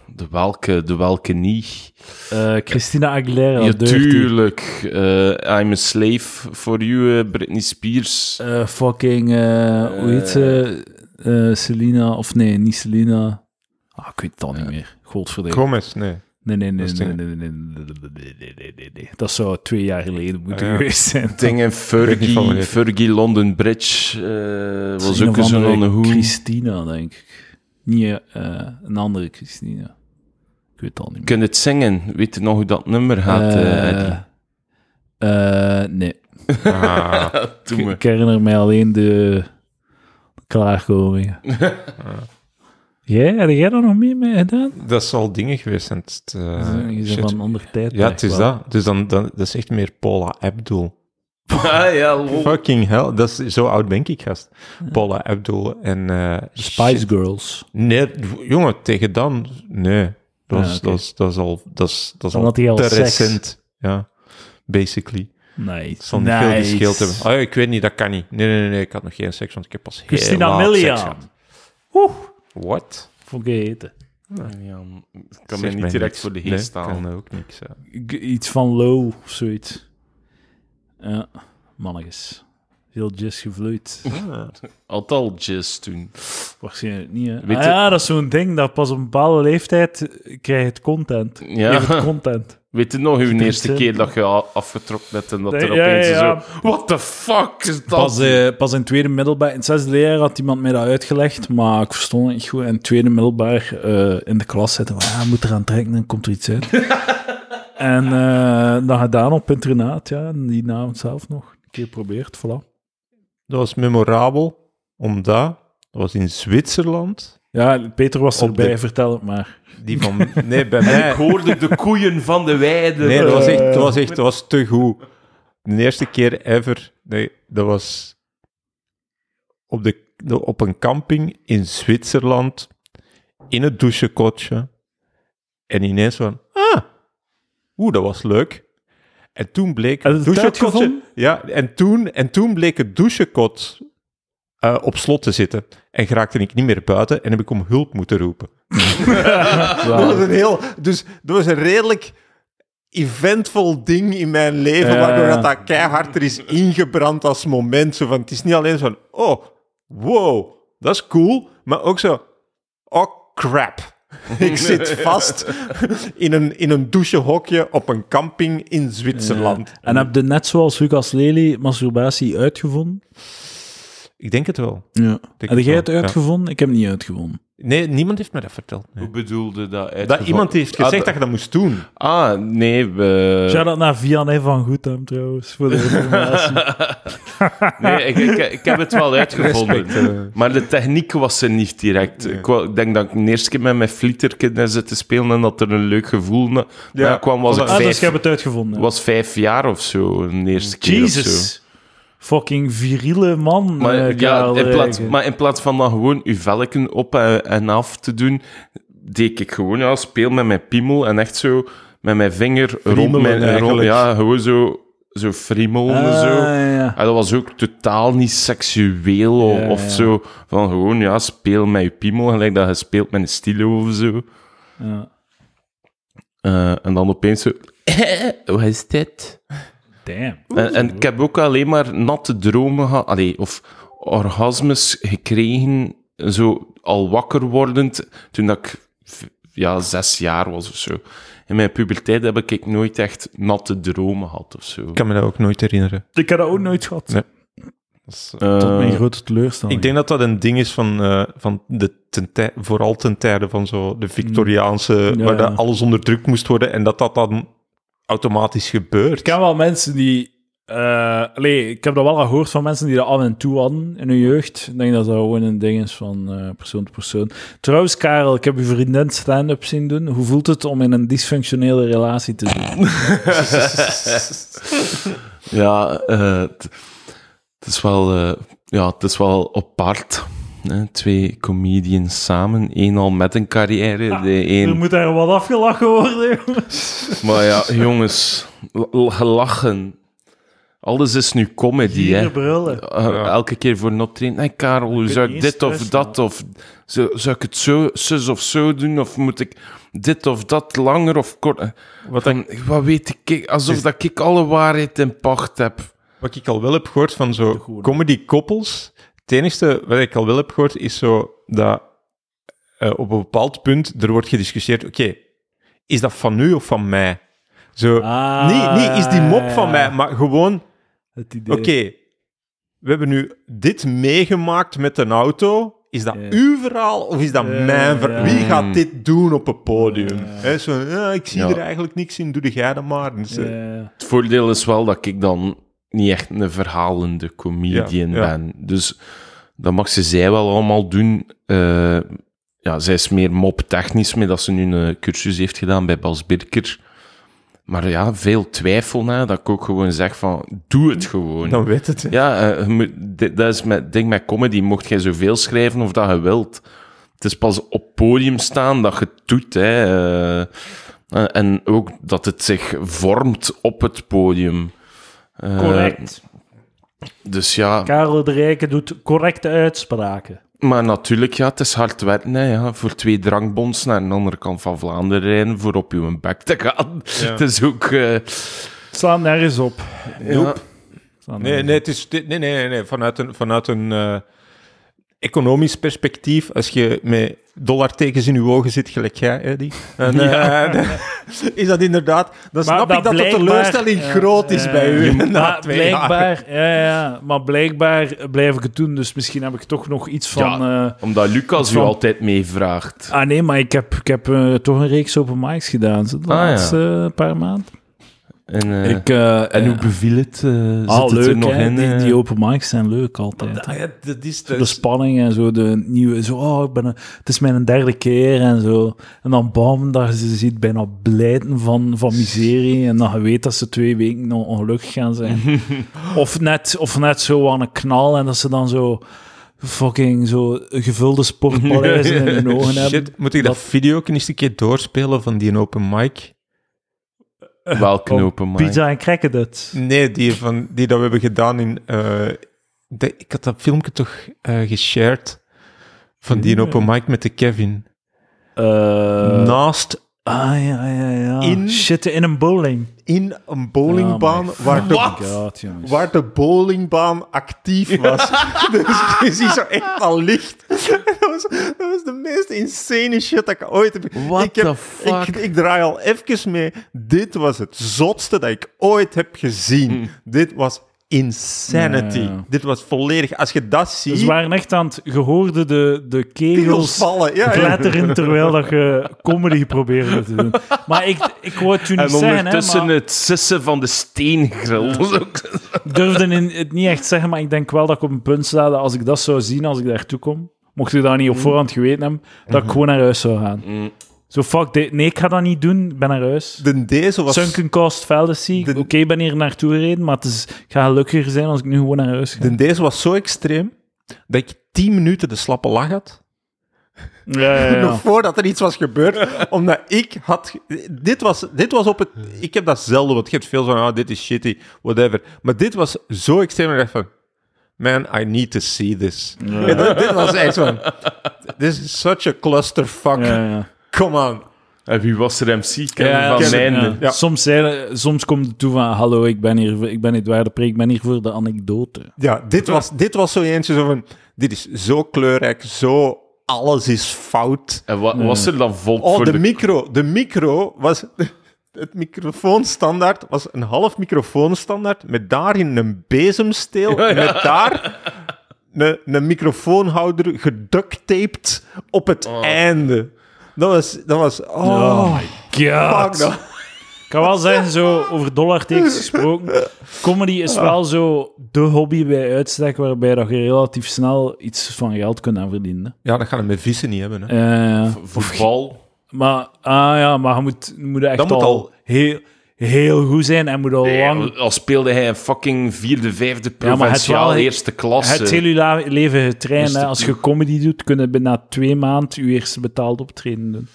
[SPEAKER 1] de welke, de welke niet.
[SPEAKER 2] Eh, Christina Aguilera,
[SPEAKER 1] Ja,
[SPEAKER 2] deugd die.
[SPEAKER 1] tuurlijk. Eh, I'm a slave for you, eh, Britney Spears.
[SPEAKER 2] Eh, fucking, eh, hoe heet ze? Eh, Selena, of nee, niet Selena. Ah, ik weet het al niet meer. Godverdikke.
[SPEAKER 3] Gomez, nee.
[SPEAKER 2] Nee, nee, nee,
[SPEAKER 3] Dat is
[SPEAKER 2] nee,
[SPEAKER 3] dingen.
[SPEAKER 2] nee, nee, nee, nee, nee, nee, nee, nee, nee. Dat zou twee jaar geleden moeten
[SPEAKER 3] Ah, ja.
[SPEAKER 2] geweest zijn.
[SPEAKER 1] Dingen,
[SPEAKER 3] weet niet van
[SPEAKER 1] Fergie,
[SPEAKER 3] wanneer.
[SPEAKER 1] Fergie London Bridge eh,
[SPEAKER 2] Dat
[SPEAKER 1] was
[SPEAKER 2] een
[SPEAKER 1] ook
[SPEAKER 2] of
[SPEAKER 1] zo'n
[SPEAKER 2] andere
[SPEAKER 1] hoe.
[SPEAKER 2] Christina, denk ik. Niet eh, een andere Christina. Ik weet het al niet meer.
[SPEAKER 1] Kun je het zingen? Weet je nog hoe dat nummer gaat? eh,
[SPEAKER 2] Eh,
[SPEAKER 1] Eddie?
[SPEAKER 2] eh, nee,
[SPEAKER 3] Ah,
[SPEAKER 1] Doe me.
[SPEAKER 2] ik herinner mij alleen de
[SPEAKER 3] [LAUGHS]
[SPEAKER 2] klaarkomingen. Jij, had jij daar nog mee mee gedaan?
[SPEAKER 3] dat zal dingen geweest zijn. Het, eh,
[SPEAKER 2] je
[SPEAKER 3] shit.
[SPEAKER 2] bent van een ander tijd.
[SPEAKER 3] ja, het is dat. Dus dan, dan, dat is echt meer Paula Abdul.
[SPEAKER 1] [LAUGHS] Ah, ja, lol.
[SPEAKER 3] Fucking hell, dat is, zo oud ben ik, gast. Paula Abdul en... eh,
[SPEAKER 2] Spice Girls.
[SPEAKER 3] Nee, jongen, tegen dan. Nee, dat is,
[SPEAKER 2] Ah, oké.
[SPEAKER 3] dat is, dat is al, dat is, dat is al
[SPEAKER 2] Omdat hij
[SPEAKER 3] te
[SPEAKER 2] al seks-
[SPEAKER 3] recent. Ja, basically.
[SPEAKER 2] Nice.
[SPEAKER 3] Het zal niet veel gescheeld hebben. Oh, ja, ik weet niet, dat kan niet. Nee, nee, nee, nee, ik had nog geen seks, want ik heb pas heel
[SPEAKER 2] Christina
[SPEAKER 3] laat
[SPEAKER 2] Milian.
[SPEAKER 3] seks gehad. What?
[SPEAKER 2] Vond ik eten.
[SPEAKER 1] Ja, ik kan
[SPEAKER 3] Zeg
[SPEAKER 1] mij niet
[SPEAKER 3] mij
[SPEAKER 1] direct
[SPEAKER 3] niks.
[SPEAKER 1] voor de
[SPEAKER 3] Nee,
[SPEAKER 1] geest
[SPEAKER 3] kan
[SPEAKER 1] staan.
[SPEAKER 3] mij ook niks. ja.
[SPEAKER 2] G- iets van low of zoiets. Ja, mannetjes. Heel jazz gevloeid.
[SPEAKER 1] Mhm. Had al jazz toen.
[SPEAKER 2] Waarschijnlijk niet, hè?
[SPEAKER 1] Weet
[SPEAKER 2] Ah
[SPEAKER 1] je-
[SPEAKER 2] ja, dat is zo'n ding dat pas op een bepaalde leeftijd krijg je het content.
[SPEAKER 1] Ja.
[SPEAKER 2] Je hebt
[SPEAKER 1] [LAUGHS]
[SPEAKER 2] het content.
[SPEAKER 1] Weet je nog, uw
[SPEAKER 2] Spitsen.
[SPEAKER 1] eerste keer dat je a- afgetrokken bent en dat
[SPEAKER 2] Nee,
[SPEAKER 1] er
[SPEAKER 2] ja,
[SPEAKER 1] opeens
[SPEAKER 2] ja, ja.
[SPEAKER 1] zo... What the fuck is dat?
[SPEAKER 2] Pas, eh, pas in tweede middelbaar, in het zesde leerjaar had iemand mij dat uitgelegd, maar ik verstond het niet goed. En in tweede middelbaar eh, in de klas zitten van, ja, je moet eraan trekken, dan komt er
[SPEAKER 1] [LAUGHS]
[SPEAKER 2] iets uit. en eh, dan gedaan op internaat, ja, en die naam zelf nog. Een keer geprobeerd, voilà.
[SPEAKER 3] Dat was memorabel, omdat dat was in Zwitserland.
[SPEAKER 2] Ja, Peter was
[SPEAKER 3] Op
[SPEAKER 2] erbij,
[SPEAKER 3] de-
[SPEAKER 2] vertel het maar.
[SPEAKER 3] Die van, [LAUGHS] nee, bij
[SPEAKER 1] En
[SPEAKER 3] mij.
[SPEAKER 1] ik hoorde de koeien van de weide.
[SPEAKER 3] Nee, dat was echt,
[SPEAKER 2] Eh.
[SPEAKER 3] dat was echt dat was te goed. De eerste keer ever. Nee, dat was op, de, de- op een camping in Zwitserland, in het douchekotje. En ineens van, ah, oeh, dat was leuk. En toen bleek
[SPEAKER 2] Had je het
[SPEAKER 3] douchekotje...
[SPEAKER 2] uitgevonden?
[SPEAKER 3] Ja, en toen, en toen bleek het douchekot eh, op slot te zitten. En geraakte ik niet meer buiten en heb ik om hulp moeten roepen. Dat
[SPEAKER 1] [LAUGHS]
[SPEAKER 3] was een heel... Dus dat was een redelijk eventvol ding in mijn leven,
[SPEAKER 2] Ja,
[SPEAKER 3] waardoor
[SPEAKER 2] ja.
[SPEAKER 3] dat, dat keihard er is ingebrand als moment. Zo van, het is niet alleen zo van, oh, wow, dat is cool, maar ook zo, oh, crap. [LAUGHS] Ik zit [LAUGHS] vast in een, in een douchehokje op een camping in Zwitserland.
[SPEAKER 2] Ja. En heb je net zoals Lucas Lely masturbatie uitgevonden?
[SPEAKER 3] Ik denk het wel.
[SPEAKER 2] Ja.
[SPEAKER 3] Denk
[SPEAKER 2] Heb
[SPEAKER 3] het
[SPEAKER 2] jij
[SPEAKER 3] wel,
[SPEAKER 2] het uitgevonden? Ik heb het niet uitgevonden.
[SPEAKER 3] Nee, niemand heeft me dat verteld.
[SPEAKER 1] Hoe bedoelde dat
[SPEAKER 3] Dat iemand heeft gezegd
[SPEAKER 1] Ah,
[SPEAKER 3] dat je dat moest doen.
[SPEAKER 1] Ah, nee, we...
[SPEAKER 2] Shout out naar Vianney van Goedhem trouwens, [LAUGHS] voor de informatie.
[SPEAKER 1] Nee, ik, ik, ik heb het
[SPEAKER 3] [LAUGHS]
[SPEAKER 1] wel uitgevonden.
[SPEAKER 3] Respect, eh.
[SPEAKER 1] Maar de techniek was er niet direct. Ik, wou- ik denk dat ik de eerste keer met mijn flieterken daar zit te spelen en dat er een leuk gevoel na,
[SPEAKER 3] Ja.
[SPEAKER 1] na kwam. Was
[SPEAKER 3] Ah,
[SPEAKER 1] ik
[SPEAKER 2] ah, dus
[SPEAKER 1] vijf,
[SPEAKER 2] je hebt het uitgevonden.
[SPEAKER 1] was vijf jaar of zo, de eerste keer of zo.
[SPEAKER 2] Jesus. Fucking viriele man.
[SPEAKER 1] Maar,
[SPEAKER 2] eh,
[SPEAKER 1] ja,
[SPEAKER 2] Karel
[SPEAKER 1] in plaats,
[SPEAKER 2] Rijgen.
[SPEAKER 1] maar in plaats van dan gewoon uw velken op en, en af te doen, deed ik gewoon, ja, speel met mijn piemel en echt zo met mijn vinger rond
[SPEAKER 3] Friemelen
[SPEAKER 1] mijn... Rond,
[SPEAKER 3] eigenlijk.
[SPEAKER 1] ja, gewoon zo, zo friemelen
[SPEAKER 2] Ah,
[SPEAKER 1] zo.
[SPEAKER 2] ja.
[SPEAKER 1] En dat was ook totaal niet seksueel of,
[SPEAKER 2] Ja,
[SPEAKER 1] of
[SPEAKER 2] ja.
[SPEAKER 1] zo. Van gewoon, ja, speel met je piemel, gelijk dat je speelt met een stilo of zo.
[SPEAKER 2] Ja.
[SPEAKER 1] Eh, en dan opeens zo... [LAUGHS] Wat is dit?
[SPEAKER 2] Damn.
[SPEAKER 1] En, en ik heb ook alleen maar natte dromen gehad, allee, of orgasmes gekregen, zo al wakker wordend, toen dat ik v- ja, zes jaar was of zo. In mijn puberteit heb ik nooit echt natte dromen gehad of zo.
[SPEAKER 3] Ik kan me dat ook nooit herinneren.
[SPEAKER 2] Ik heb dat ook nooit gehad.
[SPEAKER 3] Nee. Dat is, eh,
[SPEAKER 1] Eh,
[SPEAKER 2] Tot mijn grote teleurstelling.
[SPEAKER 3] Ik denk dat dat een ding is van, eh, van de ten tij- vooral ten tijde van zo de Victoriaanse,
[SPEAKER 2] Mm. Ja.
[SPEAKER 3] waar dat alles onderdrukt moest worden en dat dat dan automatisch gebeurt.
[SPEAKER 2] Ik ken wel mensen die. eh, allee, ik heb dat wel al gehoord van mensen die dat af en toe hadden in hun jeugd. Ik denk dat dat gewoon een ding is van eh, persoon tot persoon. Trouwens, Karel, ik heb uw vriendin stand-up zien doen. Hoe voelt het om in een dysfunctionele relatie te doen?
[SPEAKER 1] Ja, eh, het het is wel, eh, ja, het is wel apart. Hè? Twee comedians samen, één al met een carrière,
[SPEAKER 2] Ah,
[SPEAKER 1] de één...
[SPEAKER 2] Er moet daar wat [LAUGHS] afgelachen worden.
[SPEAKER 1] Maar ja, jongens, l- l- lachen. Alles is nu comedy, hè.
[SPEAKER 2] Hier brullen.
[SPEAKER 1] Uh, Elke keer voor not trainen. Nee, Karel, hoe
[SPEAKER 2] kunt
[SPEAKER 1] zou ik
[SPEAKER 2] niet
[SPEAKER 1] dit of
[SPEAKER 2] stressen,
[SPEAKER 1] dat? Of zou, zou ik het zo, zus of zo doen? Of moet ik dit of dat langer of korter? Wat, wat weet ik? Alsof
[SPEAKER 3] is-
[SPEAKER 1] dat ik alle waarheid in pacht heb.
[SPEAKER 3] Wat ik al wel heb gehoord van
[SPEAKER 2] De
[SPEAKER 3] zo
[SPEAKER 2] goede.
[SPEAKER 3] comedy-koppels, het enige wat ik al wel heb gehoord is zo dat eh, op een bepaald punt er wordt gediscussieerd, oké, is dat van u of van mij? Zo,
[SPEAKER 2] Ah,
[SPEAKER 3] nee, nee, is die mop van
[SPEAKER 2] ja.
[SPEAKER 3] mij, maar gewoon,
[SPEAKER 2] Het idee.
[SPEAKER 3] oké, we hebben nu dit meegemaakt met een auto, is dat
[SPEAKER 2] Ja.
[SPEAKER 3] uw verhaal of is dat
[SPEAKER 2] Ja,
[SPEAKER 3] mijn verhaal?
[SPEAKER 2] ja.
[SPEAKER 3] Wie gaat dit doen op het podium?
[SPEAKER 2] Ja.
[SPEAKER 3] Hè, zo, "Ah, ik zie
[SPEAKER 1] Ja.
[SPEAKER 3] er eigenlijk niks in, doe de jij dat maar. Dus, eh,
[SPEAKER 2] Ja.
[SPEAKER 1] Het voordeel is wel dat ik dan niet echt een verhalende comedian
[SPEAKER 3] Ja, ja.
[SPEAKER 1] ben. Dus dat mag ze zij wel allemaal doen. Eh, ja, zij is meer moptechnisch, met dat ze nu een cursus heeft gedaan bij Bas Birker. Maar ja, veel twijfel na, dat ik ook gewoon zeg van, doe het gewoon.
[SPEAKER 3] Dan weet het. hè.
[SPEAKER 1] Ja, eh, je moet- di- dat is met ding met comedy. Mocht jij zoveel schrijven of dat je wilt. Het is pas op podium staan dat je het doet. Hè. eh. Eh, en ook dat het zich vormt op het podium. Eh,
[SPEAKER 2] Correct.
[SPEAKER 1] dus ja,
[SPEAKER 2] Karel de Rijke doet correcte uitspraken.
[SPEAKER 1] maar natuurlijk, ja, het is hard werken. Hè, ja. Voor twee drankbons naar de andere kant van Vlaanderen rijden voor op je bek te gaan. [LAUGHS] Het is ook... eh,
[SPEAKER 2] Slaan nergens op.
[SPEAKER 1] ja,
[SPEAKER 2] Slaan
[SPEAKER 3] Nee,
[SPEAKER 2] nergens
[SPEAKER 3] nee, het is, dit- nee, nee, nee, nee. Vanuit een, vanuit een eh, economisch perspectief, als je met dollartekens in je ogen zit, gelijk jij,
[SPEAKER 2] [LAUGHS]
[SPEAKER 3] Eddie, dan, eh, dan is dat inderdaad... Dan
[SPEAKER 2] Maar
[SPEAKER 3] snap ik dat de
[SPEAKER 2] blijkbaar-
[SPEAKER 3] teleurstelling
[SPEAKER 2] ja,
[SPEAKER 3] groot is
[SPEAKER 2] ja,
[SPEAKER 3] bij
[SPEAKER 2] ja.
[SPEAKER 3] u. [LAUGHS] na
[SPEAKER 2] Maar
[SPEAKER 3] twee jaar.
[SPEAKER 2] blijkbaar, ja, ja, maar blijkbaar blijf ik het doen, dus misschien heb ik toch nog iets van... eh,
[SPEAKER 1] omdat Lucas u
[SPEAKER 2] Van-
[SPEAKER 1] altijd meevraagt.
[SPEAKER 2] ah nee, maar ik heb, ik heb eh, toch een reeks open mics gedaan zo, de
[SPEAKER 1] Ah, ja.
[SPEAKER 2] laatste eh, paar maanden.
[SPEAKER 1] En, eh,
[SPEAKER 2] Ik, eh,
[SPEAKER 1] en hoe
[SPEAKER 2] eh,
[SPEAKER 1] beviel het? Eh,
[SPEAKER 2] ah,
[SPEAKER 1] zit het
[SPEAKER 2] leuk,
[SPEAKER 1] er nog
[SPEAKER 2] hè,
[SPEAKER 1] in?
[SPEAKER 2] Die,
[SPEAKER 1] eh?
[SPEAKER 2] die open mics zijn leuk altijd. hè.
[SPEAKER 3] Ah, ja, dat is,
[SPEAKER 2] de
[SPEAKER 3] dat is-
[SPEAKER 2] spanning en zo, de nieuwe, zo, oh, ik ben een- het is mijn derde keer en zo. En dan bam, daar ze ziet bijna blijten van, van miserie en dan je weet dat ze twee weken on- ongelukkig gaan zijn.
[SPEAKER 3] [LAUGHS]
[SPEAKER 2] of, net, of net zo aan een knal en dat ze dan zo fucking zo gevulde
[SPEAKER 3] [LAUGHS]
[SPEAKER 2] sportpaleizen in hun ogen hebben.
[SPEAKER 3] Shit, moet ik dat,
[SPEAKER 2] Dat-
[SPEAKER 3] video ook eens een keer doorspelen van die open mic?
[SPEAKER 1] Welke
[SPEAKER 2] Om
[SPEAKER 1] open mic?
[SPEAKER 2] Pizza en cracken dat.
[SPEAKER 3] Nee, die, van, die dat we hebben gedaan in... eh, de- ik had dat filmpje toch eh, geshared van die
[SPEAKER 2] Ja.
[SPEAKER 3] open mic met de Kevin.
[SPEAKER 2] Eh,
[SPEAKER 3] Naast
[SPEAKER 2] ah, ja, ja, ja.
[SPEAKER 3] In-
[SPEAKER 2] Shitten in een bowling.
[SPEAKER 3] in een
[SPEAKER 2] Ja,
[SPEAKER 3] bowlingbaan
[SPEAKER 2] maar
[SPEAKER 3] waar,
[SPEAKER 2] fucking
[SPEAKER 3] de,
[SPEAKER 2] God, jongens.
[SPEAKER 3] waar de bowlingbaan actief [LAUGHS] was. dus je ziet zo echt al licht. dat, was, dat was de meest insane shit dat ik ooit heb...
[SPEAKER 1] What
[SPEAKER 3] ik, heb-
[SPEAKER 1] the fuck?
[SPEAKER 3] Ik, ik draai al even mee. Dit was het zotste dat ik ooit heb gezien. Dit was insanity.
[SPEAKER 2] Ja, ja, ja.
[SPEAKER 3] Mm. Dit was volledig... Als je dat ziet...
[SPEAKER 2] Ze waren echt aan het gehoorde de, de
[SPEAKER 3] Piemels
[SPEAKER 2] kegels
[SPEAKER 3] vallen. Ja, ja.
[SPEAKER 2] kletterend terwijl dat je comedy probeerde te doen. Maar ik, ik wou het je niet
[SPEAKER 1] En
[SPEAKER 2] zeggen, hè,
[SPEAKER 1] ondertussen
[SPEAKER 2] maar
[SPEAKER 1] het sissen van de steengril.
[SPEAKER 2] ik durfde in- het niet echt zeggen, maar ik denk wel dat ik op een punt sta dat als ik dat zou zien als ik daartoe kom, mocht ik dat niet op voorhand geweten hebben, dat ik gewoon naar huis zou gaan. Zo, fuck dit. Nee, ik ga dat niet doen. Ik ben naar huis.
[SPEAKER 3] De deze was...
[SPEAKER 2] Sunken cost fallacy.
[SPEAKER 3] De-
[SPEAKER 2] Oké, ik ben hier naartoe gereden, maar het is, ik ga gelukkiger zijn als ik nu gewoon naar huis ga.
[SPEAKER 3] De deze was zo extreem dat ik tien minuten de slappe lach had.
[SPEAKER 2] Ja, ja, ja.
[SPEAKER 3] [LAUGHS] Nog voordat er iets was gebeurd. omdat ik had. Dit was, dit was op het. Ik heb dat zelden, want je hebt veel van. ah dit is shitty, whatever. Maar dit was zo extreem. dat Ik dacht van. Man, I need to see this. Ja, dat- dit was echt van. This is such a clusterfuck.
[SPEAKER 2] Ja, ja.
[SPEAKER 3] Come on.
[SPEAKER 1] En wie was er MC? Kevin
[SPEAKER 2] Ja,
[SPEAKER 1] van
[SPEAKER 2] ja,
[SPEAKER 1] Mijnden.
[SPEAKER 2] ja.
[SPEAKER 3] Ja.
[SPEAKER 2] Soms, zeiden, soms komt het toe van: Hallo, ik ben hier, voor- ik ben Edouard de Preek, ik ben hier voor de anekdote.
[SPEAKER 3] Ja, dit was, dit was zo eentje zo van. Dit is zo kleurrijk, zo. Alles is fout.
[SPEAKER 1] En wat was er dan volk
[SPEAKER 3] Oh,
[SPEAKER 1] voor
[SPEAKER 3] de,
[SPEAKER 1] de...
[SPEAKER 3] micro. De micro was... [LAUGHS] Het microfoonstandaard was een half microfoonstandaard met daarin een bezemsteel en met daar een, een microfoonhouder geducttaped op het
[SPEAKER 1] Oh.
[SPEAKER 3] einde. Dat was... Dat was oh,
[SPEAKER 2] Oh
[SPEAKER 3] fuck.
[SPEAKER 2] God.
[SPEAKER 3] dat-
[SPEAKER 2] Ik kan wel zeggen, zo over dollartekens gesproken. Comedy is
[SPEAKER 1] Ah.
[SPEAKER 2] wel zo de hobby bij uitstek waarbij dat je relatief snel iets van geld kunt aan verdienen.
[SPEAKER 3] Ja, dat gaan we met vissen niet hebben. Hè.
[SPEAKER 2] Eh,
[SPEAKER 1] Voetbal.
[SPEAKER 2] maar, ah ja, maar je moet, je moet echt
[SPEAKER 3] Dat moet
[SPEAKER 2] al,
[SPEAKER 3] al-
[SPEAKER 2] Heel, heel goed zijn en moet al lang
[SPEAKER 1] Al speelde hij een fucking vierde, vijfde
[SPEAKER 2] maar het
[SPEAKER 1] provinciaal
[SPEAKER 2] wel-
[SPEAKER 1] eerste eh, klasse.
[SPEAKER 2] Het hele la- leven getraind.
[SPEAKER 1] Dus
[SPEAKER 2] hè.
[SPEAKER 1] de-
[SPEAKER 2] Als je comedy doet, kun je binnen twee maanden je eerste betaald optreden doen.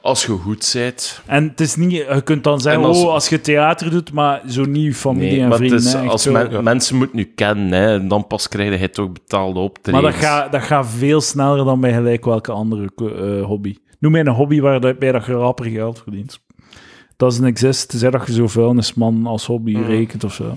[SPEAKER 1] Als je goed bent.
[SPEAKER 2] En het is niet, je kunt dan zeggen,
[SPEAKER 1] En als-
[SPEAKER 2] oh, als je theater doet, maar zo niet je familie en
[SPEAKER 1] maar het
[SPEAKER 2] vrienden.
[SPEAKER 1] is,
[SPEAKER 2] hè, echt
[SPEAKER 1] als
[SPEAKER 2] zo.
[SPEAKER 1] men- mensen moeten nu kennen, hè, en dan pas krijg je toch betaalde optredens.
[SPEAKER 2] Maar dat gaat dat gaat veel sneller dan bij gelijk welke andere eh, hobby. Noem mij een hobby waarbij dat je rapper geld verdient. Dat is een exist, tenzij dat je zo vuilnisman als hobby rekent of zo.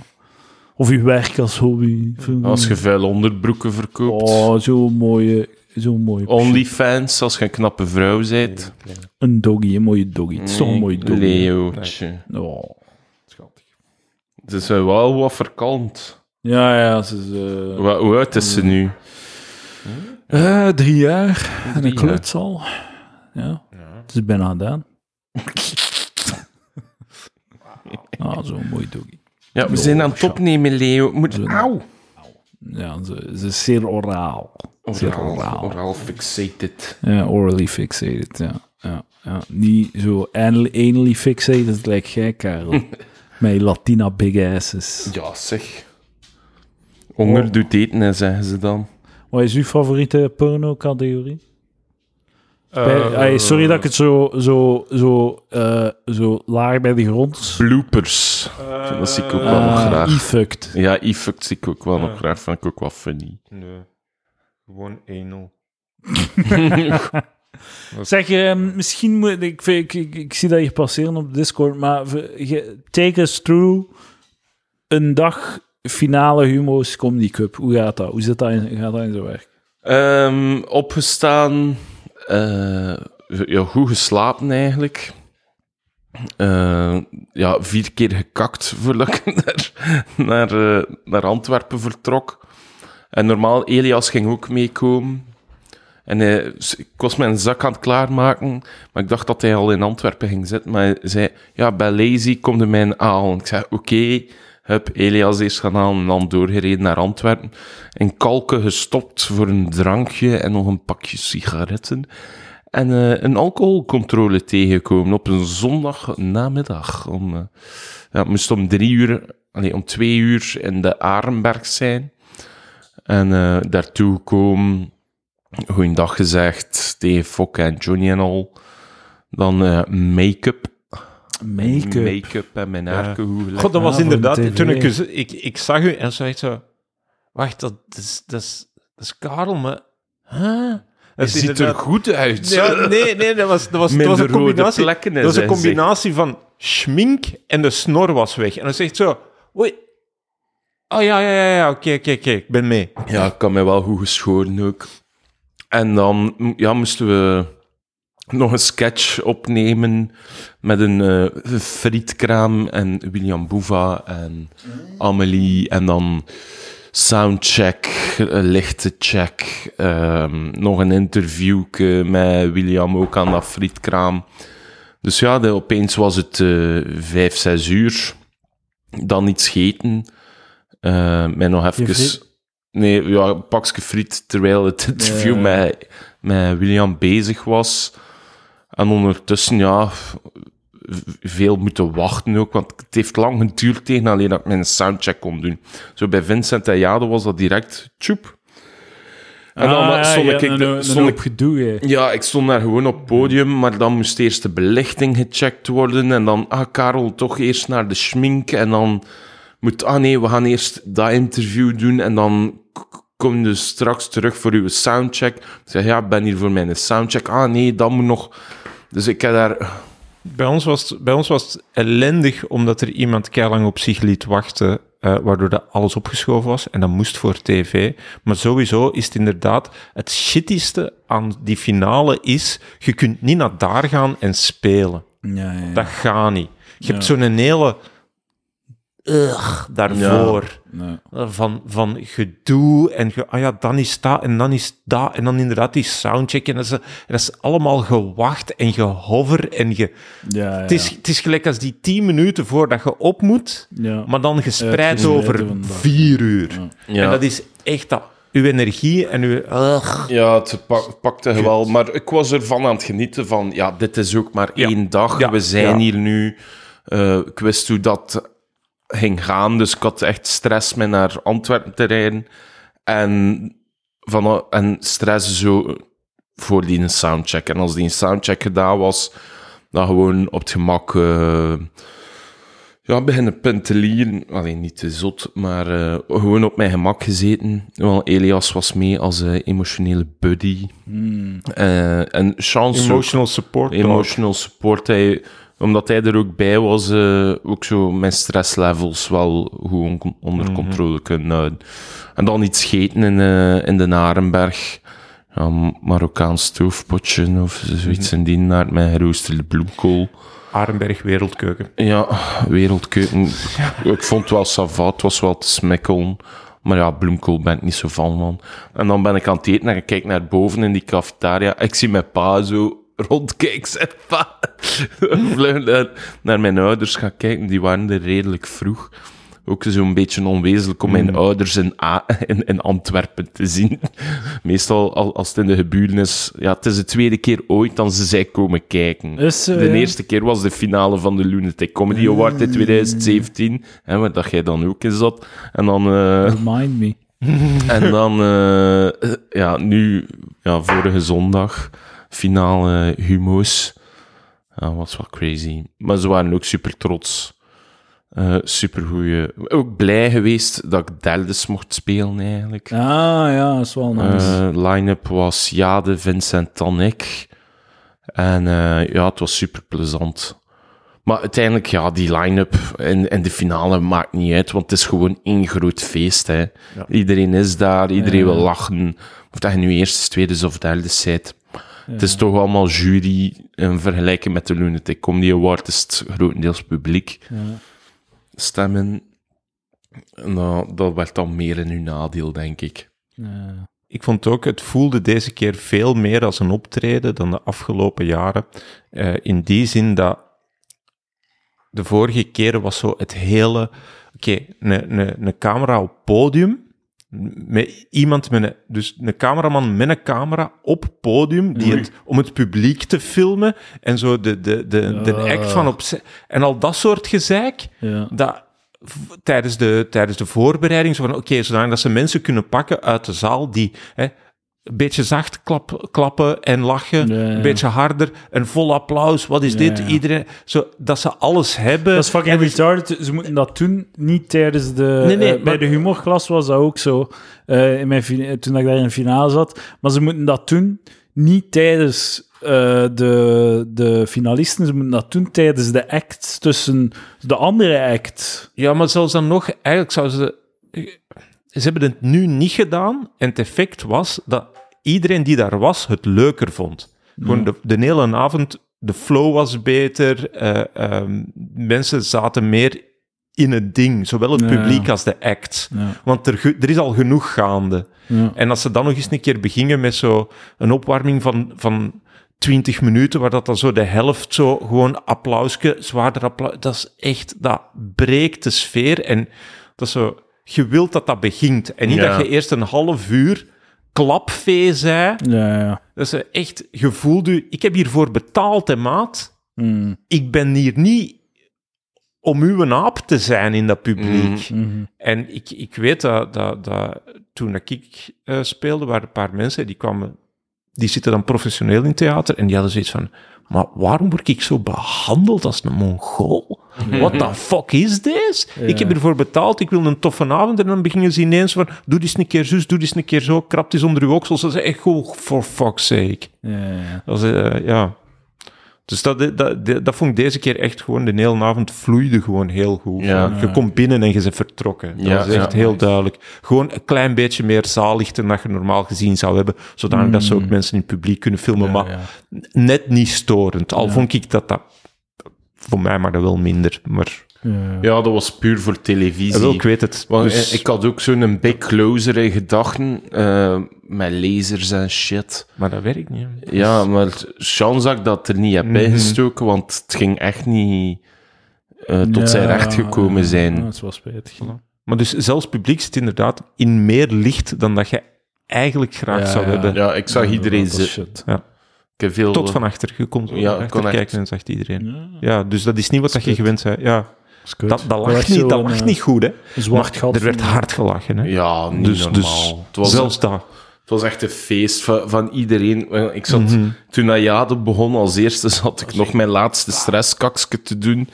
[SPEAKER 2] Of je werk als hobby.
[SPEAKER 1] Als je vuil onderbroeken verkoopt.
[SPEAKER 2] Oh, zo'n mooie... Zo'n mooie...
[SPEAKER 1] Onlyfans, als je een knappe vrouw bent.
[SPEAKER 2] Een doggy, een mooie doggy. Het is toch een mooie doggy.
[SPEAKER 1] Leeuwtje.
[SPEAKER 2] Oh.
[SPEAKER 1] Ze zijn wel wat verkant.
[SPEAKER 2] Ja, ja, ze is... eh,
[SPEAKER 1] Wa- Hoe oud is ze nu?
[SPEAKER 2] eh, drie jaar. en een
[SPEAKER 1] jaar.
[SPEAKER 2] kluts al. Ja. Het is bijna gedaan. Ah, zo'n mooi doggy.
[SPEAKER 1] Ja, we zijn aan het opnemen, Leo. Moet... Auw!
[SPEAKER 2] Ja, ze, ze is zeer oraal. Zeer
[SPEAKER 1] Oraal,
[SPEAKER 2] oraal.
[SPEAKER 1] oraal fixated.
[SPEAKER 2] Ja, orally fixated, ja. ja, ja. Niet zo anal- anally fixated, het lijkt gek, Karel. Mijn Latina big asses.
[SPEAKER 1] Ja, zeg. Honger doet eten, hè, zeggen ze dan.
[SPEAKER 2] Wat is uw favoriete porno-categorie? Bij- ay, sorry dat ik het zo, zo, zo, eh, zo laag bij de grond...
[SPEAKER 1] Bloopers. dat zie ik ook wel nog
[SPEAKER 2] Ah,
[SPEAKER 1] graag.
[SPEAKER 2] e-fucked.
[SPEAKER 1] Ja, e-fuck zie ik ook wel nog graag. Vind ik ook wel funny.
[SPEAKER 3] Nee. Gewoon 1-0.
[SPEAKER 2] Zeg, eh, misschien moet ik, ik, ik, ik zie dat hier passeren op Discord, maar v- ge- take us through een dag finale Humo's Comedy Cup. Hoe gaat dat? Hoe zit dat in, gaat dat in zijn werk?
[SPEAKER 1] Ehm, opgestaan. eh, ja, goed geslapen eigenlijk. Eh, ja, vier keer gekakt voordat ik [LAUGHS] naar, naar, eh, naar Antwerpen vertrok. En normaal, Elias ging ook meekomen. En hij- s- ik was mijn zak aan het klaarmaken, maar ik dacht dat hij al in Antwerpen ging zitten. Maar hij zei, ja, bij Lazy komt mij een aal. Ik zei, oké, heb Elias eerst gaan halen en dan doorgereden naar Antwerpen. In Kalken gestopt voor een drankje en nog een pakje sigaretten. En eh, een alcoholcontrole tegengekomen op een zondagnamiddag. Om, eh, ja, het moest om drie uur, nee, om twee uur in de Arenberg zijn. En eh, daartoe gekomen goeiedag gezegd tegen Fokke en Johnny en al. Dan eh, make-up.
[SPEAKER 2] Make-up.
[SPEAKER 1] en mijn haar goed gelegd.
[SPEAKER 3] God, dat was
[SPEAKER 2] Ja, voor
[SPEAKER 3] inderdaad...
[SPEAKER 2] de TV.
[SPEAKER 3] Toen ik, dus- ik, ik zag u en zo echt zo... Wacht, dat is, dat is, dat is Karel, maar... Huh?
[SPEAKER 1] Hij
[SPEAKER 3] Dat is
[SPEAKER 1] ziet er
[SPEAKER 3] inderdaad-
[SPEAKER 1] goed uit.
[SPEAKER 3] Nee, nee, nee, dat was, dat was, dat was
[SPEAKER 1] Minder
[SPEAKER 3] een
[SPEAKER 1] rode
[SPEAKER 3] combinatie.
[SPEAKER 1] plekken in
[SPEAKER 3] dat was een
[SPEAKER 1] zijn
[SPEAKER 3] combinatie van schmink en de snor was weg. En dan zegt zo... Oei. Oh ja, ja, ja, ja, oké, oké, oké, ik ben mee.
[SPEAKER 1] Ja, ik kan mij wel goed geschoren ook. En dan m- ja, moesten we nog een sketch opnemen met een eh, frietkraam en William Boeva en Amelie. En dan soundcheck, eh, lichtecheck, ehm, nog een interview met William ook aan dat frietkraam. Dus ja, de- opeens was het eh, vijf, zes uur. Dan iets gegeten. Eh, mij nog even...
[SPEAKER 2] friet?
[SPEAKER 1] Nee, ja, een pakje friet, terwijl het interview
[SPEAKER 2] Ja.
[SPEAKER 1] met, met William bezig was. En ondertussen, ja, v- veel moeten wachten ook, want het heeft lang geduurd tegen alleen dat ik mijn soundcheck kon doen. Zo bij Vincent en Jade was dat direct tjoep. En dan
[SPEAKER 2] Ah, ja,
[SPEAKER 1] stond
[SPEAKER 2] ja,
[SPEAKER 1] ik,
[SPEAKER 2] een- een-
[SPEAKER 1] stond
[SPEAKER 2] een
[SPEAKER 1] ik
[SPEAKER 2] hoop gedoe, hè.
[SPEAKER 1] ja, ik stond daar gewoon op het podium, maar dan moest eerst de belichting gecheckt worden. En dan, ah, Karel, toch eerst naar de schmink. En dan moet, ah nee, we gaan eerst dat interview doen. En dan k- k- kom je dus straks terug voor uw soundcheck. Ik zeg, ja, ik ben hier voor mijn soundcheck. Ah nee, dat moet nog. Dus ik heb daar...
[SPEAKER 3] Bij ons, was, het- bij ons was het ellendig omdat er iemand keilang op zich liet wachten, eh, waardoor dat alles opgeschoven was en dat moest voor tv. Maar sowieso is het inderdaad het shittigste aan die finale is, je kunt niet naar daar gaan en spelen.
[SPEAKER 2] Ja, ja.
[SPEAKER 3] Dat gaat niet. Je hebt zo'n hele... Ugh, daarvoor.
[SPEAKER 2] Nee.
[SPEAKER 3] Eh, Van, van gedoe en ge, ah ja, dan is dat en dan is dat en dan inderdaad die soundcheck en dat is, en dat is allemaal gewacht en gehover en ge...
[SPEAKER 2] Ja, ja.
[SPEAKER 3] Het is, het is gelijk als die tien minuten voordat je op moet,
[SPEAKER 2] Ja.
[SPEAKER 3] maar dan
[SPEAKER 2] Ja, het
[SPEAKER 3] gespreid
[SPEAKER 2] is een
[SPEAKER 3] over
[SPEAKER 2] redelijk dag.
[SPEAKER 3] vier uur.
[SPEAKER 1] Ja.
[SPEAKER 3] En dat is echt dat. Uw energie en uw... Ugh.
[SPEAKER 1] Ja, het pak- pakte wel. Maar ik was ervan aan het genieten van... Ja, dit is ook maar één dag.
[SPEAKER 3] Ja.
[SPEAKER 1] We zijn
[SPEAKER 3] Ja.
[SPEAKER 1] hier nu. Eh, ik wist hoe dat ging gaan. Dus ik had echt stress met naar Antwerpen te rijden. En, van, en stress zo voor die soundcheck. En als die soundcheck gedaan was, dan gewoon op het gemak eh, ja, beginnen pentelieren. Alleen niet te zot, maar eh, gewoon op mijn gemak gezeten. Want Elias was mee als eh, emotionele buddy. Eh, en chance ook.
[SPEAKER 3] Emotional support.
[SPEAKER 1] Emotional support. Hij, omdat hij er ook bij was, eh, ook zo mijn stresslevels wel goed on- onder controle kunnen houden. En dan iets scheten in, eh, in de Narenberg. Ja, M- Marokkaans stoofpotje of zoiets in die naart met geroosterde bloemkool.
[SPEAKER 3] Arenberg Wereldkeuken.
[SPEAKER 1] Ja, wereldkeuken. Ik vond het wel savat, het was wel te smikkelen. Maar ja, bloemkool ben ik niet zo van, man. En dan ben ik aan het eten en ik kijk naar boven in die cafetaria. Ik zie mijn pa zo rondkijken. [LAUGHS] Zeg, pa. Vlug naar, naar mijn ouders gaan kijken, die waren er redelijk vroeg. Ook zo'n beetje onwezenlijk om mijn
[SPEAKER 2] Hmm.
[SPEAKER 1] ouders in, A- in, in Antwerpen te zien. Meestal al- als het in de geburen is. Ja, het is de tweede keer ooit dat ze zij komen kijken.
[SPEAKER 2] Is, eh,
[SPEAKER 1] de
[SPEAKER 2] ja.
[SPEAKER 1] eerste keer was de finale van de Lunatic Comedy Award in 2017. Hè, waar dat jij dan ook in zat. En dan... eh,
[SPEAKER 2] Remind me.
[SPEAKER 1] en dan, eh, eh, ja, nu, ja, vorige zondag, finale humo's. Ja, was wel crazy. Maar ze waren ook super trots. Eh super Ook blij geweest dat ik derdes mocht spelen, eigenlijk.
[SPEAKER 2] Ah ja, dat is wel nice.
[SPEAKER 1] Eh, line-up was Jade, Vincent, dan ik. En eh, ja, het was super plezant. Maar uiteindelijk, ja, die line-up en, en de finale maakt niet uit, want het is gewoon één groot feest. Hè. Iedereen is daar, iedereen wil lachen. Of dat je nu eerst, tweede of derde bent. Het is toch allemaal jury in vergelijking met de Lunatic Comedy Award. Is het grotendeels publiek
[SPEAKER 2] Ja.
[SPEAKER 1] stemmen. Nou, dat werd dan meer in uw nadeel, denk ik.
[SPEAKER 2] Ja.
[SPEAKER 3] Ik vond ook, het voelde deze keer veel meer als een optreden dan de afgelopen jaren. Eh, in die zin dat de vorige keren was zo het hele... Oké, een- een- een camera op podium, met iemand met een, dus een cameraman met een camera op podium die het, om het publiek te filmen en zo de, de, de, de
[SPEAKER 2] Ja.
[SPEAKER 3] act van opzij en al dat soort gezeik
[SPEAKER 2] Ja.
[SPEAKER 3] dat v- tijdens de, tijdens de voorbereiding zo van oké zodanig dat ze mensen kunnen pakken uit de zaal die hè, een beetje zacht klap, klappen en lachen
[SPEAKER 2] Ja, ja.
[SPEAKER 3] een beetje harder een vol applaus wat is
[SPEAKER 2] Ja,
[SPEAKER 3] dit
[SPEAKER 2] ja.
[SPEAKER 3] iedereen zo dat ze alles hebben
[SPEAKER 2] Dat is fucking retarded. Ze moeten dat doen, niet tijdens de...
[SPEAKER 3] Nee, nee,
[SPEAKER 2] eh, bij
[SPEAKER 3] maar-
[SPEAKER 2] de humorklas was dat ook zo, eh, in mijn, fina- toen ik daar in de finale zat. Maar ze moeten dat doen, niet tijdens eh, de, de finalisten. Ze moeten dat doen tijdens de acts tussen de andere act.
[SPEAKER 3] Ja, maar zelfs dan nog, eigenlijk zouden ze. Ze hebben het nu niet gedaan. En het effect was dat iedereen die daar was het leuker vond. Gewoon de, de hele avond, de flow was beter. eh, ehm, mensen zaten meer in het ding, zowel het
[SPEAKER 2] Ja, ja.
[SPEAKER 3] publiek als de act. Want er, ge- er is al genoeg gaande.
[SPEAKER 2] Ja.
[SPEAKER 3] En als ze dan nog eens een keer beginnen met zo een opwarming van, van 20 minuten, waar dat dan zo de helft zo gewoon applausje, zwaarder applaus, dat is echt, dat breekt de sfeer. En dat is zo, je wilt dat dat begint. En niet
[SPEAKER 1] Ja.
[SPEAKER 3] dat je eerst een half uur klapvee zei.
[SPEAKER 2] Ja, ja.
[SPEAKER 3] Dat is echt, je voelde, je, ik heb hiervoor betaald, hè, maat.
[SPEAKER 2] Mm,
[SPEAKER 3] Ik ben hier niet om uw naap te zijn in dat publiek.
[SPEAKER 2] mhm.
[SPEAKER 3] En ik, ik weet dat, dat, dat toen ik eh, speelde, waren een paar mensen die kwamen, die zitten dan professioneel in theater en die hadden zoiets van, maar waarom word ik zo behandeld als een Mongool? What the fuck is this? Ik heb ervoor betaald, ik wil een toffe avond. En dan beginnen ze ineens van, doe dit eens een keer zus, doe dit eens een keer zo, krapt eens onder uw oksels. Dat is echt gewoon, for fuck's sake.
[SPEAKER 2] Ja, ja, ja.
[SPEAKER 3] Dat is, eh, ja. Dus dat, dat, dat, dat vond ik deze keer echt gewoon, de hele avond vloeide gewoon heel goed.
[SPEAKER 1] Ja.
[SPEAKER 3] Van, Je komt binnen en je bent vertrokken. Dat
[SPEAKER 1] Ja,
[SPEAKER 3] was echt
[SPEAKER 1] ja.
[SPEAKER 3] heel duidelijk. Gewoon een klein beetje meer zaallicht dan dat je normaal gezien zou hebben, zodanig dat
[SPEAKER 1] Mm.
[SPEAKER 3] ze ook mensen in het publiek kunnen filmen, maar net niet storend. Al vond ik dat dat, voor mij maar dat wel minder. Maar
[SPEAKER 1] Ja, dat was puur voor
[SPEAKER 3] Ja,
[SPEAKER 1] televisie.
[SPEAKER 3] wel, ik weet het.
[SPEAKER 1] Want
[SPEAKER 3] Dus-
[SPEAKER 1] eh, ik had ook zo'n big closer in gedachten, eh, met lasers en shit.
[SPEAKER 3] maar dat werkt niet.
[SPEAKER 1] Ja, maar het- chance dat ik dat er niet heb bijgestoken, want het ging echt niet eh, tot zijn
[SPEAKER 2] Ja,
[SPEAKER 1] recht gekomen
[SPEAKER 2] ja,
[SPEAKER 1] zijn.
[SPEAKER 2] ja, dat is wel spijtig.
[SPEAKER 3] Maar dus zelfs publiek zit inderdaad in meer licht dan dat je eigenlijk graag
[SPEAKER 2] Ja,
[SPEAKER 3] zou
[SPEAKER 2] ja.
[SPEAKER 3] hebben.
[SPEAKER 1] Ja, ik zag iedereen
[SPEAKER 2] Dat is
[SPEAKER 1] zitten.
[SPEAKER 2] shit.
[SPEAKER 1] Ik heb veel...
[SPEAKER 3] Tot van achter. Je kon zo
[SPEAKER 1] Ja,
[SPEAKER 3] naar achter
[SPEAKER 1] kon echt.
[SPEAKER 3] kijken en zag iedereen.
[SPEAKER 2] Ja,
[SPEAKER 3] Ja, dus dat is niet wat dat je
[SPEAKER 2] Kut.
[SPEAKER 3] gewend bent. Ja,
[SPEAKER 2] is kut.
[SPEAKER 3] dat, dat
[SPEAKER 2] werd
[SPEAKER 3] lag, niet,
[SPEAKER 2] zo
[SPEAKER 3] dat
[SPEAKER 2] een,
[SPEAKER 3] lag
[SPEAKER 2] eh,
[SPEAKER 3] niet goed, hè.
[SPEAKER 2] Een zwart gat.
[SPEAKER 3] er werd hard gelachen, hè.
[SPEAKER 1] Ja, niet
[SPEAKER 3] dus,
[SPEAKER 1] normaal.
[SPEAKER 3] dus
[SPEAKER 1] het was
[SPEAKER 3] zelfs dat.
[SPEAKER 1] Het was echt een feest van, van iedereen. Wel, Ik zat, Toen dat Jade begon als eerste, zat ik nog mijn laatste stresskakske te doen.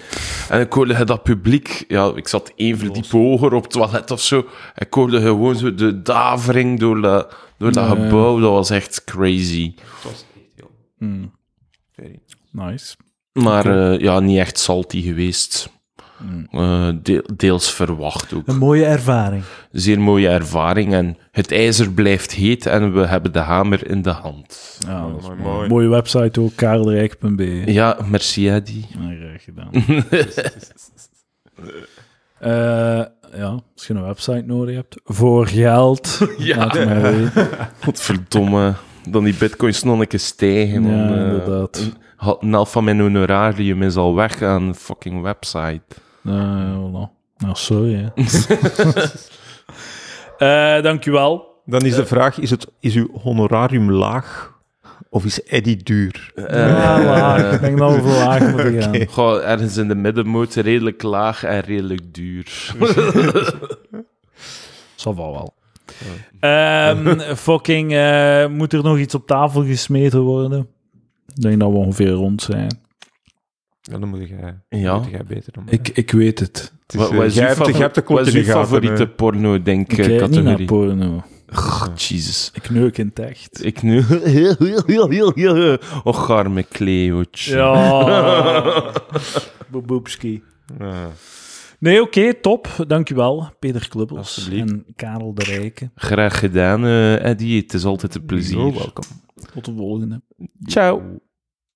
[SPEAKER 1] En ik hoorde dat publiek... Ja, ik zat één verdiep hoger op het toilet of zo. Ik hoorde gewoon zo de davering door, dat- door dat gebouw. Dat was echt crazy.
[SPEAKER 2] Nice.
[SPEAKER 1] Maar eh, ja, niet echt salty geweest. Eh, de- deels verwacht ook.
[SPEAKER 2] Een mooie ervaring.
[SPEAKER 1] Zeer mooie ervaring. En het ijzer blijft heet en we hebben de hamer in de hand.
[SPEAKER 2] Ja, dat is
[SPEAKER 3] mooi,
[SPEAKER 2] mooi.
[SPEAKER 3] mooi.
[SPEAKER 2] Mooie website ook, karelrijk.be.
[SPEAKER 1] Ja, merci Eddy.
[SPEAKER 2] Ja, graag gedaan. Eh, ja, als je een website nodig hebt. Voor geld.
[SPEAKER 1] Ja.
[SPEAKER 2] Laat het mij weten.
[SPEAKER 1] Godverdomme. Dan die bitcoins nog een keer stijgen.
[SPEAKER 2] Ja,
[SPEAKER 1] want, eh,
[SPEAKER 2] inderdaad.
[SPEAKER 1] ha- Een helft van mijn honorarium is al weg aan een fucking website.
[SPEAKER 2] Eh, voilà. Nou, sorry. Hè. Eh, dankjewel.
[SPEAKER 3] Dan is de
[SPEAKER 2] Eh.
[SPEAKER 3] vraag, is, het, is uw honorarium laag of is Eddy duur?
[SPEAKER 1] Eh.
[SPEAKER 2] Ja, [LAUGHS] laag. Ik denk dat we voor laag moeten gaan.
[SPEAKER 1] Goh, ergens in de middenmoot, redelijk laag en redelijk duur.
[SPEAKER 2] Zal wel wel. Ehm, fucking, eh, moet er nog iets op tafel gesmeten worden? Ik denk dat we ongeveer rond zijn.
[SPEAKER 3] Ja, dan moet jij,
[SPEAKER 1] Ja.
[SPEAKER 3] moet jij beter doen.
[SPEAKER 4] Ik, ik weet het.
[SPEAKER 3] Het is, Dus, eh, jij
[SPEAKER 1] uw
[SPEAKER 3] hebt de-
[SPEAKER 1] favor-
[SPEAKER 3] jij hebt de klok
[SPEAKER 1] wat is
[SPEAKER 3] in
[SPEAKER 1] uw
[SPEAKER 3] de gaten,
[SPEAKER 1] favoriete
[SPEAKER 3] hè.
[SPEAKER 1] porno, denk
[SPEAKER 2] Ik
[SPEAKER 1] eh,
[SPEAKER 2] kijk niet naar
[SPEAKER 1] categorie?
[SPEAKER 2] porno.
[SPEAKER 1] Jezus.
[SPEAKER 2] Ik neuk in het echt.
[SPEAKER 1] Ik nu... [LAUGHS] Och, arme Cleootje.
[SPEAKER 2] Ja. Boeboepski.
[SPEAKER 3] Ja.
[SPEAKER 2] Nee, oké, top. Dankjewel, Peter Klubbels
[SPEAKER 3] Alsjeblieft.
[SPEAKER 2] en Karel de Rijke.
[SPEAKER 1] Graag gedaan, eh Eddy. Het is altijd een plezier.
[SPEAKER 3] You're welcome.
[SPEAKER 2] Tot de volgende.
[SPEAKER 1] Ciao.